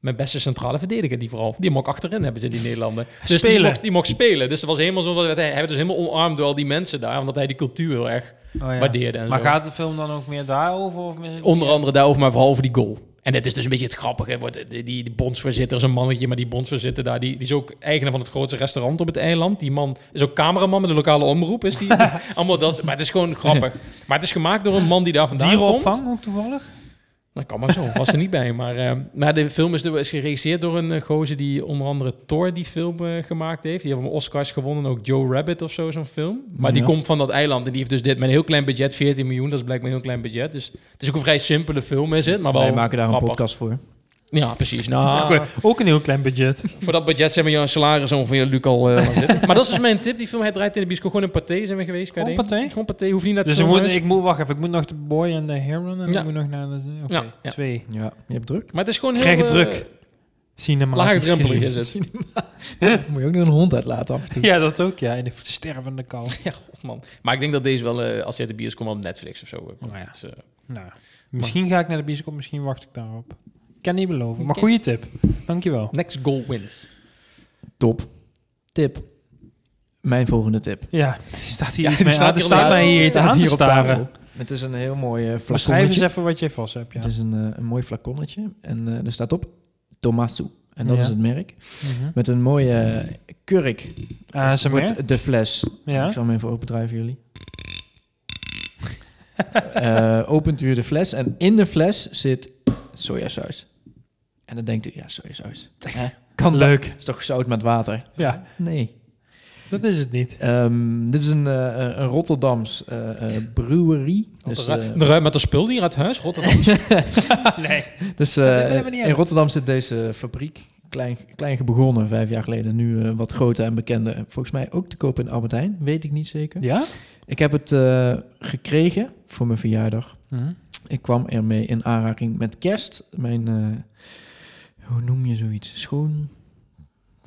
S1: mijn beste centrale verdediger, die vooral. Die mocht achterin hebben ze, die Nederlander. Dus die
S2: Spelen.
S1: mocht, die mocht spelen. Dus dat was helemaal zo. Hij hij werd dus helemaal omarmd door al die mensen daar. Omdat hij die cultuur heel erg
S2: Oh, ja.
S1: waardeerde. En
S2: Maar
S1: zo.
S2: gaat de film dan ook meer daarover? Of mis ik-
S1: Eh, Onder andere daarover, maar vooral over die goal. En het is dus een beetje het grappige. het Wordt, die, die bondsvoorzitter is een mannetje, maar die bondsvoorzitter daar... Die, die is ook eigenaar van het grootste restaurant op het eiland. Die man is ook cameraman met de lokale omroep. Is die, allemaal dat, maar het is gewoon grappig. Maar het is gemaakt door een man die daar vandaan komt.
S2: Dierenopvang ook toevallig?
S1: Dat kan maar zo, was er niet bij. Maar, eh, maar de film is, door- is geregisseerd door een eh, gozer die onder andere Thor die film eh, gemaakt heeft. Die heeft hem Oscars gewonnen, ook Joe Rabbit of zo, zo'n film. Maar die
S3: Ja.
S1: komt van dat eiland en die heeft dus dit met een heel klein budget, 14 miljoen, dat is blijkbaar een heel klein budget. Dus het is ook een vrij simpele film is het, maar wel
S3: Wij maken daar
S1: grappig.
S3: een podcast voor.
S1: Ja, precies. Nou,
S2: Ook- Ook een heel klein budget.
S1: voor dat budget zijn we je salaris ongeveer, Luc, al eh, laten zitten. Maar dat is dus mijn tip, die film, hij draait in de bioscoop gewoon in Pathé, zijn we geweest. kan je
S2: Gewoon
S1: denken.
S2: Pathé?
S1: Gewoon Pathé, hoef niet naar het
S2: Dus ik moet,
S1: filmhuis.
S2: ik moet, wacht even, ik moet nog de Boy en de Heron en
S1: Ja.
S2: ik moet nog naar de... Oké,
S1: Ja, ja.
S2: twee.
S3: Ja, je hebt druk.
S1: Maar het is gewoon heel...
S2: Krijg het
S1: eh,
S2: druk. Cinematisch
S1: Laagdrempelig
S2: gezien.
S1: is het.
S3: Moet je ook nog een hond uitlaten af en toe.
S2: Ja, dat ook, ja. In de stervende kou.
S1: Ja, god man. Maar ik denk dat deze wel, eh, als je uit de bios komt, op Netflix of zo. eh, komt.
S2: Oh, ja.
S1: Het is, eh,
S2: Nou, misschien ga ik naar de bioscoop, misschien wacht ik daarop. Ik kan niet beloven, maar
S1: Oké.
S2: goede tip. Dankjewel.
S1: next goal wins.
S3: Top. Tip. Mijn volgende tip.
S2: Ja, er staat hier
S1: Ja,
S2: iets
S1: er
S2: mee
S1: staat
S2: aan. Er
S1: hier
S2: staat
S1: op-
S2: mij hier
S1: er
S2: iets aan te staren.
S3: Het is een heel mooi eh,
S2: Beschrijf eens
S3: flaconnetje.
S2: even wat jij vast hebt, ja.
S1: Dus
S3: Het is een, eh, een mooi flaconnetje. En eh, er staat op Tomasu. En dat
S2: Ja.
S3: is het merk.
S2: Mhm. Eh,
S3: Met een mooie eh, kurk.
S2: ASMR?
S3: wordt de fles.
S2: Ja.
S3: Ik zal hem even opendrijven, jullie. eh, opent u de fles en in de fles zit sojasaus. En dan denkt u, ja, sojasaus. Hè? Kan leuk.
S2: Leuk.
S3: is toch zout met water?
S2: Ja,
S3: Nee.
S2: dat is het niet.
S3: Ehm, dit is een, eh, eh, een Rotterdams eh, eh, brewerie. Dus, eh,
S1: Ruim met de spul hier uit huis, Rotterdam.
S2: Nee.
S3: dus eh,
S2: Dat willen we niet
S3: in
S2: hebben.
S3: Rotterdam zit deze fabriek. Klein, klein begonnen vijf jaar geleden. Nu eh, wat groter en bekender. Volgens mij ook te koop in Albert Heijn. Weet ik niet zeker.
S2: Ja?
S3: Ik heb het eh, gekregen voor mijn verjaardag.
S2: Hm.
S3: Ik kwam ermee in aanraking met kerst. Mijn, eh, hoe noem je zoiets? Schoon.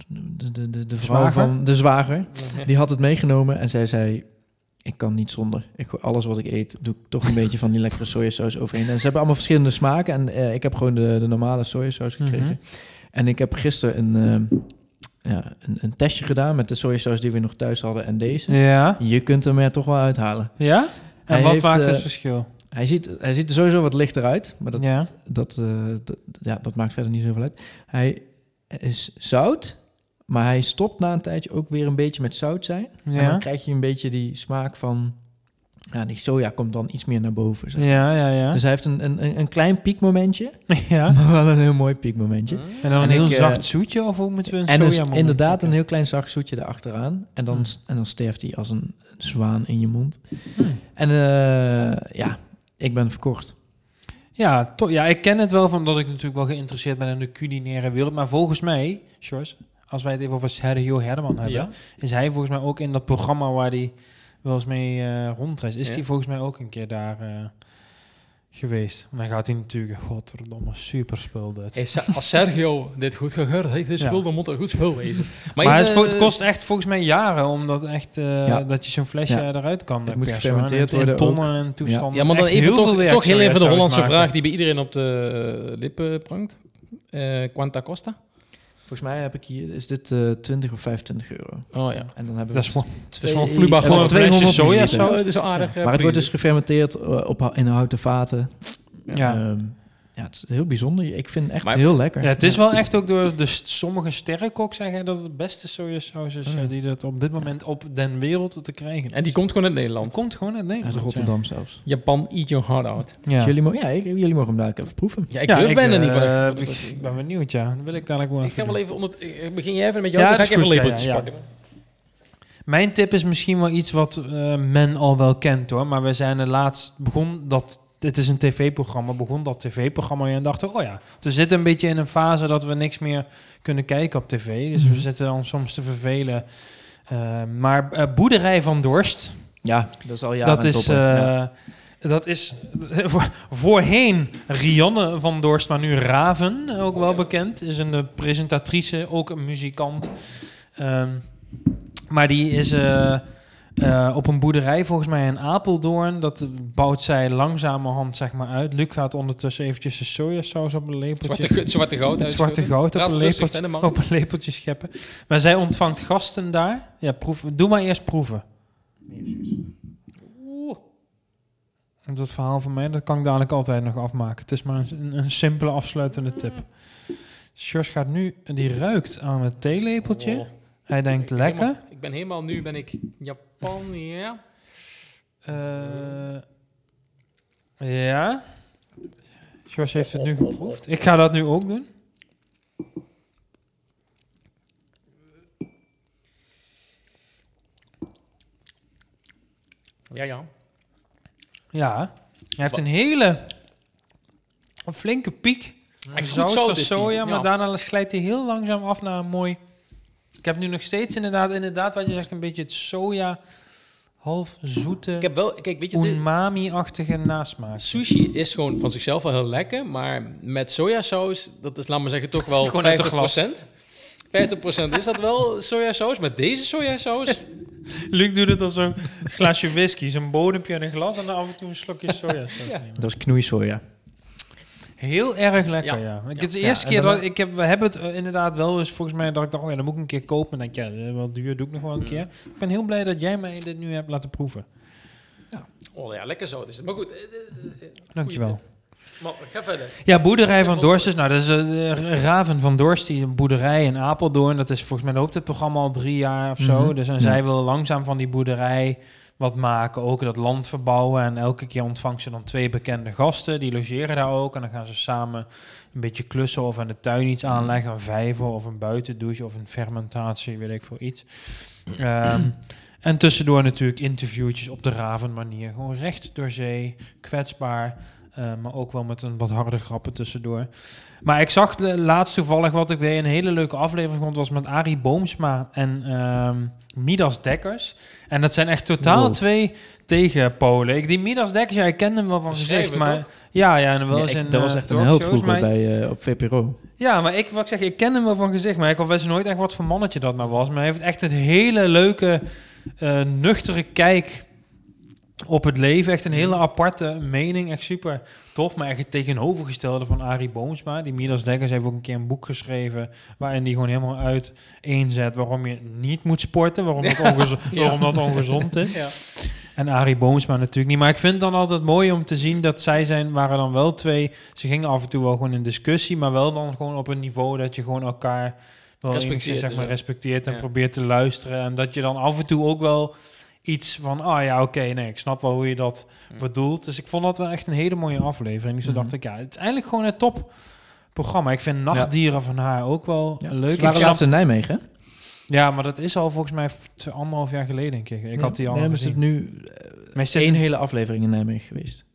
S3: De, de, de, de vrouw
S2: Zwager?
S3: van de zwager. Die had het meegenomen en zij zei: Ik kan niet zonder. Ik, gooi alles wat ik eet, doe ik toch een beetje van die lekkere sojasaus overheen. En ze hebben allemaal verschillende smaken. En eh, ik heb gewoon de, de normale sojasaus gekregen.
S2: Mhm.
S3: En ik heb gisteren een, eh, ja, een, een testje gedaan met de sojasaus die we nog thuis hadden en deze.
S2: Ja?
S3: Je kunt hem er toch wel uithalen.
S2: Ja? En
S3: Hij
S2: wat
S3: heeft,
S2: maakt
S3: eh,
S2: het verschil?
S3: Hij ziet, hij ziet er sowieso wat lichter uit. Maar dat
S2: ja.
S3: dat, eh, dat- ja, dat maakt verder niet zoveel uit. Hij is zout, maar hij stopt na een tijdje ook weer een beetje met zout zijn. En dan
S2: Ja.
S3: krijg je een beetje die smaak van... Ja, die soja komt dan iets meer naar boven. zeg.
S2: Ja, ja, ja.
S3: Dus hij heeft een, een, een- een klein piekmomentje,
S2: ja.
S3: maar wel een heel mooi piekmomentje.
S2: En dan
S3: Dus- En
S2: een heel
S3: ik, eh,
S2: zacht zoetje of hoe moeten we een
S3: En dus
S2: soja moment
S3: inderdaad een
S2: maken?
S3: heel klein zacht zoetje erachteraan. En dan,
S2: Hmm.
S3: en dan sterft hij als een zwaan in je mond.
S2: Hmm.
S3: En eh, ja, ik ben verkocht.
S2: Ja, toch. Ja, ik ken het wel van dat ik natuurlijk wel geïnteresseerd ben in de culinaire wereld. Maar volgens mij, Sjors, als wij het even over Sergio Herman hebben,
S1: Ja.
S2: is hij volgens mij ook in dat programma waar hij wel eens mee eh rondreist. Is
S1: Ja.
S2: hij volgens mij ook een keer daar eh, geweest? En dan gaat hij natuurlijk, godverdomme, super spul dit.
S1: Hey, Sa- Als Sergio dit goed gehoord heeft, dit
S2: Ja.
S1: spul, dan moet er goed spul wezen.
S2: Maar,
S1: ik,
S2: het, is
S1: eh,
S2: voor- het kost echt volgens mij jaren om dat echt, eh,
S3: Ja.
S2: dat je zo'n flesje
S3: Ja.
S2: eruit kan
S3: Het
S2: eh,
S3: moet
S2: persen.
S3: gefermenteerd
S2: En in
S3: worden
S2: tonnen en toestanden.
S1: Ja, maar dan
S2: Echt
S1: even
S2: heel
S1: toch,
S2: veel werk
S1: toch heel
S2: zou je
S1: even de
S2: zelfs
S1: Hollandse
S2: maken.
S1: vraag die bij iedereen op de eh, lippen prangt. Eh Quanta Costa?
S3: Volgens mij heb ik hier, is dit eh 20 of 25 euro.
S1: Oh ja.
S3: En dan hebben we
S2: Dat is wel-
S1: Het is
S3: twee-
S2: Eh,
S1: wel vloeibaar.
S3: hebben
S1: Gewoon een
S3: we 200
S1: flesje soja
S3: milliliter.
S1: zo. Het is wel aardig. eh,
S3: Maar het wordt dus
S1: prima.
S3: gefermenteerd eh, op, hou- in houten vaten.
S2: ja.
S3: Ehm, ja, het is heel bijzonder. Ik vind het echt
S1: Maar-
S3: heel lekker.
S2: Ja, het is wel echt ook door de st- sommige sterrenkok zeggen dat het de beste sojasaus is eh,
S3: Mm.
S2: die dat op dit moment op den wereld te
S3: dus-
S2: krijgen.
S1: En die komt gewoon uit Nederland.
S2: komt gewoon uit Nederland.
S3: Uit Rotterdam zelfs.
S1: Japan, eat your heart out.
S2: Ja.
S3: Dus jullie, mo- ja, ik, jullie mogen hem dadelijk even proeven.
S1: Ja, ik
S2: Ja,
S1: durf bijna
S2: eh,
S1: niet van.
S2: ik, ik ben benieuwd, ja. Dat wil ik dadelijk wel
S1: Ik
S2: even
S1: ga wel
S2: doen.
S1: even onder. het- eh, Begin jij even met jou?
S2: Ja,
S1: dan ga
S2: dat
S1: ik
S2: is
S1: even
S2: goed, ja,
S1: lepeltjes
S2: ja, ja.
S1: pakken.
S2: Mijn tip is misschien wel iets wat eh, men al wel kent hoor. Maar we zijn er laatst begon dat. Het is een tv-programma. Begon dat tv-programma weer en dachten: oh ja, we zitten een beetje in een fase dat we niks meer kunnen kijken op tv. Dus we
S3: Mhm.
S2: zitten dan soms te vervelen. Eh, maar eh, Boerderij van Dorst.
S3: Ja, dat is al jaren
S2: dat is.
S3: toppen.
S2: eh,
S3: Ja.
S2: Dat is voor- voorheen Rianne van Dorst, maar nu Raven, ook wel bekend. Is een eh, presentatrice, ook een muzikant. Ehm, maar die is eh, eh, op een boerderij, volgens mij in Apeldoorn. Dat bouwt zij langzamerhand zeg maar, uit. Luc gaat ondertussen eventjes de sojasaus op een lepeltje.
S1: Zwarte, het zwarte goud.
S2: Het zwarte
S1: uitschudden.
S2: goud op
S1: Praat
S2: een,
S1: rustig
S2: lepeltje,
S1: verder, man.
S2: op een lepeltje scheppen. Maar zij ontvangt gasten daar. Ja, proef, doe maar eerst proeven. En Dat verhaal van mij, dat kan ik dadelijk altijd nog afmaken. Het is maar een, een simpele afsluitende tip. Sjors gaat nu, die ruikt aan het theelepeltje.
S1: Oh.
S2: Hij denkt,
S1: Ik ben
S2: lekker.
S1: helemaal- Ik ben helemaal nu ben ik Japan, ja.
S2: Eh, ja. Sjors heeft het nu geproefd. Ik ga dat nu ook doen.
S1: Ja, ja.
S2: Ja. Hij heeft een hele, een flinke piek.
S1: Echt goed
S2: zout
S1: zout
S2: van
S1: is die.
S2: soja, maar
S1: dus Ja.
S2: daarna glijdt hij heel langzaam af naar een mooi... Ik heb nu nog steeds inderdaad, inderdaad wat je zegt, een beetje het soja, half zoete,
S1: Ik heb wel, kijk, weet je, dit-
S2: umami-achtige nasmaak.
S1: sushi is gewoon van zichzelf wel heel lekker, maar met sojasaus, dat is, laat maar zeggen, toch wel
S2: Gewoon uit de
S1: 50%. 50% is dat wel sojasaus? Met deze sojasaus?
S2: Luc doet het als een glaasje whisky, zo'n bodempje en een glas en dan af en toe een slokje sojasaus.
S1: Ja.
S2: nemen.
S3: Dat is knoeisoja.
S2: Heel erg lekker, ja.
S1: Ja. Ja.
S2: Ik- Het is de
S3: Ja,
S2: eerste
S3: en
S2: keer
S3: dan-
S2: dat ik heb, we hebben het eh, inderdaad wel eens volgens mij dat ik dacht, oh ja, dan moet ik een keer kopen. En dan denk ik, ja, eh, wel duur, doe ik nog wel een
S1: Mm.
S2: keer. Ik ben heel blij dat jij mij dit nu hebt laten proeven.
S1: Oh ja, lekker zout is het. Maar goed, eh, eh, eh,
S2: Dankjewel.
S1: Goeie maar ga verder.
S2: Ja, boerderij van Dorst is, nou, dat is eh, de Raven van Dorst, die boerderij in Apeldoorn. Dat is volgens mij loopt het programma al drie jaar of zo.
S3: Mhm.
S2: Dus en
S3: Ja.
S2: zij wil langzaam van die boerderij wat maken. Ook dat land verbouwen. En elke keer ontvangt ze dan twee bekende gasten. Die logeren daar ook. En dan gaan ze samen een beetje klussen of aan de tuin
S3: Mhm.
S2: iets aanleggen. Een vijver of een buitendouche of een fermentatie, weet ik veel iets. Ehm, en tussendoor natuurlijk interviewtjes op de raven manier. Gewoon recht door zee, kwetsbaar. eh, maar ook wel met een wat harde grappen tussendoor. Maar ik zag de- laatst toevallig wat ik weer een hele leuke aflevering vond. was met Arie Boomsma en ehm, Midas Dekkers. En dat zijn echt totaal
S3: Wow.
S2: twee tegenpolen. Ik, die Midas Dekkers, ja, ik ken hem wel van
S1: Een
S2: gezicht.
S1: schrijver,
S2: Maar, ja, ja, en wel
S3: Ja,
S2: eens
S3: ik-
S2: in,
S3: dat was
S2: eh,
S3: echt een
S2: talkshows,
S3: held vroeger
S2: maar-
S3: bij, eh, op VPRO.
S2: ja, maar ik, wat ik zeg, ik ken hem wel van gezicht, maar ik wist nooit echt wat voor mannetje dat nou was. Maar hij heeft echt een hele leuke, eh, nuchtere kijk op het leven. Echt een hele aparte mening, echt super tof. Maar echt het tegenovergestelde van Arie Boomsma. Die Midas Dekkers heeft ook een keer een boek geschreven waarin die gewoon helemaal uiteenzet waarom je niet moet sporten, waarom dat, ongezo- waarom dat ongezond is.
S1: Ja.
S2: En Arie Boomsma natuurlijk niet. Maar ik vind het dan altijd mooi om te zien dat zij zijn, waren dan wel twee. Ze gingen af en toe wel gewoon in discussie, maar wel dan gewoon op een niveau dat je gewoon elkaar wel
S1: Respecteert
S2: enigszins zeg
S1: en
S2: maar,
S1: zo.
S2: respecteert en
S1: Ja.
S2: probeert te luisteren. En dat je dan af en toe ook wel iets van, ah ja, oké, nee, ik snap wel hoe je dat
S1: Hm.
S2: bedoelt. Dus ik vond dat wel echt een hele mooie aflevering. Dus toen
S3: Mhm.
S2: dacht ik, ja, het is eigenlijk gewoon een top programma. Ik vind Nachtdieren van haar ook wel
S3: Ja.
S2: leuk.
S3: Ze
S2: Ik
S3: waren
S2: snap-
S3: laatst in Nijmegen. hè?
S2: ja, maar dat is al volgens mij f- twee- anderhalf jaar geleden, denk ik. Ik had die al
S3: Nee,
S2: nog
S3: maar ze
S2: gezien.
S3: hebben nu
S2: Maar is dit-
S3: één hele aflevering in Nijmegen geweest.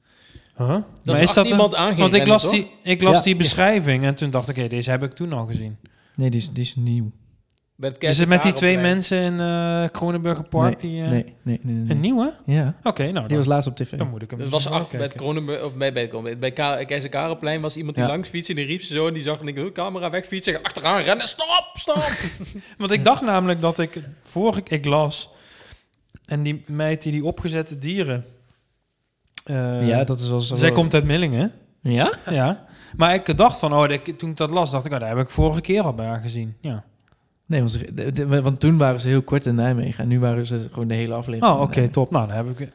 S2: Huh?
S1: Dat is,
S2: Maar
S1: is dat iemand aangegeven.
S2: Want ik las, die, ik las
S3: Ja.
S2: die beschrijving en toen dacht ik, hé, deze heb ik toen al gezien.
S3: Nee, die is, die is nieuw.
S1: Met
S2: Is het met die twee mensen in eh Kronenburger Park? die, eh,
S3: Nee, nee, nee. nee,
S2: Een
S3: nee.
S2: nieuwe?
S3: Ja,
S2: Oké, nou,
S3: die
S2: dan,
S3: was laatst op tv.
S2: dan moet ik hem
S1: Dat was
S2: misschien wel
S1: achter met
S2: kijken.
S1: Kronenburg, of bij, bij, bij, bij Ka- Keizer Karelplein was iemand die
S3: Ja.
S1: langs fietste en die riep ze zo en die zag en ik de camera wegfietsen. en Achteraan rennen, stop, stop.
S2: Want ik dacht namelijk dat ik vorige ik las en die meid die die opgezette dieren. eh,
S3: ja, dat is wel zo.
S2: zij komt uit Millingen.
S3: Ja?
S2: ja. Maar ik dacht van, oh, dat- toen ik dat las, dacht ik, oh, daar heb ik vorige keer al bij haar gezien. Ja.
S3: Nee, want, ze- de- de- want toen waren ze heel kort in Nijmegen. En nu waren ze gewoon de hele aflevering.
S2: Oh, oké,
S3: in Nijmegen.
S2: top. Nou, dan heb ik,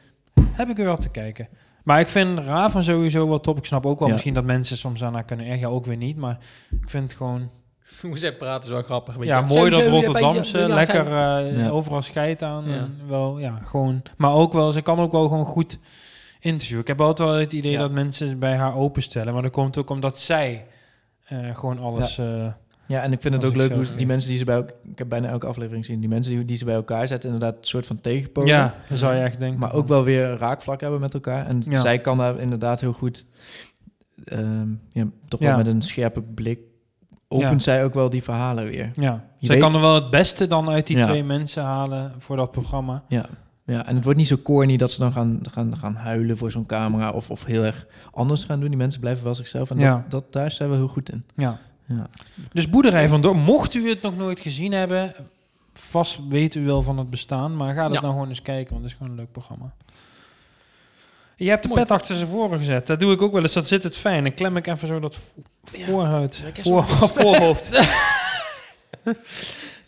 S2: heb ik weer wat te kijken. Maar ik vind Raven sowieso wel top. Ik snap ook wel
S3: Ja.
S2: misschien dat mensen soms aan haar kunnen ergeren. Ook weer niet, maar ik vind het gewoon...
S1: Hoe zij praten is wel grappig. een
S2: Ja,
S1: beetje.
S2: mooi dat
S1: Zijn jullie bij-
S2: Rotterdamse.
S1: ja, zijn-
S2: lekker eh,
S3: Ja.
S2: overal scheid aan.
S1: Ja.
S2: En wel, ja, gewoon... Maar ook wel, ze kan ook wel gewoon goed interviewen. Ik heb altijd wel het idee
S1: Ja.
S2: dat mensen bij haar openstellen. Maar dat komt ook omdat zij eh, gewoon alles... eh,
S3: Ja, en ik vind het
S2: Als
S3: ook
S2: ik
S3: leuk
S2: zo
S3: hoe ze-
S2: geeft.
S3: die mensen die ze bij elkaar... Ik heb bijna elke aflevering gezien. Die mensen die, die ze bij elkaar zetten inderdaad een soort van tegenpolen.
S2: ja, dan zou je echt denken.
S3: Maar
S2: van-
S3: ook wel weer een raakvlak hebben met elkaar. En
S2: Ja.
S3: zij kan daar inderdaad heel goed... ehm, ja, toch wel
S2: Ja.
S3: met een scherpe blik opent
S2: Ja.
S3: zij ook wel die verhalen weer.
S2: Ja,
S3: Je
S2: zij
S3: weet-
S2: kan er wel het beste dan uit die
S3: Ja.
S2: twee mensen halen voor dat programma.
S3: Ja. ja, en het wordt niet zo corny dat ze dan gaan, gaan, gaan huilen voor zo'n camera... Of, of heel erg anders gaan doen. Die mensen blijven wel zichzelf. En dat-
S2: Ja.
S3: dat, daar zijn we heel goed in.
S2: Ja.
S3: Ja.
S2: Dus Boerderij van Dorp, mocht u het nog nooit gezien hebben, vast weet u wel van het bestaan, maar ga dat
S1: Ja.
S2: nou gewoon eens kijken, want het is gewoon een leuk programma. Je hebt de
S1: Mooi.
S2: pet achter ze voren gezet. Dat doe ik ook wel eens. Dat zit het fijn. Dan klem ik even zo dat vo- voorhuid,
S1: ik is
S2: voor, voorhoofd.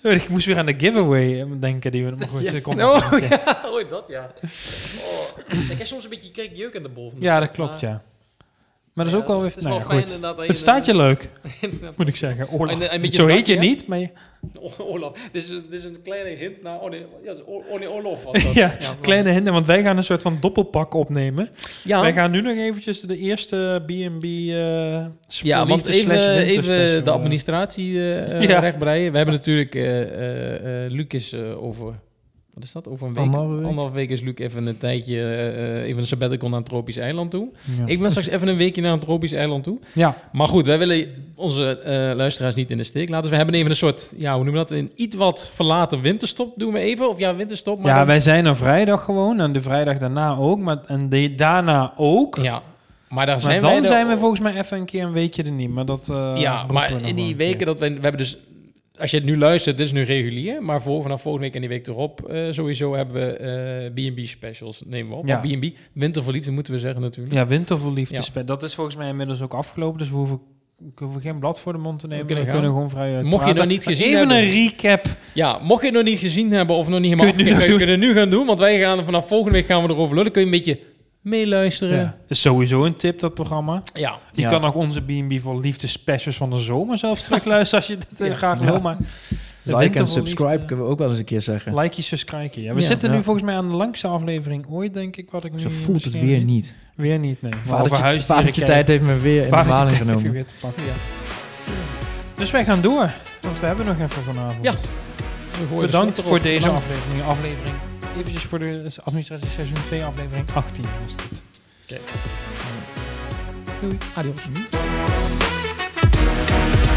S2: Oh, ik moest weer aan de giveaway eh, denken die we maar goed, ze komt nog
S1: Oh
S2: wel een keer.
S1: ja, oh, dat ja. Oh, ik krijg soms een beetje kijk, jeuk aan de bol. van de
S2: ja,
S1: kant,
S2: dat klopt,
S1: maar-
S2: ja. Maar dat is ook wel weer...
S1: Het is
S2: nou
S1: wel
S2: ja,
S1: fijn
S2: goed.
S1: inderdaad. dat
S2: Het staat je leuk,
S1: inderdaad-
S2: moet ik zeggen. Olaf.
S1: En, eh, een beetje
S2: Zo
S1: het
S2: heet je
S1: bakje, hè?
S2: niet, maar je-
S1: Oh, Olaf. Dit is, dit is een kleine hint naar Orne, ja, O- Orne Olof. was dat.
S2: ja,
S1: maar-
S2: kleine hinder, want wij gaan een soort van doppelpak opnemen.
S1: Ja,
S2: Wij gaan nu nog eventjes de eerste B&B... eh
S1: Ja,
S2: split
S1: want
S2: slash
S1: even,
S2: winter
S1: even
S2: special,
S1: de
S2: eh.
S1: administratie eh
S2: Ja.
S1: ja. rechtbreien. We hebben natuurlijk eh, eh, eh, Luc is eh, over... Wat is dat? Over een week?
S3: Anderhalve week.
S1: Anderhalve week is Luc even een tijdje... eh, eh, even een sabbatical naar een tropisch eiland toe.
S2: Ja.
S1: Ik ben straks even een weekje naar een tropisch eiland toe.
S2: ja,
S1: Maar goed, wij willen onze eh, luisteraars niet in de steek laten. Dus we hebben even een soort... Ja, hoe noemen we dat? Een iets wat verlaten winterstop doen we even. Of ja, winterstop. Maar
S2: ja
S1: dan-
S2: wij zijn er vrijdag gewoon en de vrijdag daarna ook. Maar, en de, daarna ook.
S1: ja. Maar daar
S2: maar
S1: zijn
S2: dan
S1: wij er-
S2: zijn we volgens mij even een keer een weekje er niet. Maar dat, eh,
S1: ja,
S2: roepen we nog
S1: maar in
S2: wel
S1: die
S2: een keer.
S1: weken dat we... We hebben dus... Als je het nu luistert, dit is nu regulier. Maar voor, vanaf volgende week en die week erop eh, sowieso hebben we eh, B&B specials. Nemen we op.
S2: Ja.
S1: Maar B&B, winterverliefde moeten we zeggen natuurlijk.
S2: Ja, winterverliefde
S1: Ja.
S2: spe- Dat is volgens mij inmiddels ook afgelopen. Dus we hoeven, we hoeven geen blad voor de mond te nemen. We
S1: kunnen
S2: kunnen,
S1: gaan.
S2: gewoon vrij uit
S1: Mocht je
S2: praten.
S1: dat niet
S2: Maar
S1: gezien
S2: Even
S1: hebben.
S2: een recap.
S1: Ja, mocht je het nog niet gezien hebben of nog niet helemaal
S2: Kun je het nu
S1: afgekeken,
S2: nog
S1: kun je het nu gaan doen. Want wij gaan vanaf volgende week gaan we erover lullen. Kun je een beetje meeluisteren.
S2: Ja. Is sowieso een tip, dat programma.
S1: Ja.
S2: Je
S3: Ja.
S2: kan nog onze B&B voor liefde specials van de zomer zelfs terugluisteren als je dat eh,
S1: Ja.
S2: graag wil. Maar
S3: Like en
S2: Winterval
S3: subscribe
S2: liefde.
S3: kunnen we ook wel eens een keer zeggen.
S2: Like je, subscribe je. Ja, we
S3: Ja,
S2: zitten
S3: ja.
S2: nu volgens mij aan de langste aflevering ooit, denk ik. Wat ik nu
S3: Zo voelt het
S2: misschien
S3: weer
S2: zie.
S3: niet.
S2: Weer niet, nee. Maar over
S3: Vadertje,
S2: huisdieren
S3: vadertje
S2: kijken.
S3: tijd heeft me weer in de
S2: Vadertje
S3: maling
S2: tijd heb je
S3: genomen.
S2: weer te pakken, ja. Dus wij gaan door, want we hebben nog even vanavond. Dus
S1: Ja. We gooien de slot
S2: Bedankt
S1: erop.
S2: voor deze
S1: Bedankt.
S2: aflevering. Aflevering, eventjes voor de administratie seizoen 2, aflevering 18 was dit.
S1: Doei. Adios.
S3: Doei.